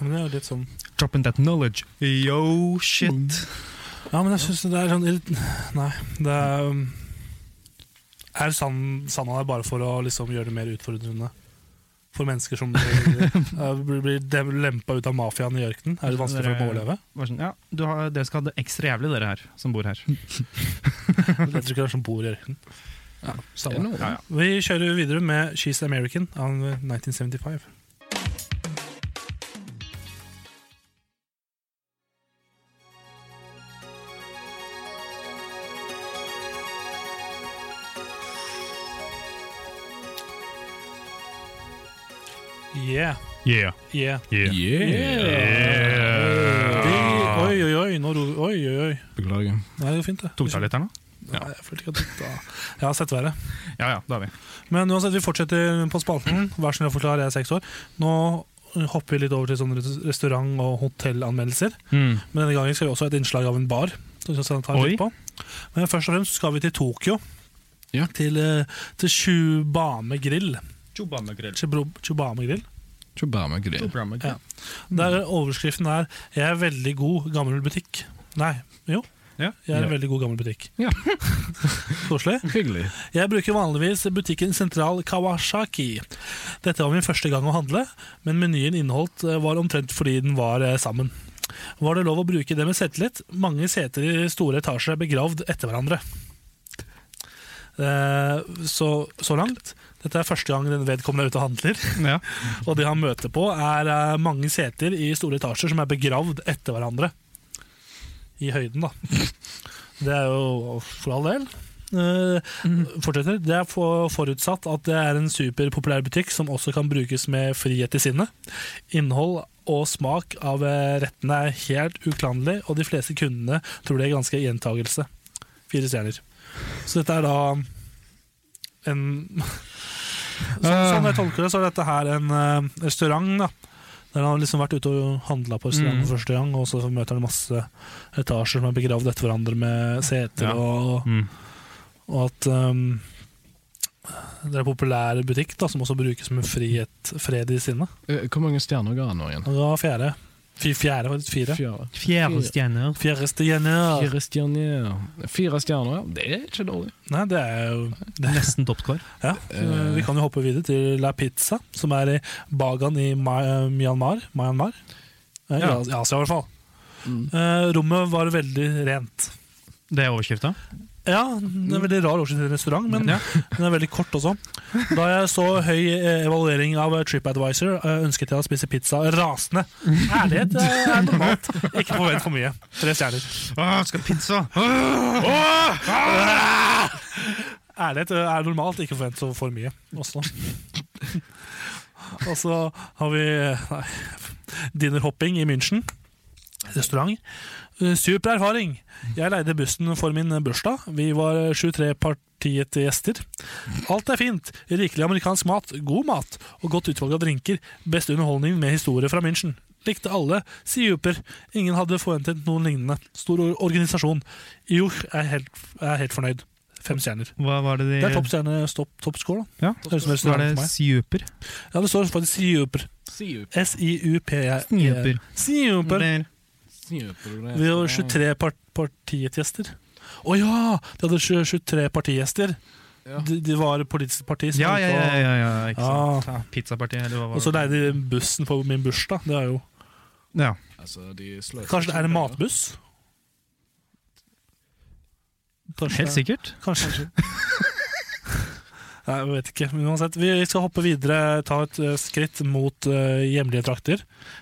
S2: Men det er jo litt sånn
S4: Dropping that knowledge. Mm. Yo, shit.
S2: Ja, men jeg syns det er sånn litt- Nei, det er um, Er sand, sanda der bare for å liksom gjøre det mer utfordrende? For mennesker som blir, eh, blir, blir dem- lempa ut av mafiaen i ørkenen? Er det vanskelig for dem å overleve?
S4: Bare sånn, ja, du har, dere skal ha det ekstra jævlig, dere her som bor her.
S2: Jeg tror ikke det er som bor i ørkenen.
S5: Det er noe.
S2: Vi kjører videre med She's American av 1975. Yeah,
S4: Yeah.
S2: yeah.
S5: Yeah.
S2: Oi, oi, oi. Nå ro, oi, oi, oi.
S5: Beklager.
S2: Nei, det går fint, det.
S4: Tok deg litt her nå?
S2: Nei, jeg følte ikke at det da. Jeg har sett verre.
S4: Ja ja, da er vi.
S2: Men uansett, vi fortsetter på spalten. Vær så snill å forklare, jeg er seks år. Nå hopper vi litt over til sånne res- restaurant- og hotellanmeldelser.
S4: Mm.
S2: Men denne gangen skal vi også ha et innslag av en bar. som vi skal ta
S4: Oi.
S2: litt på. Men først og fremst skal vi til Tokyo.
S5: Ja.
S2: Til, eh, til Chubame Grill. Chibro- Chubame Grill.
S5: Chobama Grill.
S2: Ja.
S4: Mm.
S2: Der overskriften er 'Jeg er veldig god gammel butikk'. Nei, jo.
S4: Ja.
S2: Jeg er en veldig god gammel butikk.
S4: Ja.
S2: Koselig.
S5: Hyggelig.
S2: Jeg bruker vanligvis butikken Sentral Kawasaki. Dette var min første gang å handle, men menyen inneholdt eh, var omtrent fordi den var eh, sammen. var det lov å bruke det med selvtillit. Mange seter i store etasjer er begravd etter hverandre. Eh, Så, så langt. Dette er første gang den vedkommende er ute og handler.
S4: Ja.
S2: Og det han møter på, er eh, mange seter i store etasjer som er begravd etter hverandre. I høyden, da. Det er jo for all del. Eh, Fortsetter. Det er for, forutsatt at det er en superpopulær butikk som også kan brukes med frihet i sinnet. Innhold og smak av eh, rettene er helt uklanderlig, og de fleste kundene tror det er ganske gjentagelse. Fire stjerner. Så dette er da en så, Sånn jeg tolker det, så er dette her en eh, restaurant. da Der han har liksom vært ute og handla på restaurant for første gang, og så møter han masse etasjer som er begravd etter hverandre med seter
S4: Ja.
S2: og
S4: Mm.
S2: og at um, det er en populær butikk da, som også brukes med frihet, fred i sinnet.
S5: Eh, Hvor mange stjerner ga han nå igjen?
S2: Og da fjerde. Fy, fjerde, faktisk. Fire.
S5: Fjerde.
S4: Fjerde stjerner.
S2: Fjerdeste Jenny.
S5: Fire stjerner. Fire stjerner, ja. Det er ikke dårlig.
S2: Nei, det er jo
S4: Nesten toppkår.
S2: Ja.
S5: Eh.
S2: Vi kan jo hoppe videre til La Pizza, som er i Bagan i Ma eh, Myanmar. Myanmar. Eh, I
S4: Ja.
S2: As- i Asia, i hvert fall.
S5: Mm.
S2: Eh, rommet var veldig rent.
S4: Det er overskrifta.
S2: Ja, det er veldig rar årsak til en restaurant, men
S4: Ja.
S2: Den er veldig kort også. Da jeg så høy eh, evaluering av eh, TripAdvisor, eh, ønsket jeg å spise pizza rasende. Ærlighet eh, er normalt. Ikke forvent for mye. Tre stjerner.
S4: Åh, skal pizza!
S2: Ærlighet eh, er normalt, ikke forvent så for mye også. Og så har vi eh, nei, dinnerhopping i München. Restaurant. Eh, Super erfaring. Jeg leide bussen for min bursdag. Vi var 23 partiet gjester. Alt er fint. Rikelig amerikansk mat, god mat og godt utvalg av drinker. Beste underholdning med historie fra München. Likte alle. Siuper. Ingen hadde forventet noen lignende. Stor or- organisasjon. Jo, jeg er helt, jeg er helt fornøyd. Fem stjerner.
S4: Hva var det de
S2: Det er topp stjerne, stopp, topp score, da.
S4: Ja.
S2: Høres ut
S4: Var
S2: som restaurant
S4: det
S2: for meg.
S4: super?
S2: Ja, det står faktisk Siuper.
S5: Snuper
S2: S-i-u-p-e-r.
S4: Snuper.
S2: E. Siuper.
S4: Eller-
S5: du det?
S2: Vi var 23 part partiets gjester. Å ja! De hadde 20 23 partigjester.
S5: Ja.
S2: De, de var politisk parti. som
S4: Ja,
S2: gikk
S4: ja, ja.
S2: og-
S4: ja, ja ikke
S2: Ja.
S4: sant. Ja, Pizzapartiet, eller hva var
S2: Og så leide de bussen på min bursdag. Det er jo.
S4: Ja.
S5: Altså, de sløser
S2: Kanskje det er en
S5: ikke penger.
S2: matbuss? Kanskje,
S4: Helt sikkert.
S2: Kanskje. Nei, jeg vet ikke. Men uansett, vi skal hoppe videre, ta et eh, skritt mot eh, hjemlige trakter.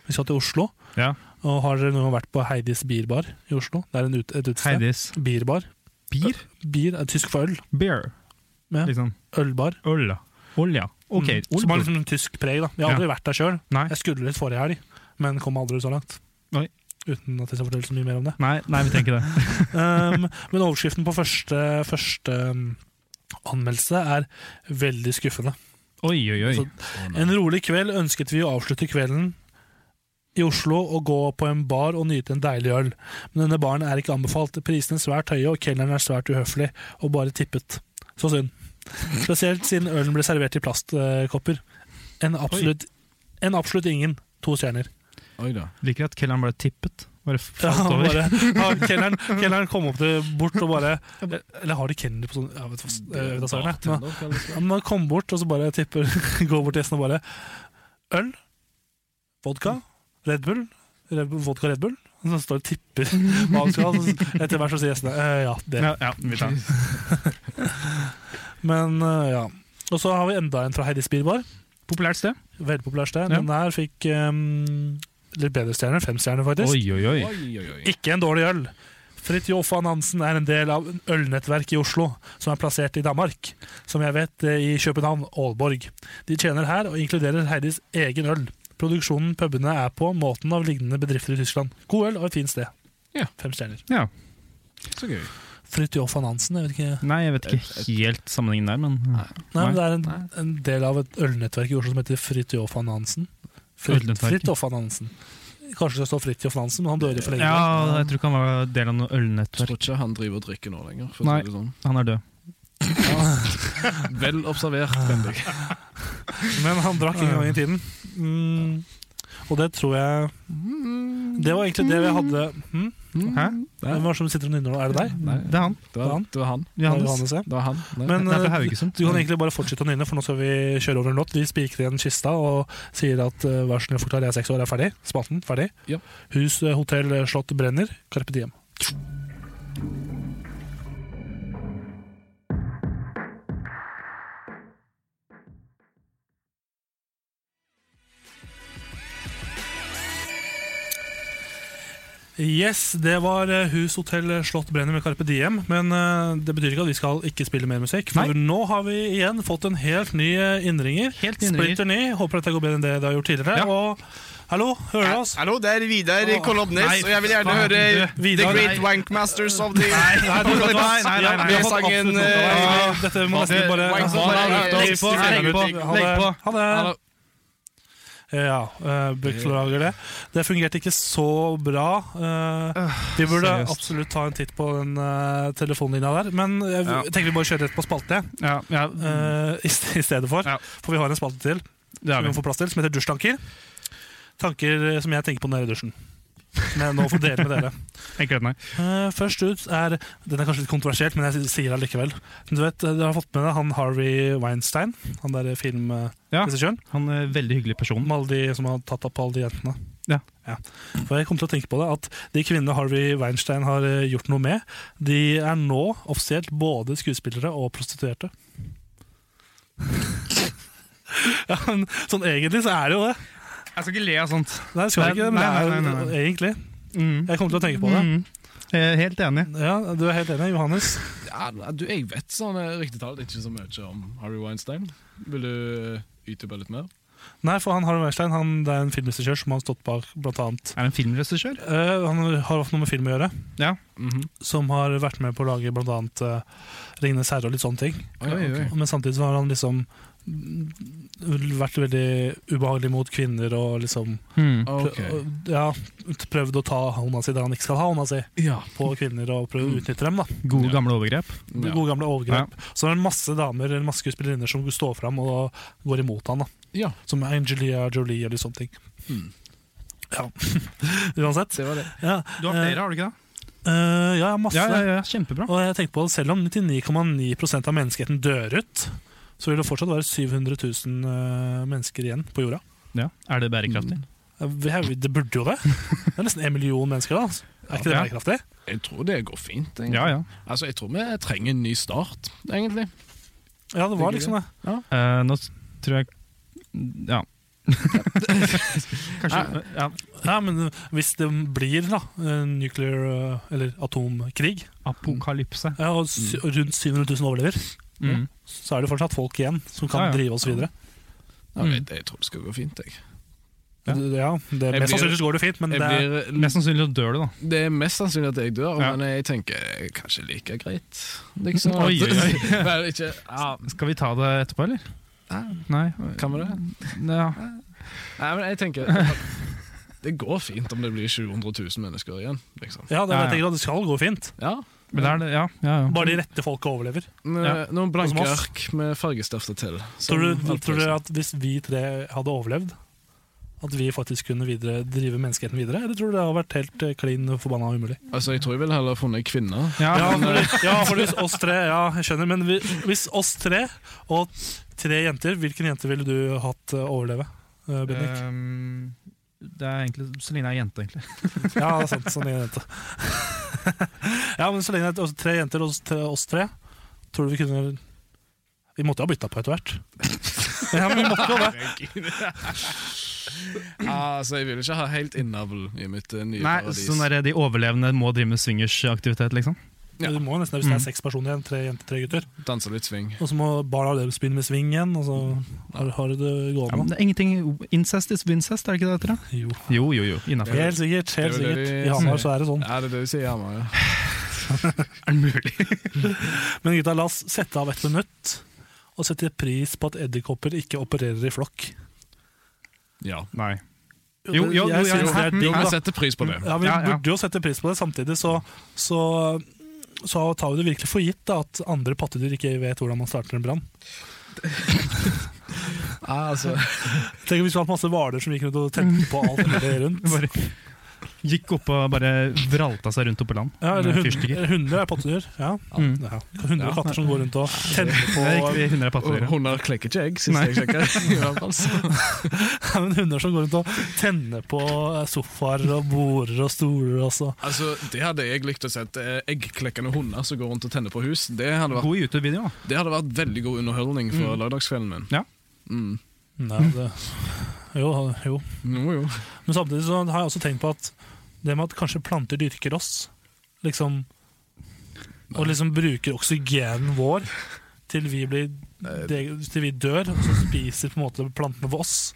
S2: Vi skal til Oslo.
S4: Ja.
S2: Og har dere noen gang vært på Heidis Bierbar i Oslo? Det er en ut, et utested.
S4: Heidis.
S2: Bierbar.
S4: Bier?
S2: Bier er tysk for øl.
S4: Beer.
S2: Ja.
S4: Liksom.
S2: Ølbar.
S4: Øl, da. Øl, ja. Ok,
S2: Mm. Som har
S4: Olbo.
S2: liksom en tysk preg. da Jeg har aldri vært der sjøl.
S4: Nei.
S2: Jeg skulle litt forrige helg, men kom aldri så langt.
S4: Oi.
S2: Uten at jeg skal fortelle så mye mer om det.
S4: Nei, nei, vi tenker det.
S2: Um, men overskriften på første, første um, anmeldelse er veldig skuffende.
S4: Oi, oi, oi.
S2: Så- En rolig kveld ønsket vi å avslutte kvelden i Oslo og gå på en bar og nyte en deilig øl. Men denne baren er ikke anbefalt. Prisene er svært høye, og kelneren er svært uhøflig og bare tippet. Så synd. Spesielt siden ølen ble servert i plastkopper. En absolutt, en absolutt ingen. To stjerner.
S5: Oi da.
S4: Liker at kelleren bare tippet. Bare
S2: Ja,
S4: falt
S2: han
S4: over.
S2: bare, ja, kelneren, kelneren kom opp til, bort og bare Eller har de kelner på sånn Jeg vet hva- jeg vet hva søren det er. Men- Ja, men han kom bort, og så bare tipper, går bort til gjesten og bare Øl, vodka, Red Bull, Red Bull vodka Red Bull. Og så står det og tipper hva han skal ha. så Etter hvert så sier gjestene «Eh, ja, det.
S4: Ja, ja, vi tar den.
S2: Men eh, ja. Og så har vi enda en fra Heidis Bilbar.
S4: Populært sted.
S2: Veldig populært sted.
S4: Ja.
S2: Den her fikk em, litt bedre stjerner. Fem stjerner, faktisk.
S4: Oi, oi, oi.
S5: Oi, oi, oi.
S2: Ikke en dårlig øl. Fridtjof Nansen er en del av en ølnettverk i Oslo, som er plassert i Danmark. Som jeg vet eh, i København, Aalborg. De tjener her og inkluderer Heidis egen øl. Produksjonen pubene er på, måten av lignende bedrifter i Tyskland. God øl og et fint sted.
S5: Ja.
S2: Fem stjerner.
S5: Så gøy.
S2: Fridtjof Nansen, jeg vet ikke
S4: Nei, jeg vet ikke helt sammenhengen der, men
S2: Nei, men
S4: Nei.
S2: det er en, en del av et ølnettverk i Oslo som heter Fridtjof Nansen. Frid-
S4: Ølnettverket.
S2: Fridtjof Nansen. Kanskje det står Fridtjof Nansen, men han døde for lenge
S4: Ja,
S2: siden.
S4: jeg tror ikke han var del av noe
S5: Jeg
S4: ølnettverk.
S5: tror ikke han driver og drikker nå lenger. For å
S4: Nei.
S5: si det sånn.
S4: Han er død.
S5: Vel observert, Bendik.
S2: Men han drakk en gang i tiden. Mm. Og det tror jeg Det var egentlig det vi hadde hm?
S4: Hæ?
S2: Hvem var det som sitter og nynner nå? Er det deg?
S4: Nei, det er han.
S5: Mm. Det var
S2: han?
S5: det var han.
S4: Johannes.
S2: Johannes, ja.
S5: Det var han. Nei.
S2: Men
S4: Det er fra
S2: eh,
S4: Haugesund.
S2: du kan egentlig bare fortsette å nynne, for nå skal vi kjøre over en låt. De spikrer igjen kista og sier at eh, vær så snill, forklar jeg er seks år, er ferdig. Spalten, ferdig.
S5: Ja.
S2: Hus, eh, hotell, slott brenner. Carpe diem. Yes, det var eh, Hus Hotell Slott Brenner med Carpe Diem. Men eh, det betyr ikke at vi skal ikke spille mer musikk. For nå har vi igjen fått en helt ny eh, innringer.
S4: Helt ny innringer.
S2: Splinter ny. Håper dette går bedre enn det det har gjort tidligere.
S4: Ja.
S2: Og hallo, hører du oss?
S6: Hallo, det er Vidar
S2: Åh,
S6: Kolobnes,
S4: nei,
S6: og jeg vil gjerne
S4: faen,
S6: høre
S4: du.
S6: The
S2: Vidar,
S6: Great Wankmasters of the
S2: Nei, du, vet du hva?
S4: Nei, nei, nei, nei.
S2: Vi har fått
S6: Sangen,
S2: absolutt noe.
S6: eh,
S2: Nei, Dette må nesten bare
S6: Wank-
S2: Ha
S6: Wank-
S2: det.
S6: Legg på, legg på,
S2: Ha det.
S4: legg på.
S2: Ha det. Ja, eh, beklager det. Det fungerte ikke så bra. eh, Vi burde
S4: Øh, seriøst.
S2: absolutt ta en titt på den eh, telefonlinja der. Men jeg
S4: Ja.
S2: tenker vi bare kjører rett på spalte jeg,
S4: Ja, ja,
S2: eh, i st- i stedet for.
S4: Ja.
S2: For vi har en spalte til
S4: det
S2: som
S4: er
S2: vi må
S4: vi.
S2: få plass til, som heter Dusjtanker. Tanker eh, som jeg tenker på nede i dusjen. Som jeg nå får dele med dere.
S4: Enkelt nei.
S2: Eh, først ut er Den er kanskje litt kontroversielt, men jeg sier det likevel. Men du vet, eh, Dere har fått med deg han Harvey Weinstein, han der
S4: Ja.
S2: filmregissøren.
S4: Han er en veldig hyggelig person.
S2: Med alle de som har tatt opp på alle de jentene.
S4: Ja.
S2: For jeg kom til å tenke på det at de kvinnene Harvey Weinstein har eh, gjort noe med, de er nå offisielt både skuespillere og prostituerte. ja, men sånn egentlig så er det jo det.
S4: Jeg skal ikke le av sånt.
S2: Nei, skal
S4: Nei,
S2: jeg ikke, men
S4: nei,
S2: det er
S4: nei, nei,
S2: jo
S4: nei.
S2: egentlig.
S4: Mm.
S2: Jeg kom til å tenke på det.
S4: Mm. Jeg er helt enig.
S2: Ja, Du er helt enig, Johannes?
S5: Ja, du, jeg vet sånn eh, riktig talt ikke så mye om Harry Weinstein. Vil du eh, utdype litt mer?
S2: Nei, for han Harald Weinstein han, det er en filmregissør som har stått bak blant annet
S4: Er det en filmregissør?
S2: Eh, Han har hatt noe med film å gjøre.
S4: Ja.
S2: Som har vært med på å lage blant annet eh, 'Ringenes herre' og litt sånne ting.
S5: Oi, oi, oi.
S2: Men samtidig så har han liksom mm, vært veldig ubehagelig mot kvinner og liksom
S4: Mm.
S2: prø-
S5: Ok.
S2: og, Ja, prøvd å ta hånda si der han ikke skal ha hånda si,
S5: Ja.
S2: på kvinner og prøvd å utnytte dem. da
S4: Gode, gamle overgrep.
S2: De
S5: Mm. Ja.
S2: Gode gamle overgrep. Så det er det masse damer eller masse skuespillerinner som står fram og går imot han da
S5: ja,
S2: Som Angelia Jolie og litt sånne ting.
S4: Hmm.
S5: Mm.
S2: Ja, uansett.
S5: det var det.
S2: Ja.
S4: Du har
S2: eh,
S4: flere, har du ikke det?
S2: eh, ja, masse.
S4: Ja, ja, ja, kjempebra.
S2: Og jeg tenker på at Selv om 99,9 av menneskeheten dør ut, så vil det fortsatt være 700 000 eh, mennesker igjen på jorda.
S4: Ja. Er det bærekraftig?
S2: Vi har- Det burde jo det. Det er nesten en million mennesker. da altså. Er ikke det
S4: Ja.
S2: bærekraftig?
S5: Jeg tror det går fint. egentlig.
S4: Ja, ja.
S5: Altså, Jeg tror vi trenger en ny start, egentlig.
S2: Ja, det var liksom det.
S4: Eh, nå s- tror jeg Ja. Kanskje ja.
S2: Ja, Men hvis det blir da en nuclear eh, eller atomkrig,
S4: Apokalypse.
S2: ja, og sy- rundt 700 000 overlever,
S4: Mm.
S2: så er det fortsatt folk igjen som kan
S4: Ja, ja.
S2: drive oss videre.
S5: Ja,
S4: Mm.
S5: jeg, jeg tror det skal gå fint. jeg.
S2: Ja, det,
S5: Jeg
S2: Mest
S5: blir-
S2: sannsynlig går det fint, men
S5: jeg
S2: det er
S5: blir,
S4: Mest sannsynlig så dør du, da.
S5: det er mest sannsynlig at jeg dør,
S4: Ja.
S5: men jeg tenker eh, kanskje like greit. Liksom.
S4: Oi, oi, oi.
S5: Vel, ikke, ja,
S4: Skal vi ta det etterpå, eller? Nei.
S5: kan vi det?
S4: Ja.
S5: Nei, men jeg tenker at Det går fint om det blir 700 000 mennesker igjen, liksom.
S2: Ja, det,
S4: Ja,
S2: vet jeg ikke, det skal gå fint.
S5: Ja.
S4: Men det er det, ja. ja, ja.
S2: Bare de rette folka overlever.
S5: Med,
S4: Ja.
S5: Noen blanke
S2: Hos oss.
S5: ark med fargestifter til.
S2: Tror du,
S5: Som- liksom.
S2: tror du at hvis vi tre hadde overlevd, at vi faktisk kunne videre, drive menneskeheten videre? Eller tror du det hadde vært helt eh, klin forbanna umulig?
S5: Altså, Jeg tror jeg ville heller funnet kvinner.
S2: Ja,
S4: ja.
S2: for, ja, for hvis oss tre Ja, jeg skjønner, men vi, hvis oss tre og tre jenter, hvilken jente ville du hatt eh, overleve? eh, Bendik?
S4: Ehm, det er egentlig så lenge jeg er jente, egentlig.
S2: Ja, det er sant. Så lenge jente. ja, men så lenge det er tre jenter og oss tre, oss tre, tror du vi kunne Vi måtte jo ha bytta på etter hvert. Ja, men vi måtte jo det.
S5: altså, Jeg vil ikke ha helt innavl i mitt eh, nye
S4: Nei,
S5: paradis.
S4: sånn der, De overlevende må drive med swingersaktivitet, liksom.
S5: Ja.
S2: Du må jo nesten, hvis det
S4: Mm.
S2: er seks personer igjen, tre jenter, tre gutter.
S5: Danse litt swing.
S2: Og så må barna deres begynne med sving igjen, og så har, har du det
S4: Ja, men
S2: gående.
S4: det er ingenting Incest is incest, er det ikke det det heter? da?
S2: Jo.
S4: Jo, jo, jo. Innafor.
S2: Helt sikkert. helt
S5: Det er jo det
S2: sikkert.
S5: de
S2: I Hamar så er
S4: Oh.
S2: det sånn.
S5: Ja, det er det du sier, Amar. Ja.
S4: Er det mulig?
S2: Men gutta, la oss sette av et minutt og sette pris på at edderkopper ikke opererer i flokk.
S5: ja.
S4: Nei. Jo, jo, jo,
S2: jeg
S4: ja,
S2: synes det er
S4: hæ?
S2: digg,
S5: Jeg
S2: da.
S5: setter pris på det.
S2: Ja, vi
S4: Ja, ja.
S2: burde jo sette pris på det. Samtidig så, så, så tar vi det virkelig for gitt da, at andre pattedyr ikke vet hvordan man starter en brann.
S5: Ja,
S2: altså.
S5: altså,
S2: Tenk om vi skulle hatt masse hvaler som gikk rundt og tente på alt mulig rundt.
S4: Bare Gikk opp og bare vralta seg rundt oppå land.
S2: Ja, eller
S4: med
S2: hund-
S4: fyrstikker.
S2: eller hunder er pattedyr. Ja.
S4: Mm.
S2: Ja. Hunder og katter som går rundt og tenner på
S4: Det er riktig, hunder er
S5: Og
S4: pattedyr. ja.
S5: Hunder klekker ikke egg, sist jeg sjekket. I hvert fall, så-
S2: Ja, men Hunder som går rundt og tenner på sofaer og border og stoler også.
S5: altså, det hadde jeg likt å sett. Eh, Eggklekkende hunder som går rundt og tenner på hus. Det hadde vært,
S4: God YouTube-video. da.
S5: det hadde vært veldig god underholdning for lørdagskvelden min.
S4: Ja.
S5: Mm.
S2: Nei, det, jo, jo.
S5: Jo, jo.
S2: Men samtidig så har jeg også tenkt på at det med at kanskje planter dyrker oss, liksom Og liksom bruker oksygenen vår til vi, blir, til vi dør, og så spiser på en måte plantene for oss.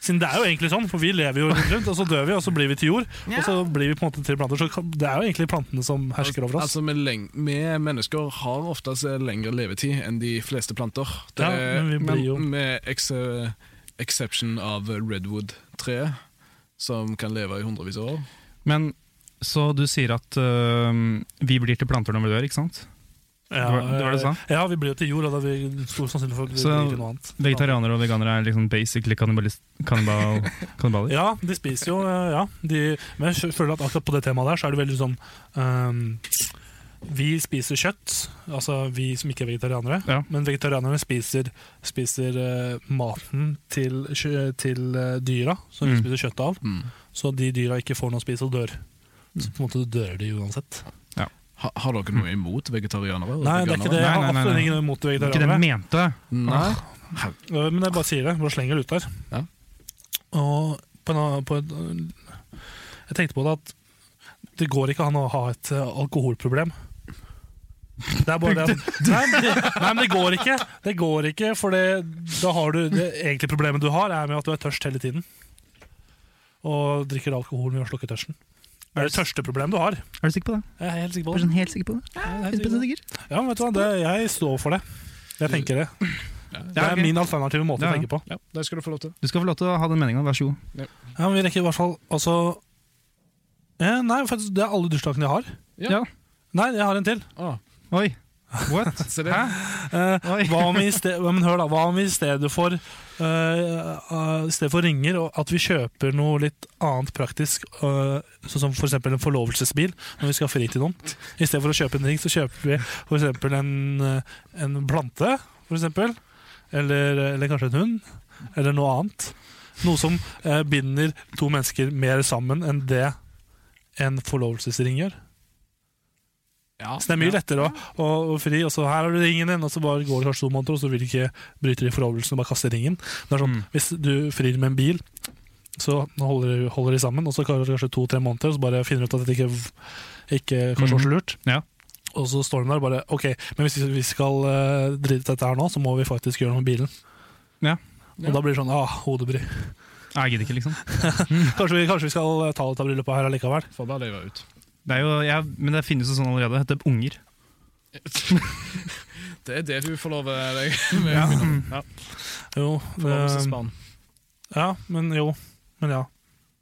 S2: Siden det er jo egentlig sånn, for vi lever jo rundt, og så dør vi, og så blir vi til jord. Og så blir vi på en måte til planter. Så kan- det er jo egentlig plantene som hersker over oss.
S5: Altså, vi, leng vi mennesker har oftest lengre levetid enn de fleste planter.
S2: Ja, men vi blir jo-
S5: Med ex exception av redwood-treet, som kan leve i hundrevis av år.
S4: Men så du sier at øhm, vi blir til planter når vi dør, ikke sant?
S2: Ja, eh,
S4: det var- det var det du sa?
S2: Ja, vi blir jo til jord, og da er vi stor sannsynlig for at vi
S4: Så
S2: blir til noe annet.
S4: Vegetarianere og veganere er liksom basically kannibalist- kannibal kannibaler.
S2: Ja, de spiser jo eh, ja, de, Men jeg føler at akkurat på det temaet der Så er det veldig sånn ehm, Vi spiser kjøtt Altså vi som ikke er vegetarianere
S4: Ja.
S2: Men vegetarianerne spiser, spiser eh, maten til, kjø- til eh, dyra Som vi
S4: Mm.
S2: spiser kjøtt av
S5: Mm.
S2: Så de dyra ikke får noe å spise og dør Så på en måte dør de uansett
S5: Ha, har dere noe imot vegetarianere? og
S2: Nei, det er ikke
S4: Nei,
S2: det Jeg
S5: veganere?
S2: har
S4: nei, nei,
S2: absolutt
S4: nei.
S2: ingen imot
S4: Ikke det jeg
S2: vegetarianere
S4: mente!
S5: Nei?
S2: Eh, Men jeg bare sier det, bare slenger det ut der
S5: Ja.
S2: Og på, en, på et, Jeg tenkte på det at det går ikke an å ha et eh, alkoholproblem. Det er bare det. at- Nei, men det, nei, men det går ikke. Det går ikke, for det, da har du Det egentlige problemet du har, er med at du er tørst hele tiden. Og drikker alkohol med å slukke tørsten. Det er det tørsteproblemet du har.
S4: Er du sikker på det?
S2: Jeg er helt sikker på
S4: Er du
S2: det.
S4: sånn helt sikker på det?
S2: Jeg er helt sikker på det.
S4: 100% sikker?
S2: Ja, men vet du hva, det, jeg står for det. Jeg tenker det. Det
S4: Ja,
S2: er
S4: ok.
S2: min alternative måte
S4: Ja.
S2: å tenke på.
S5: Ja, det skal du få lov til.
S4: Du skal få lov til å ha den meninga, vær så god.
S2: Ja, men Vi rekker i hvert fall altså eh, Nei, faktisk, det er alle bursdagene jeg har.
S5: Ja.
S2: Nei, jeg har en til.
S5: Ah,
S4: Oi, what?
S5: se det.
S2: Eh,
S4: Oi.
S2: hva, om vi i sted, men hør da, hva om vi i stedet for eh, eh, I stedet for ringer og at vi kjøper noe litt annet praktisk, eh, sånn som f.eks. en forlovelsesbil når vi skal ha fri til noen. I stedet for å kjøpe en ring, så kjøper vi f.eks. En, eh, en plante. For eksempel, eller, eller kanskje en hund. Eller noe annet. Noe som eh, binder to mennesker mer sammen enn det en forlovelsesring gjør.
S5: Ja.
S2: Så det er mye lettere å, å, å fri, og så her har du ringen din, og så bare går det kanskje to måneder, og så vil du ikke bryte de forholdelsene og bare kaste ringen. Det er sånn,
S4: Mm.
S2: Hvis du frir med en bil, så holder, du- holder de sammen, og så kan det kanskje to-tre måneder, og så bare finner du ut at det ikke, ikke kanskje var så lurt.
S4: Mm-hmm. Ja.
S2: Og så står de der og bare OK, men hvis vi skal eh, drite dette her nå, så må vi faktisk gjøre noe med bilen.
S4: Ja.
S2: Og da blir det sånn ah, hodebry.
S4: Nei, Jeg gidder ikke, liksom.
S2: Kanskje vi, kanskje vi skal eh, ta litt av bryllupet her allikevel.
S5: Får bare løyve ut.
S4: Det er jo, jeg, men det finnes jo sånn allerede. Det heter unger.
S5: Det er det du får lov til deg med ja.
S4: Mm.
S2: Jo, eh,
S5: forlovelsesbarn.
S2: ja, men jo. Men ja.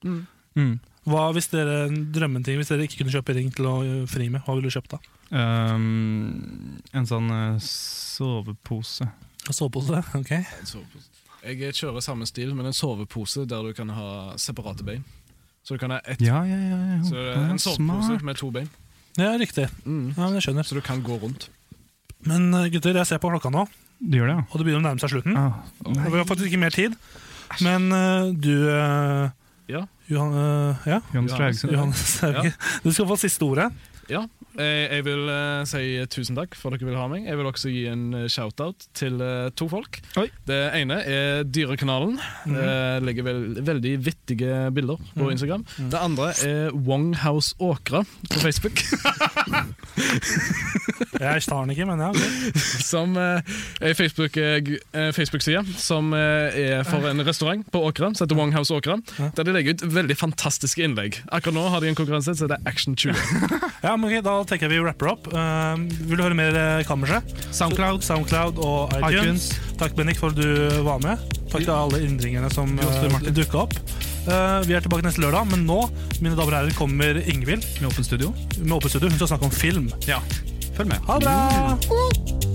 S4: Mm.
S2: Hva hvis dere, en drømmeting, hvis dere ikke kunne kjøpe ring til å ø, fri med, hva ville du kjøpt da?
S4: Ehm, en sånn eh, sovepose.
S2: Sovepose? Ok.
S5: En sovepose. Jeg kjører samme stil, men en sovepose der du kan ha separate bein. Så du kan ha ett
S4: Ja, ja, ja. ja.
S5: Så det er
S4: Ja,
S5: en sovepose
S4: smart.
S5: med to bein, Mm.
S2: Ja, riktig. Ja, men jeg skjønner.
S5: så du kan gå rundt.
S2: Men ø, gutter, jeg ser på klokka nå,
S4: Du gjør det, ja?
S2: og det begynner å nærme seg slutten.
S4: Ah,
S2: Og vi har faktisk ikke mer tid. Men ø, du ø,
S5: Ja.
S2: Johan, ø, ja,
S4: Johannes fra Haugesund.
S2: Johannes Hauge. Du skal få siste ordet.
S5: Ja. Eh, Jeg vil eh, si tusen takk for at dere vil ha meg. Jeg vil også gi en eh, shout-out til eh, to folk.
S4: Oi.
S5: Det ene er Dyrekanalen. Eh, Legger vel, veldig vittige bilder på Instagram. Det andre er Wonghouse Åkra på Facebook.
S2: Jeg tar den ikke, men ja. ok.
S5: som eh, er Facebook, eh, gu- eh, Facebook-side som eh, er for en restaurant på Åkra, som heter Wonghouse Åkra. Der de legger ut veldig fantastiske innlegg. Akkurat nå har de en konkurranse, så det er Action 20.
S2: Ja, men ok, Da tenker jeg vi wrapper opp. Ø, vil du høre mer ø, Kammerset?
S4: Soundcloud.
S2: Soundcloud og iTunes.
S4: iTunes.
S2: Takk, Bennik, for at du var med. Takk til alle innringerne som eh, dukka opp. Eh, vi er tilbake neste lørdag, men nå mine damer og herrer, kommer Ingvild
S4: Med åpent studio.
S2: med Åpent studio. Hun skal snakke om film.
S4: Ja. Følg med.
S2: Ha det bra!
S4: Woo!